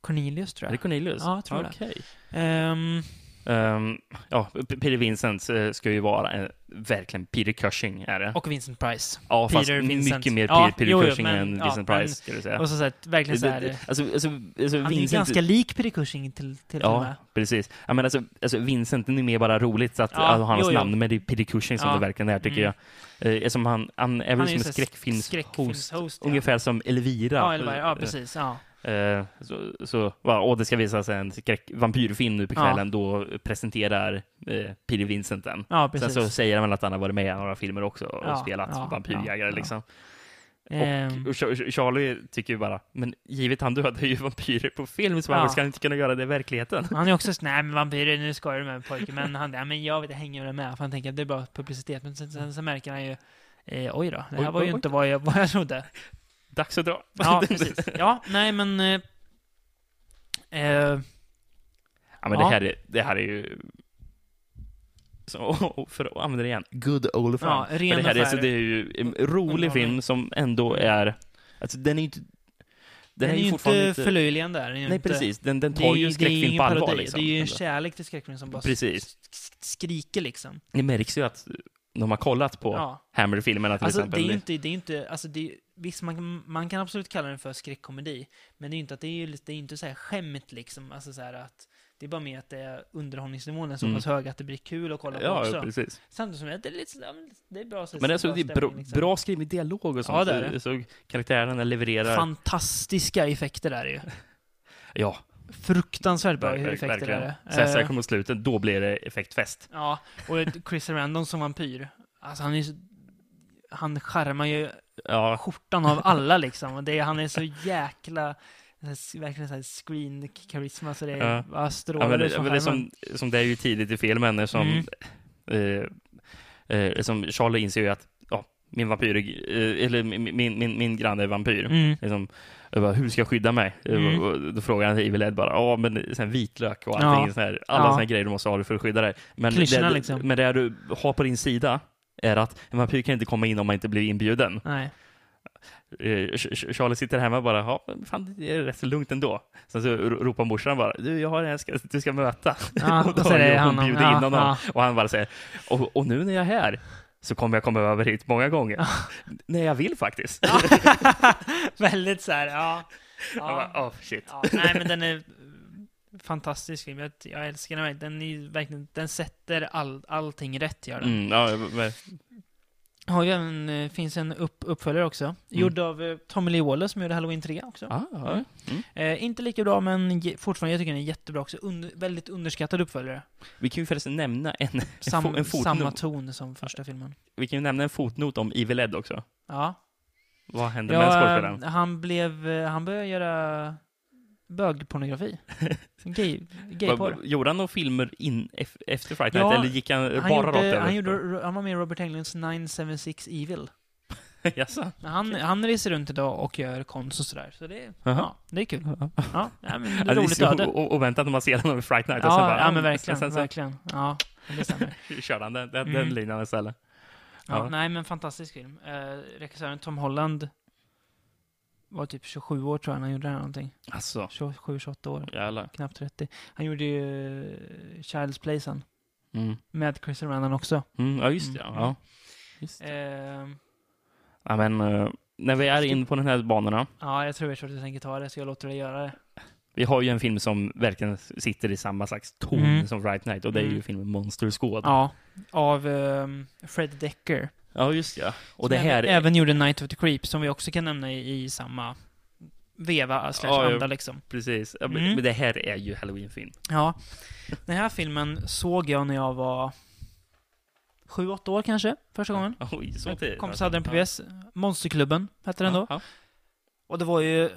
Cornelius, tror
Är det
jag.
Cornelius?
Ja, jag tror det.
Okej.
Ehm,
Ehm, ja, P- Peter Vincent eh, ska ju vara en, verkligen Peter Cushing är det.
och Vincent Price.
ja, fast
Peter Vincent.
mycket mer Peter,
Ja,
Peter
jo, jo,
Cushing
men-
än
ja,
Vincent
men-
Price, ska du säga.
Och så, så här, verkligen så här, eh,
alltså, alltså, alltså,
han är ju
Vincent,
ganska lik Peter Cushing till, till och
Ja,
med.
precis. Ja, men alltså, alltså Vincent är ju mer bara roligt så att
Ja,
att ha hans
jo, jo.
namn, men det är Peter Cushing som
Ja.
det verkligen är, tycker
Mm.
jag. Eh, som han, han är
ju
väl som en
så här
skräckfilmshost,
skräckfilmshost, ja.
ungefär som Elvira.
Ja, eller vad är det? ja precis. Ja.
Eh, så, så, va, och det ska visas en skräck, vampyrfilm nu på
Ja.
kvällen, då presenterar eh, Peter Vincent den.
ja,
Sen
precis.
så säger han väl att han har varit med i några filmer också och
Ja,
spelat
ja,
vampyrjägare
ja, ja.
liksom.
Ehm,
Och Ch- Charlie tycker ju bara, men givet han dödar ju vampyrer på film, så varför
Ja.
ska han inte kunna göra det i verkligheten?
han är också sån, nej men vampyrer, nu skojar du med mig, pojke. Men han, ja, men jag vet, jag hänger med med. För han tänker att det är bara publicitet. Men sen, sen så märker han ju, eh, oj då, det här var
Oj,
ju
oj, oj.
inte vad jag, vad jag trodde.
Dags att dra.
Ja, precis. Ja, nej men... Eh, eh,
Ja, men
Ja.
Det, här är, det här är ju... Så, och- och för att använda det igen, good old fun.
Ja,
För
ren
det, här är, så
affär.
det är ju en rolig
Underhållning.
film som ändå är... Alltså, den är ju inte... Den,
den är ju
fortfarande
inte förlöjligande där. den är ju
Nej,
inte-
precis. Den, den
Det är
tar ju en
det är
skräckfilm
ingen
på allvar.
parodi,
Liksom.
Det är ju en kärlek till skräckfilm som bara
Precis.
sk- sk- skriker liksom.
Det märks ju att de har kollat på
Ja.
Hammer-filmerna till
Alltså det är
exempel.
ju inte, det är inte, alltså det är, visst man, man kan absolut kalla den för skräckkomedi, men det är ju inte att det är ju lite, det är ju inte så här skämt liksom, alltså så här att det är bara mer att det är underhållningsnivån är så
Mm.
pass hög att det blir kul att kolla på
Ja,
också.
precis.
Samtidigt som det är lite, så- ja, men det är bra så
Men alltså,
bra
det är bra,
stämning, liksom.
bra skriven dialog och sånt.
det är det.
Så karaktärerna levererar.
Fantastiska effekter där ju.
Ja,
Fruktansvärt bra
ver- ver-
effekter är
verkligen.
det.
Sen så här
Eh,
kommer slutet, då blir det effektfest.
Ja, och ett Chris Randon som vampyr. Alltså han är så... Han charmar ju
Ja,
skjortan av alla liksom. Och det, är- han är så jäkla... så här, Verkligen så här screen-karisma så det
Ja.
är bara strålar
ja men
ut
det,
från
men det är
skärmen.
som, som det är ju tidigt i filmen,
Mm.
som, eh, eh, som Charlie inser ju att ja, min vampyr, är- eh, eller min, min, min, min granne är vampyr.
Mm.
Liksom, jag bara, hur ska jag skydda mig? Eh,
Mm.
Och- och Då frågar han Evil Ed bara, ja men sen vitlök och allting,
Ja.
sån här, alla
Ja.
såna här grejer du måste ha för att skydda dig. Men
Klyschorna,
det,
liksom.
men det du har på din sida är att en vampyr kan inte komma in om man inte blir inbjuden.
Nej.
Eh, Ch- Ch- Charlie sitter hemma och bara, ja men fan det är rätt så lugnt ändå. Sen så ro- ropar morsan bara, du jag har en jag ska, du ska möta.
Ja,
och då
och så är det
hon
honom.
bjuder
Ja,
in honom.
ja.
Och han bara säger, och, och nu när jag är här så kommer jag komma över hit många gånger. när jag vill faktiskt.
Väldigt så här, ja.
Jag
ja.
bara, oh, shit.
Ja, nej, men den är fantastisk film. Jag, jag älskar den verkligen. Den, är verkligen, den sätter all, allting rätt, gör den.
Mm, ja, men-
Har ju en, eh, finns en upp, uppföljare också. Gjord av eh, Tommy Lee Wallace som gjorde Halloween 3 också.
Ah, Mm. ja.
Mm. Eh, inte lika bra, men ge, fortfarande, jag tycker den är jättebra också. Under, väldigt underskattad uppföljare.
Vi kan ju förresten nämna en,
Sam,
en, fo- en
samma
fotnot.
ton som första filmen.
Vi kan ju nämna en fotnot om Evil Ed också.
Ja.
Vad hände med
ja
skådespelaren?
eh, han blev, eh, han började göra bögpornografi. Gay, gayporr.
Vad- Gjorde han några filmer in, ef- efter Fright Night
Ja,
eller gick han,
Han,
bara rakt
gjorde,
över?
han, gjorde, han var med i Robert Englunds 976 Evil.
Jaså?
Men Han, han reser runt idag och gör konst och sådär. Så det,
Jaha.
ja, det är kul.
Ja.
Ja, ja, men det är
Ja,
roligt
det är
öde.
så o- oväntat när man ser honom i Fright Night. och sen
Ja,
bara,
ja, men
sen-
verkligen.
Sen så
verkligen. Ja, det stämmer.
körde han den, den, den
Mm.
linan istället.
Ja,
Ja.
Nej, men fantastisk film. Eh, regissören Tom Holland var typ 27 år tror jag när han gjorde det här någonting.
Alltså,
27, 28 år.
jävlar.
Knappt 30. Han gjorde ju eh, Child's Play sen.
Mm.
Med Chris Randon också.
Mm, ja, just det. Ja.
Mm.
Ja. Just det.
Eh,
Ja, men, eh, när vi är inne på den här banorna.
ja, jag tror jag tror att du tänker ta det, så jag låter dig göra det.
Vi har ju en film som verkligen sitter i samma slags ton
Mm.
som Fright Night och det är ju
Mm.
filmen Monster Squad.
Ja, av ehm, Fred Decker.
Ja, just det. Och
Som
det här...
även, även gjorde Night of the Creep, som vi också kan nämna i, i samma veva slash
Ja, ja.
anda liksom.
Precis. Ja, men-
Mm.
Men det här är ju Halloween-film.
Ja. Den här filmen såg jag när jag var sju, åtta år kanske, första gången.
Oj, så
Min
tidigt.
kompis hade den på VHS. Monsterklubben hette den
Ja,
då.
ja.
Och det var ju...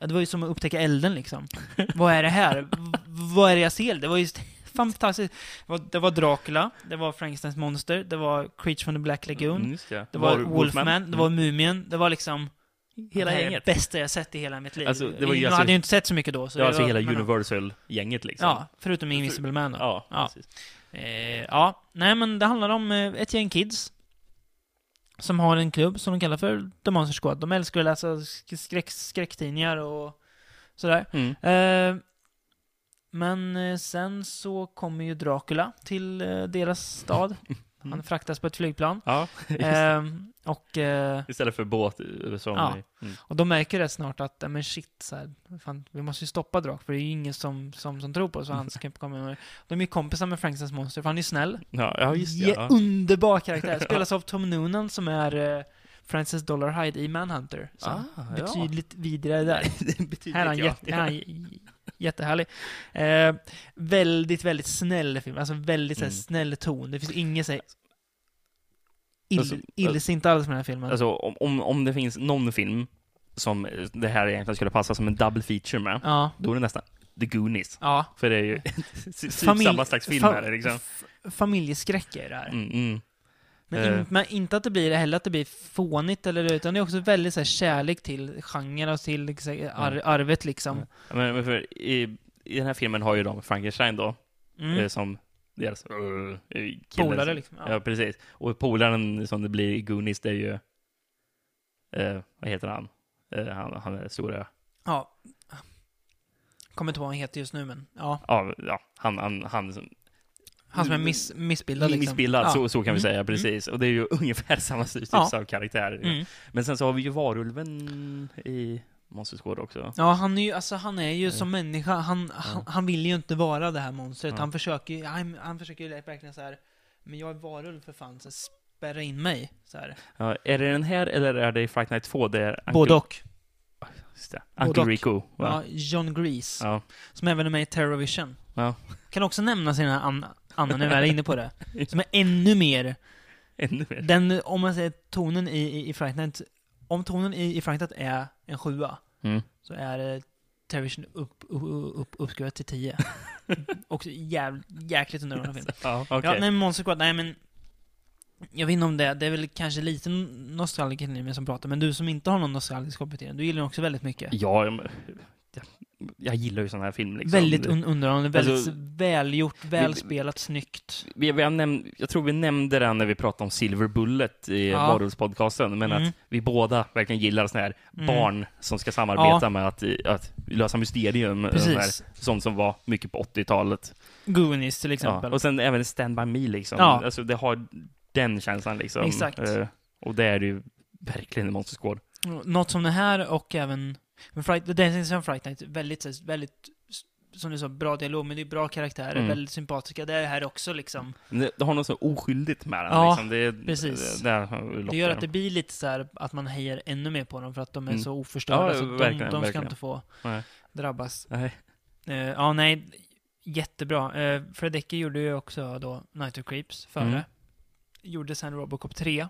Ja, Det var ju som att upptäcka elden liksom. Vad är det här? V- Vad är det jag ser? Det var ju fantastiskt. Det var, det var Dracula, det var Frankensteins monster, det var Creature from the Black Lagoon.
Mm, just det.
Det var Wolfman, det var Mumien, det var liksom
Hela
det här är
gänget.
Det bästa jag sett i hela mitt liv.
Alltså, det var ju
jag
alltså-
hade ju inte sett så mycket då. Så
Det var alltså hela
men-
Universal-gänget liksom.
Ja, förutom Invisible Man då. Ja.
Ja,
Ja.
precis.
Eh, ja. Nej men det handlar om eh, ett gäng kids. Som har en klubb som de kallar för The Monster Squad. De älskar att läsa sk- skräck, skräcktidningar och sådär.
Mm.
Eh, men eh, sen så kommer ju Dracula till eh, deras stad. Han fraktas på ett flygplan.
ja. Mm. just det.
Eh, och... Eh,
Istället för båt eh, som...
Ja.
Mm.
Och de märker ju rätt snart att, ja, men shit, så här, fan, vi måste ju stoppa Drak, för det är ju ingen som, som, som tror på oss. och Han ska komma med. De är ju kompisar med Frankensteins monster, för han är ju snäll.
Ja, ja, just det.
Ge-
Ja.
Underbar karaktär. Spelas av Tom Noonan som är eh, Francis Dollarhide i Manhunter. Så
Ah, ja.
betydligt vidrigare där.
Betydligt,
Här är han,
ja.
jätte, här är han j- jättehärlig. Eh, väldigt, väldigt snäll film. Alltså väldigt så här,
Mm.
snäll ton. Det finns inget så här, ill,
Alltså,
illsint alls med den här filmen.
Alltså, om, om, om det finns någon film som eh, det här egentligen skulle passa som en double feature med,
ja.
då är det nästan The Goonies.
Ja.
För det är ju typ
Familj-
samma slags film
fa-
här liksom.
f- Familjeskräck är det här.
Mm, mm.
Men,
Eh.
in, men inte att det blir heller att det blir fånigt eller det, utan det är också väldigt så här, kärlek till genren och till liksom,
Mm.
ar, arvet liksom.
Ja, Men, men för, i, I den här filmen har ju de Frankenstein då,
Mm.
eh, som deras eh, eh, kille.
Polare liksom.
Ja.
Ja.
precis. Och polaren som det blir i Goonies, det är ju... Eh, vad heter han? Eh, han, han är stora...
ja. Kommer inte ihåg vad han heter just nu men, ja.
Ja, ja han, han, han som
Han som är miss, missbildad liksom.
Mm. missbildad,
ja.
så, så kan vi
Mm.
säga, precis. Och det är ju ungefär samma typ
Ja.
av karaktär.
Mm.
Men sen så har vi ju varulven i Monsters Gård också.
Ja, han är ju, alltså, han är ju som människa, han, han, han vill ju inte vara det här monstret.
Mm. Ja.
Han försöker ju, han, han försöker ju verkligen så här. men jag är varulv för fan, så här, spärra in mig. Så här.
Ja, är det den här eller är det i Fright Night 2? Där
Både och.
Just det.
Både
Uncle
och.
Rico.
Ja,
Va?
John Grease.
Ja.
Som även är med i Terrorvision.
Ja.
Kan också nämnas i den här an- Anna, nu är jag inne på det. Som är ännu mer,
Ännu mer.
den, om man säger tonen i, i, i Fright Night, om tonen i, i Fright Night är en sjua,
Mm.
så är eh, Terrorvision upp, upp, upp, uppskruvat till 10. Också jäv, jäkligt underhållande film.
Ja, okej.
Ja, nej, men Monster Squad, nej men... Jag vet inte om det, det är väl kanske lite nostalgiker i mig som pratar, men du som inte har någon nostalgisk koppling till den, du gillar den också väldigt mycket.
Ja, jag, jag, jag gillar ju sån här film. Liksom.
Väldigt un underhållande, väldigt
Alltså-
s- välgjort,
Vi-
välspelat, snyggt.
vi, vi har näm- jag tror vi nämnde den när vi pratade om Silver Bullet i
Ja.
Varulvspodcasten, men
Mm.
att vi båda verkligen gillar såna här
Mm.
barn som ska samarbeta
Ja.
med att, att lösa mysterium. och sån
Precis.
Här, sånt som var mycket på 80-talet.
Goonies till
Ja.
exempel.
Och sen även Stand By Me liksom.
Ja.
Alltså, det har den känslan liksom.
Exakt.
Eh, och det är det ju verkligen i Monster Squad.
Något som det här och även... Men Fright, The Dancing Sun Fright Night, väldigt, så här- väldigt, s- som du sa, bra dialog, men det är bra karaktärer,
Mm.
väldigt sympatiska. Det är det här också liksom.
Men Det, det har något så oskyldigt med den.
Ja,
liksom. det,
precis.
Det, det, det,
Det gör att det blir lite så här att man hejar ännu mer på dem för att de är
Mm.
så oförstörda,
Ja,
så de,
verkligen,
de ska
verkligen.
inte få
Nej.
drabbas.
Nej.
Eh, ja, nej. Jättebra. Eh, Fred Decker gjorde ju också då Night of Creeps före.
Mm.
Gjorde sen Robocop 3,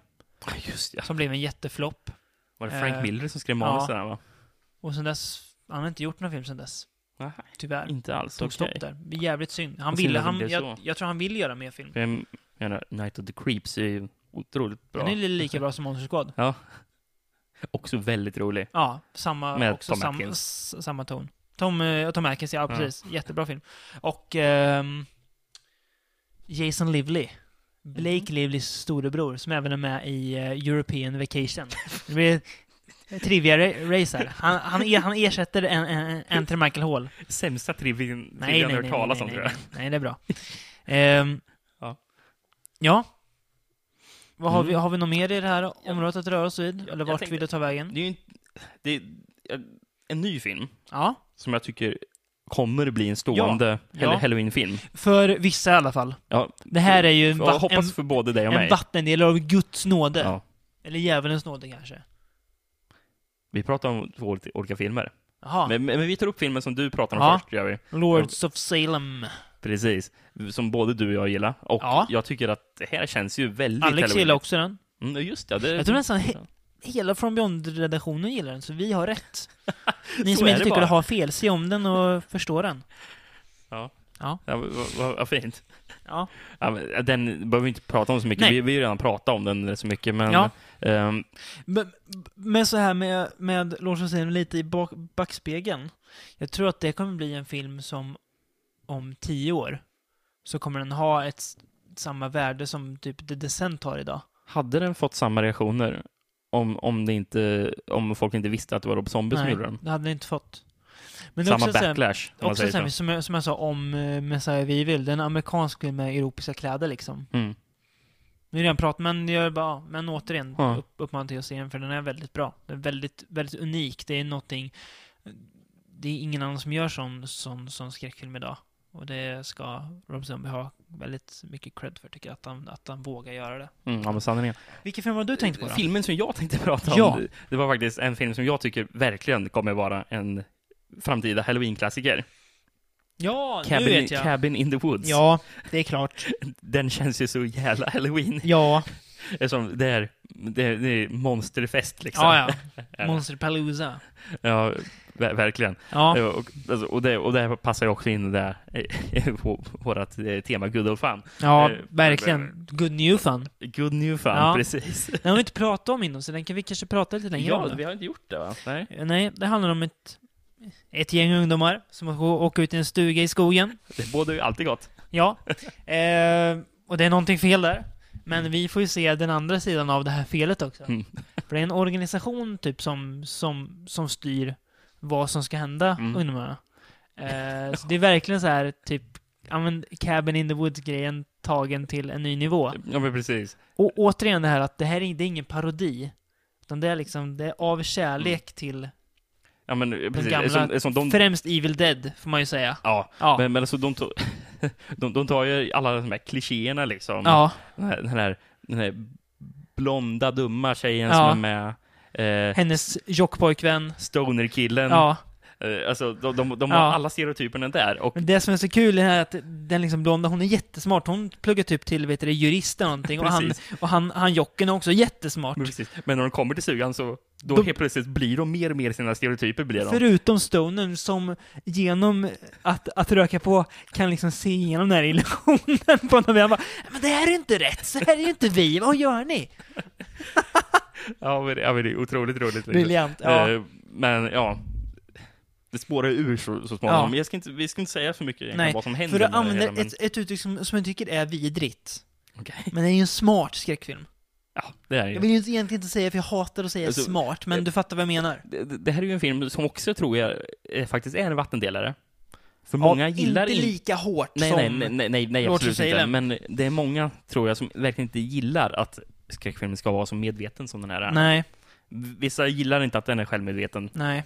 Ja, Just ja.
som blev en jätteflopp.
Var det Frank
Eh,
Miller som skrev manus
ja.
till den va?
Och sen dess, han har inte gjort någon film sen dess.
Nej,
Tyvärr.
inte alls.
Tog
okej.
stopp där. Jävligt synd. Han
Vad synd
ville,
att det
han,
blev
jag,
så.
jag tror han vill göra mer film.
För Jag menar, Night of the Creeps är ju otroligt bra.
Den är li- lika bra som Monster Squad.
Också väldigt rolig.
Ja, samma,
Med
också
Tom
sam,
Atkins.
s- samma ton. Tom, eh, Tom Atkins, ja
Ja.
precis. Jättebra film. Och ehm, Jason Lively. Blake Livlys storebror, som även är med i eh, European Vacation. Det blir trivia-race här. Han, han, er, han ersätter en, en, en till Michael Hall.
Sämsta trivien jag har hört talas om tror jag.
nej, nej, det är bra. Ehm,
Ja.
ja. Vad har,
Mm.
vi, har vi något mer i det här området att röra oss vid? Eller
jag
vart
tänkte-
vill du ta vägen?
Det är ju inte- det är en- en ny film
Ja,
som jag tycker kommer bli en stående hell-
Ja.
Halloween-film.
för vissa i alla fall.
Ja,
Det här är ju en,
jag
va-
hoppas för både dig och
en, en
mig.
vattendel av Guds nåde.
Ja.
Eller djävulens nåde kanske.
Vi pratar om två ol- olika filmer.
Jaha,
Men, men men vi tar upp filmen som du pratar om
Ja.
först, gör vi.
Lords of Salem.
Precis. Som både du och jag gillar. Och
Ja.
jag tycker att det här känns ju väldigt
Alex
Halloween.
gillar också den.
Mm, just det. det
Jag tror nästan he- hela From Beyond-redaktionen gillar den, så vi har rätt. Ni
Så
som inte
är det
tycker
bara.
att ha fel, se om den och förstå den.
Ja, vad, vad, vad fint.
Ja.
Ja, men den behöver vi inte prata om så mycket.
Nej.
Vi, vi har ju redan pratat om den så mycket, men...
Ja.
ehm,
Men, men så här med, med Lars och Sten lite i bak, backspegeln. Jag tror att det kommer bli en film som om tio år så kommer den ha ett s- samma värde som typ The Descent har idag.
hade den fått samma reaktioner om, om, det inte, om folk inte visste att det var Rob Zombie som gjorde den?
det hade den inte fått. Men det är
Samma
också så här,
backlash, om man
också så
säger
här,
så.
som, jag, som jag sa om eh, Messiah vi vill. Den amerikansk film med europeiska kläder liksom.
Mm.
Vi har redan pratat, men jag bara, ja, men återigen,
Ja.
upp, uppmanar till att se den, för den är väldigt bra. Den är väldigt, väldigt unik. Det är någonting, det är ingen annan som gör sån, sån, sån skräckfilm idag. Och det ska Rob Zombie ha väldigt mycket cred för, tycker jag, att han, att han vågar göra det.
Mm, ja, men sanningen.
Vilken film var du tänkt på då?
Filmen som jag tänkte prata om,
Ja.
det- det var faktiskt en film som jag tycker verkligen kommer vara en framtida Halloween-klassiker.
Ja, nu
Cabin,
vet jag.
Cabin in the Woods.
Ja, det är klart.
Den känns ju så jävla Halloween.
Ja,
Eftersom det är, det är, det är monsterfest liksom.
ja, ja. Monsterpalooza.
ja ver- verkligen.
Ja,
Eh, Och, alltså, och, det, och det här passar ju också in där eh, på vårt eh, tema Good Old Fun.
ja,
eh,
verkligen. Good new fun.
Good New Fun,
Ja.
precis.
Den har vi inte pratat om innan, så den kan vi kanske prata lite längre om.
Ja,
då.
vi har inte gjort det va? Nej.
Eh, Nej, det handlar om ett, ett gäng ungdomar som åker- åker ut i en stuga i skogen.
Det bådar ju alltid gott.
Ja. Eh, och det är någonting fel där. Men vi får ju se den andra sidan av det här felet också.
Mm.
För det är en organisation typ som, som, som styr vad som ska hända
Mm.
ungdomarna. Eh, så det är verkligen så här typ, ja men Cabin in the Woods-grejen tagen till en ny nivå.
Ja, men precis.
Och återigen det här att det här är, det är ingen parodi. Utan det är liksom, det är av kärlek
Mm.
till
Ja, men eh,
den
precis.
gamla,
Som, som de,
främst Evil Dead, får man ju säga.
ja,
Ja.
men, men alltså de, to, de, de tar ju alla de här klichéerna liksom.
ja.
Den, här, den, här, den här blonda, dumma tjejen
Ja.
som är med. eh,
Hennes tjockpojkvän.
stonerkillen.
Ja.
Eh, alltså, de, de, de
Ja.
har alla stereotyperna där. Och
Men det som är så kul är att den liksom blonda, hon är jättesmart. Hon pluggar typ till vet du, det, jurist eller någonting. Och han,
Precis.
och han, han jocken är också jättesmart.
Men Precis. Men när de kommer till sugan så då
Mm. De-
helt plötsligt blir de mer och mer sina stereotyper. Blir de.
Förutom Stonen som genom att, att röka på kan liksom se igenom den här illusionen på honom. Han bara, men det här är inte rätt, så här är inte vi, vad gör ni?
Ja, men, det- ja, men det är otroligt roligt.
Briljant, ja.
Eh, Men ja, det spårar ur så, så småningom.
Ja.
Men jag ska inte, vi ska inte säga för mycket egentligen
Nej,
vad som
för
händer.
du
med det
använder
hela, men-
ett, ett uttryck som, som jag tycker är vidrigt.
Okej.
Men det är ju en smart skräckfilm.
Ja, det är
Jag
ju.
vill ju inte- egentligen inte säga, för jag hatar att säga
Alltså,
smart, men du fattar vad jag menar.
Det, det här är ju en film som också tror jag eh, faktiskt är en vattendelare. För
Ja,
många gillar
inte
in-
lika hårt
Nej,
som...
nej, nej, nej, nej, nej
Lord
absolut inte.
Salem.
Men det är många, tror jag, som verkligen inte gillar att skräckfilmen ska vara så medveten som den här är.
nej,
Vissa gillar inte att den är självmedveten.
nej.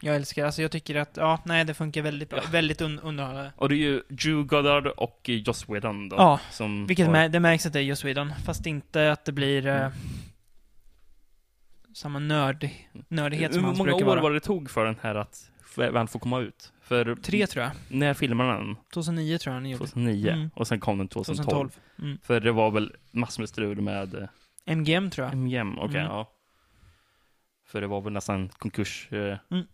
Jag älskar, alltså jag tycker att, ja, nej, det funkar väldigt bra. Väldigt un- underhållande.
Och det är ju Drew Goddard och Joss Whedon då.
Ja,
som
Vilket
har-
mär- det märks att det är just Sweden, fast inte att det blir eh,
Mm.
samma nörd, nördighet
Hur
som hans
många år
brukar vara.
var det tog för den här att väl få komma ut? För
Tre tror jag.
när filmade den?
2009 tror jag han gjorde.
2009.
Mm.
Och sen kom den 2012.
2012. Mm.
För det var väl massor med strul med eh,
MGM tror jag.
MGM, okej.
Mm.
ja. För det var väl nästan konkursvägen eh,
Mm.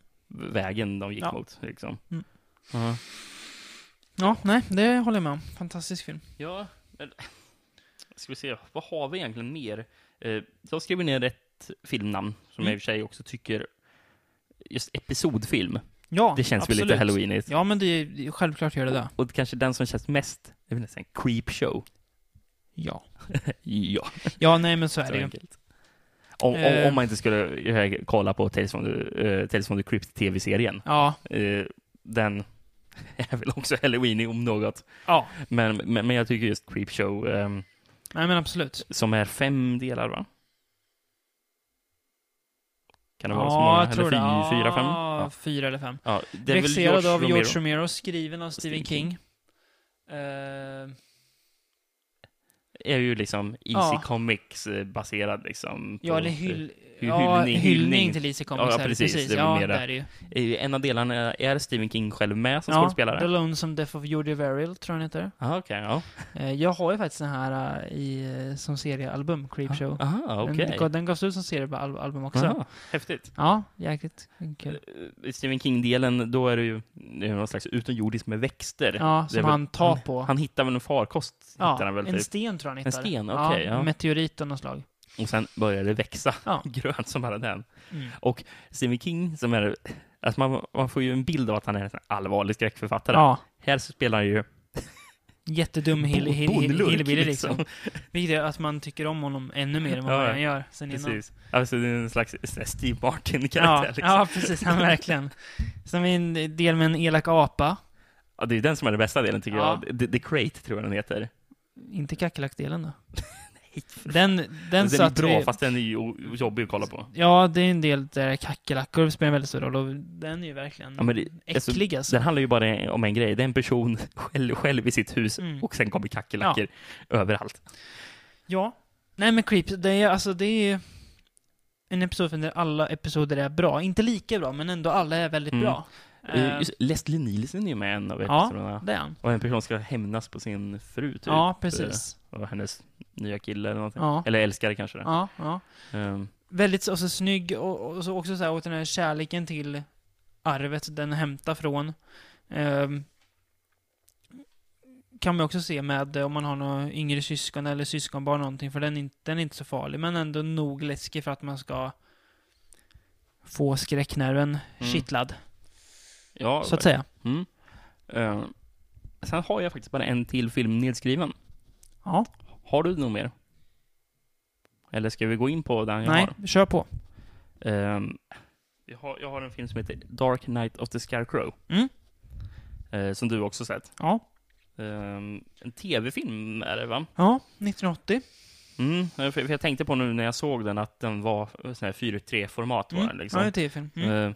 vägen de gick
Ja.
mot. Liksom.
Mm.
Ja.
Ja, nej, det håller jag med om. Fantastisk film.
Ja, men, ska vi se, vad har vi egentligen mer? Eh, jag skrev ner ett filmnamn som jag i och för sig också tycker, just episodfilm,
Ja,
det känns väl
absolut.
lite halloweenigt.
Ja, men det är det är- självklart gör det det.
Och kanske den som känns mest, det är väl nästan Creepshow.
Ja.
Ja,
Ja, nej men så
så
är det ju.
enkelt. Om, om,
Eh.
om man inte skulle eh, kolla på Tales from the, eh, Tales from the Crypt tv-serien.
Ja,
Eh, den är väl också halloweenig om något.
ja.
Men, men, men jag tycker just Creepshow, ehm,
Nej men absolut.
som är fem delar, va? Kan det vara så
Ja,
många?
jag tror det.
Eller
Ja,
fy, fyra, fem? Ja.
Fyra eller fem.
Ja, det är väl
Regisserad
George
av
Romero.
George Romero, skriven av Stephen
Stephen
King.
King.
Eh,
är ju liksom Easy
Ja.
Comics-baserad liksom.
Ja,
på-
eller hyll...
hy-
ja, hyllning,
hyllning- hyllning.
till Easy Comics.
Ja,
är det,
precis. Det är väl
ja,
mera
där är ju.
Eh, En av delarna är Stephen King själv med som
ja, The
skådespelare?
Lonesome Death of Judy Verrill, tror jag den heter.
Aha, okej. ja.
Eh, jag har ju faktiskt den här eh, i, eh, som seriealbum, Creepshow.
Aha,
Den-
Ah, okej.
Den, den gavs ut som seriealbum också.
Aha, Häftigt.
Ja, jäkligt kul.
Eh, Stephen King-delen, då är det ju det är någon slags utomjordisk med växter.
Ja,
det är
som
väl-
han tar
han,
på.
Han hittar väl en farkost? hittar
ja,
han väl,
en
typ.
sten tror jag han
En
hittar.
sten, okej, ja.
Meteorit av något slag.
Och sen börjar det växa
Ja.
grönt som bara den.
Mm.
Och Stephen King, som är... Alltså man, man får ju en bild av att han är en sån här allvarlig skräckförfattare.
Ja,
Här så spelar han ju
jättedum hill- hill- hill-
bondlurk,
hillbilly liksom. Vilket gör att man tycker om honom ännu mer än vad
Ja,
man
ja.
redan gör sen innan.
Precis. Alltså det är en slags sån här Steve
Ja,
Martin-karaktär. liksom.
ja, precis. Han verkligen. Sen har vi en del med en elak apa.
Ja, det är den som är den bästa delen tycker
Ja.
jag. The, the Crate tror jag den heter.
Inte kackerlackdelen då? Den, den, den
Alltså, den är
satt
bra,
vi...
fast den är ju o- jobbig att kolla på.
Ja, det är en del där kackerlackor spelar en väldigt stor roll och den är ju verkligen
Ja, men det, alltså,
äcklig alltså.
Den handlar ju bara om en grej. Det är en person själv, själv i sitt hus
Mm.
och sen kommer kackerlackor överallt.
Ja. Nej men Creep, det är alltså det är en episod där alla episoder är bra. Inte lika bra, men ändå alla är väldigt
Mm.
bra.
Eh,
Eh,
Just, Leslie Nielsen är ju med i en av
Ja.
episoderna.
det är han.
Och en person ska hämnas på sin fru, typ.
Ja, precis.
Och hennes nya kille eller någonting.
Ja.
Eller älskare kanske det.
Ja, ja.
Ehm,
Väldigt så, så snygg och, och så också så här, och den här kärleken till arvet den hämtar från. Ehm, kan man också se med eh, om man har några yngre syskon eller syskonbarn eller någonting, för den är, inte, den är inte så farlig, men ändå nog läskig för att man ska få skräcknerven
Mm.
kittlad,
ja,
så att säga.
Mm. Ehm, sen har jag faktiskt bara en till film nedskriven.
Ja,
Har du någon mer? Eller ska vi gå in på den jag
nej,
har?
kör på.
Ehm, jag har? Jag har en film som heter Dark Knight of the Scarecrow.
Mm.
Ehm, som du också sett.
Ja,
Ehm, en tv-film är det, va?
ja 1980.
Mm, för, för jag tänkte på nu när jag såg den att den var sån här 4.3-format.
Mm.
var den Liksom.
Ja, det är en tv-film. Mm.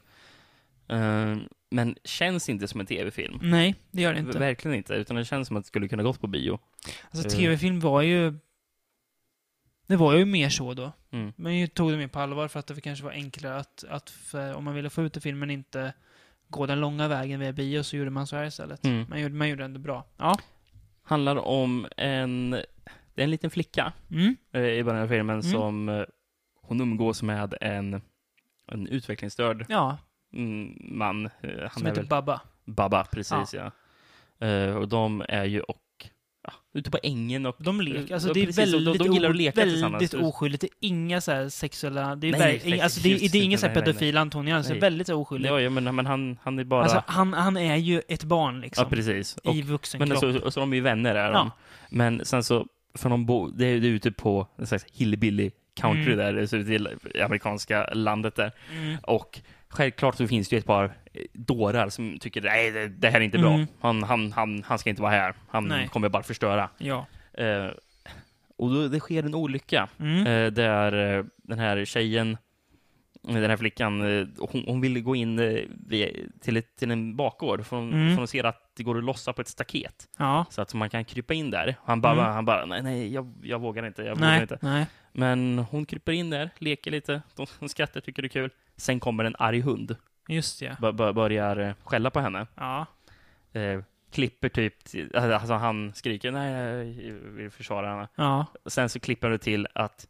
Eh, eh, men känns inte som en tv-film.
Nej, det gör det inte.
eh. Verkligen inte. Utan det känns som att det skulle kunna gått på bio.
Alltså
Eh.
tv-film var ju Det var ju mer så då.
Mm.
Men jag tog det mer på allvar för att det kanske var enklare att, att för, om man ville få ut en film men inte gå den långa vägen via bio så gjorde man så här istället.
Mm.
Man, gjorde, man gjorde det ändå bra. Ja.
Handlar om en, det är en liten flicka
Mm.
eh, i början av filmen
Mm.
som eh, hon umgås med en, en utvecklingsstörd
Ja,
mm, man. Eh, Han
som
är
heter
väl
Babba.
Baba, precis ja. Eh, och de är ju och ja, ute på ängen och
De leker, alltså
Ja,
det är
precis, och Eh, de-
väldigt,
de gillar att leka
o- väldigt
tillsammans.
oskyldigt. Det är inga så här sexuella, det är,
Nej,
nej,
nej,
alltså det, är,
just
det är ingen
inte,
så här
nej, nej,
pedofil Antonija, alltså
Nej.
väldigt så här oskyldigt.
Ja, ja men, men han, han är bara...
Alltså han, han är ju ett barn liksom.
ja, precis. Och,
I vuxen
men alltså,
kropp.
så, och så de är ju vänner är de.
Ja.
Men sen så, för de bo, det är ju ute på en slags hillbilly country
Mm.
där, så ute i amerikanska landet där.
Mm.
Och självklart så finns det ju ett par eh, dårar som tycker nej, det, det här är inte bra.
Mm.
Han, han, han, han ska inte vara här. Han
Nej.
kommer bara förstöra.
Ja.
Eh, och då, det sker en olycka
Mm.
eh, där eh, den här tjejen, eh, den här flickan, eh, hon, hon vill gå in eh, via, till, ett, till en bakgård för hon,
Mm.
för hon ser att det går att lossa på ett staket
Ja.
så att man kan krypa in där. Han bara,
Mm.
han bara nej, nej, jag, jag vågar inte, jag vågar
Nej,
inte.
nej.
Men hon kryper in där, leker lite, de, de skrattar, tycker det är kul. Sen kommer en arg hund,
Just det.
bör- bör- börjar eh, skälla på henne.
Ja.
Eh, klipper typ, till- alltså han skriker nej, jag vill försvara henne.
Ja.
Och Sen så klipper det till att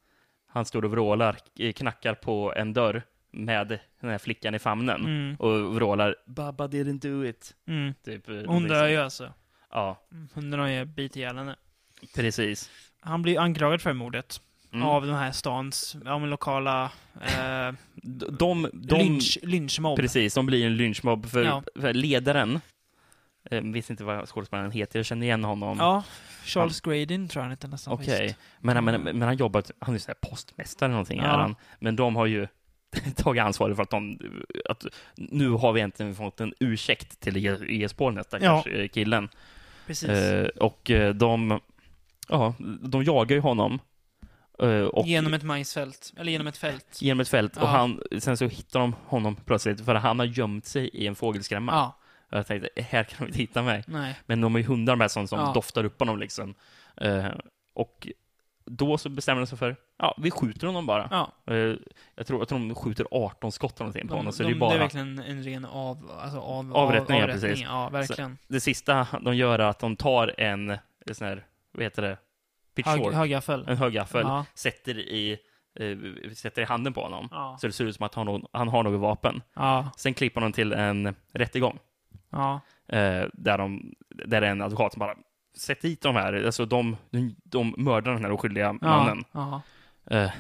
han står och vrålar, eh, knackar på en dörr med den här flickan i famnen.
Mm.
Och vrålar “Baba didn't do it”.
Mm.
Typ, eh,
Hon
någonting
dör
så.
ju alltså.
Ja,
Hunden har ju bitit ihjäl henne.
precis.
Han blir anklagad för mordet
Mm.
av de här stans, ja men lokala, eh,
D- de, de,
lynch, lynchmobb.
Precis, de blir en lynchmobb för,
Ja.
för ledaren. Jag visste inte vad skådespelaren heter, jag känner igen honom.
Ja, Charles Gradin tror jag han hette nästan.
Okej,
visst.
men, men, men han jobbar, han är så här postmästare eller någonting,
Ja.
är han. men de har ju tagit ansvar för att de, att nu har vi äntligen fått en ursäkt till ES-spåren, den
Ja.
stackars eh, killen.
Precis.
Eh, och eh, de, ja, de jagar ju honom. eh, och
genom ett majsfält, eller genom ett fält.
genom ett fält,
Ja.
och han, sen så hittar de honom plötsligt, för han har gömt sig i en fågelskrämma.
Ja,
Och jag tänkte, här kan de inte hitta mig.
nej.
Men de har ju hundar med som, som
Ja.
doftar upp honom liksom. Eh, och då så bestämmer de sig för, ja, vi skjuter honom bara.
Ja,
Eh, jag, tror, jag tror de skjuter 18 skott eller någonting på
de,
honom, så
de,
det är bara...
är verkligen en ren av, alltså av,
Avrättning, ja,
av, avrättning.
precis.
Ja, verkligen.
Det sista de gör är att de tar en, en sån här, vad heter det? Pitchfork?
Hög, högaffel.
en högaffel,
Ja.
sätter, i, eh, sätter i handen på honom.
Ja.
Så det ser ut som att han, har någon- han har något vapen.
Ja,
Sen klipper de till en rättegång.
ja.
eh, där, de, där det är en advokat som bara Sätt dit de här, alltså de, de, de mördar den här oskyldiga mannen.
Ja, ja.
Eh,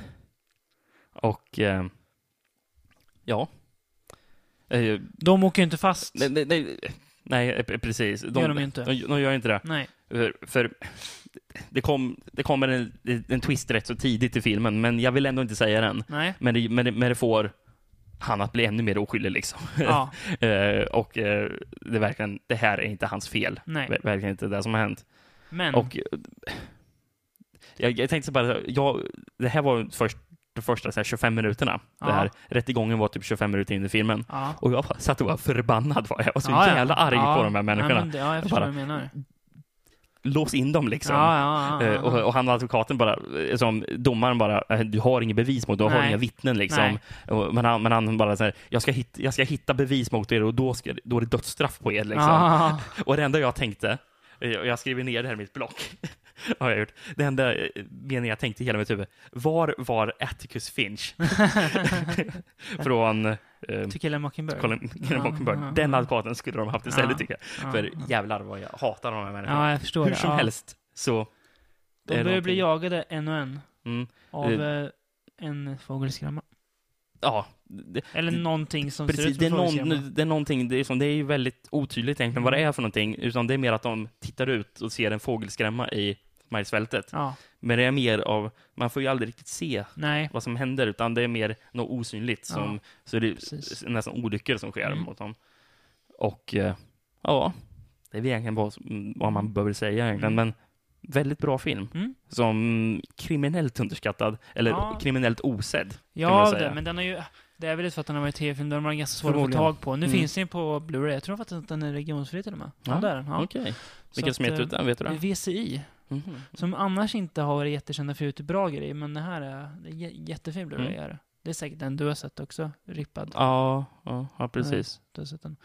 och eh, ja. Eh,
De åker ju inte fast.
nej, nej, nej, nej, eh, precis. De,
Gör de ju inte.
De, de gör inte det.
Nej.
För, för det, kom, det kommer en, en twist rätt så tidigt i filmen, men jag vill ändå inte säga den.
Nej.
Men det, men det, men det får han att bli ännu mer oskyldig liksom.
Ja,
Eh, och eh, det, är verkligen, det här är inte hans fel.
nej.
Ver- Verkligen inte det som har hänt.
Men,
Och eh, jag, jag tänkte så bara, jag, det här var först, de första så här, 25 minuterna. Det här,
Ja.
rättegången var typ 25 minuter in i filmen.
ja.
Och jag bara satt och var förbannad. Var jag. jag var så
Ja, ja.
jävla arg
Ja. Mm.
på de här människorna.
Ja, men det, ja jag förstår
bara-
vad du menar.
Lås in dem liksom.
Ja, ja, ja, ja.
Eh, Och, och han advokaten bara, eh, som domaren bara, eh, du har inget bevis mot, du har
Nej.
inga vittnen liksom.
Nej.
Och, men, han, men han bara så här, jag ska, hitta, jag ska hitta bevis mot er och då, ska, då är det dödsstraff på er liksom.
Ja,
Och det enda jag tänkte, eh, och jag skriver ner det här i mitt block, har jag gjort. Det enda eh, meningen jag tänkte i hela mitt huvud, var var Atticus Finch? Från eh,
To kill a mockingbird.
Colin, Colin Mockenberg.
ja,
Den advokaten skulle de haft istället
Ja,
tycker jag.
ja,
För
ja.
jävlar vad jag hatar de här människorna.
Ja, jag förstår
Hur
det.
som
ja.
helst så...
De
är det
börjar bli
någonting-
jagade en och en
Mm.
av
Eh,
eh, en fågelskrämma.
Ja, det,
Eller
det-
någonting som ser
precis.
ut
Det är,
som fågelskrämma.
någon, det är någonting, det är, som, det är ju väldigt otydligt egentligen vad det
Mm.
är för någonting. Utan det är mer att de tittar ut och ser en fågelskrämma i majsfältet.
Ja,
Men det är mer av, man får ju aldrig riktigt se
nej.
vad som händer, utan det är mer något osynligt.
Ja,
Som, så det är
precis.
nästan olyckor som sker
Mm.
mot dem. Och eh, ja, det är väl egentligen vad, som- vad man behöver säga egentligen,
Mm.
men väldigt bra film.
Mm.
Som kriminellt underskattad, eller
Ja.
kriminellt osedd. man
Ja,
säga.
det, men den har ju... Det är väl för att den har varit tv-film, den var ganska svår att få
Förmodligen.
tag på. Nu
Mm.
finns den ju på Blu-ray. Jag tror faktiskt att den är regionsfri till och med. Ja,
Ja,
där är den. Ja.
Okej.
Så
Vilka
att,
som heter
eh, Mm.
ut den, vet du det?
VCI.
Mhm.
Som annars inte har varit jättekända för att gjort bra grejer, men det här är, det är jä- jättefin blu
Mm.
mm. Det är säkert den du har sett också, Rippad. Eh,
Ja, ja, ja, precis.
Du har sett den.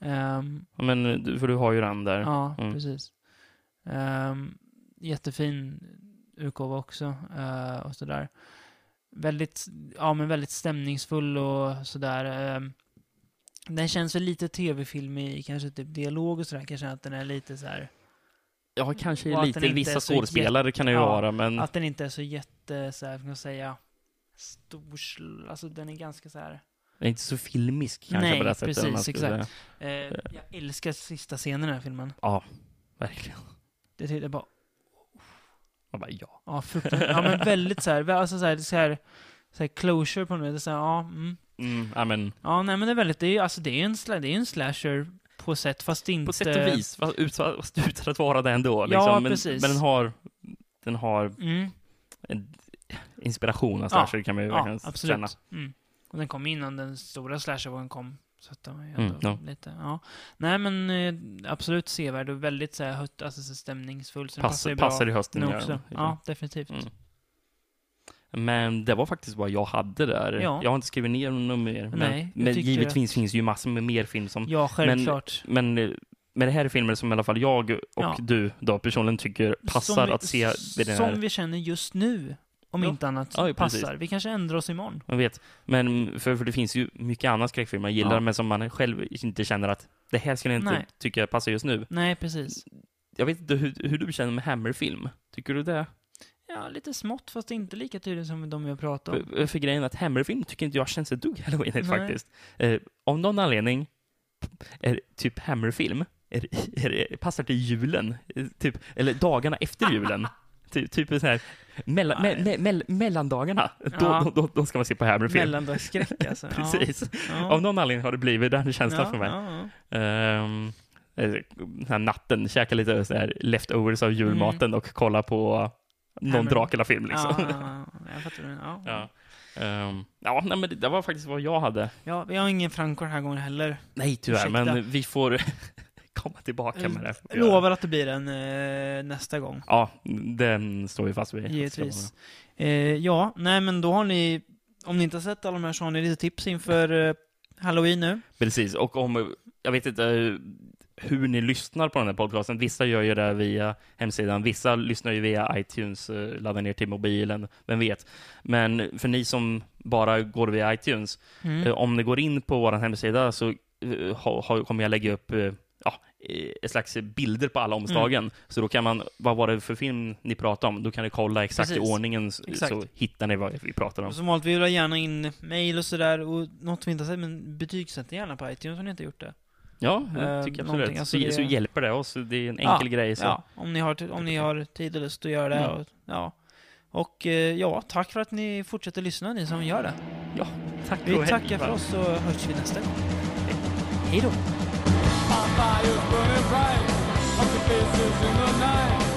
Ehm,
Men du- för du har ju den där.
ja,
Mm.
precis. Ehm, jättefin utgåva också, eh, och sådär. Väldigt, ja men väldigt stämningsfull och sådär. ehm. den känns väl lite tv-film i kanske typ dialog och sådär, kanske att den är lite så här.
Ja, kanske
Och att
lite.
den inte är
Vissa
så jätte-
skådespelare kan det ju
Ja,
vara, men...
Att den inte är så jätte, så här, får man säga, storsl... Alltså den är ganska så här...
Det är inte så filmisk kanske
Nej,
på det sättet.
precis,
om man skulle
exakt.
säga.
Eh, jag älskar sista scenen i den här filmen.
Ja, verkligen.
Det tyckte jag bara,
Man bara, ja.
ja fruktansvärt. Ja men väldigt så här, vä- alltså så här, så här, så här closure på något vis. Så här, ja, mm.
Mm, ja, men
ja, nej men det är väldigt, det är ju, alltså det är ju en, sla, det är ju en slasher på sätt, fast inte...
på sätt och vis, fast ut- fast utan att vara det ändå.
Ja,
Liksom. men,
precis.
men den har, den har
Mm,
inspiration av
Ja,
slasher, kan man ju
ja,
verkligen känna.
absolut. Mm. Och den kom innan den stora slashervågen kom. Så att de är ju
Mm,
ändå
ja.
lite, ja. Nej men eh, absolut sevärd och väldigt så här hött, alltså så stämningsfull. Så den
Pass,
passar ju bra.
passar i hösten.
den
gör
också.
den.
Ja, definitivt.
Mm. Men det var faktiskt vad jag hade där.
Ja.
Jag har inte skrivit ner något mer. Men,
Nej, jag
men
tycker
givetvis finns ju massor med mer film som...
Ja, självklart.
Men, eh, men det här är filmer som i alla fall jag och
Ja.
du då personligen tycker passar
Som vi-
att se vid den här...
Som vi känner just nu, om
Ja.
inte annat,
Ja, ju
passar.
precis.
Vi kanske ändrar oss imorgon.
Man vet. Men för, för det finns ju mycket annan skräckfilm man gillar,
Ja.
men som man själv inte känner att det här skulle jag inte
Nej.
tycka passar just nu.
Nej, precis.
Jag vet inte hur, hur du känner med Hammerfilm. Tycker du det?
Ja, lite smått, fast inte lika tydligt som de jag pratade om.
För, för grejen är att Hammerfilm tycker inte jag känns ett dugg
Nej.
halloweenigt faktiskt. Eh, om någon anledning är typ Hammerfilm är, är, är, passar till julen, eh, typ, eller dagarna efter julen. Ty, typ så här, mellan, me, me, mell- mellandagarna,
Ja.
då, då, då, då ska man se på Hammerfilm.
Mellandagsskräck alltså.
Precis.
Ja, ja.
Av någon anledning har det blivit den känslan
ja,
för mig.
Ja, ja.
Ehm, eh, den här natten, käka lite så här leftovers av julmaten och kolla på någon
Mm. Hammer.
Dracula-film liksom.
Ja, ja, ja. jag fattar. vad du menar.
Ja.
Ja.
Ehm, ja, nej, men det, det var faktiskt vad jag hade.
ja, vi har ingen Franco den här gången heller.
Nej, tyvärr,
Ursäkta.
men vi får komma tillbaka med det. här, får vi
Jag lovar att det blir en eh, nästa gång.
göra. Ja, den står vi fast vid.
Givetvis. Eh, ja, nej men då har ni, om ni inte har sett alla de här så har ni lite tips inför eh, Halloween nu.
Precis, och om, jag vet inte eh, hur ni lyssnar på den här podcasten. Vissa gör ju det via hemsidan, vissa lyssnar ju via iTunes, eh, laddar ner till mobilen, vem vet. Men för ni som bara går via iTunes,
Mm.
eh, om ni går in på vår hemsida så eh, ha, ha, kommer jag lägga upp eh, ja, eh, ett slags bilder på alla omslagen.
Mm.
Så då kan man, vad var det för film ni pratade om? Då kan ni kolla exakt i
Precis.
ordningen s-
Exakt.
så hittar ni vad vi pratar om.
Och som vanligt, vi vill ha gärna in mail och sådär, och något vi inte har sett, men betygsätt gärna på iTunes om ni inte gjort det.
Ja,
Eh,
det tycker jag absolut.
någonting, alltså
så,
det-
så hjälper det oss. Det är en enkel
Ja,
grej. Så. Mm.
Ja, om ni har, om ni har tid och lust att göra det.
Ja.
Och, ja. och eh, ja, tack för att ni fortsätter lyssna, ni som gör det.
Ja, tack och
Vi
hej.
tackar för oss och hörs vi nästa gång. Hej då!
My fire's burning bright, up the faces in the night.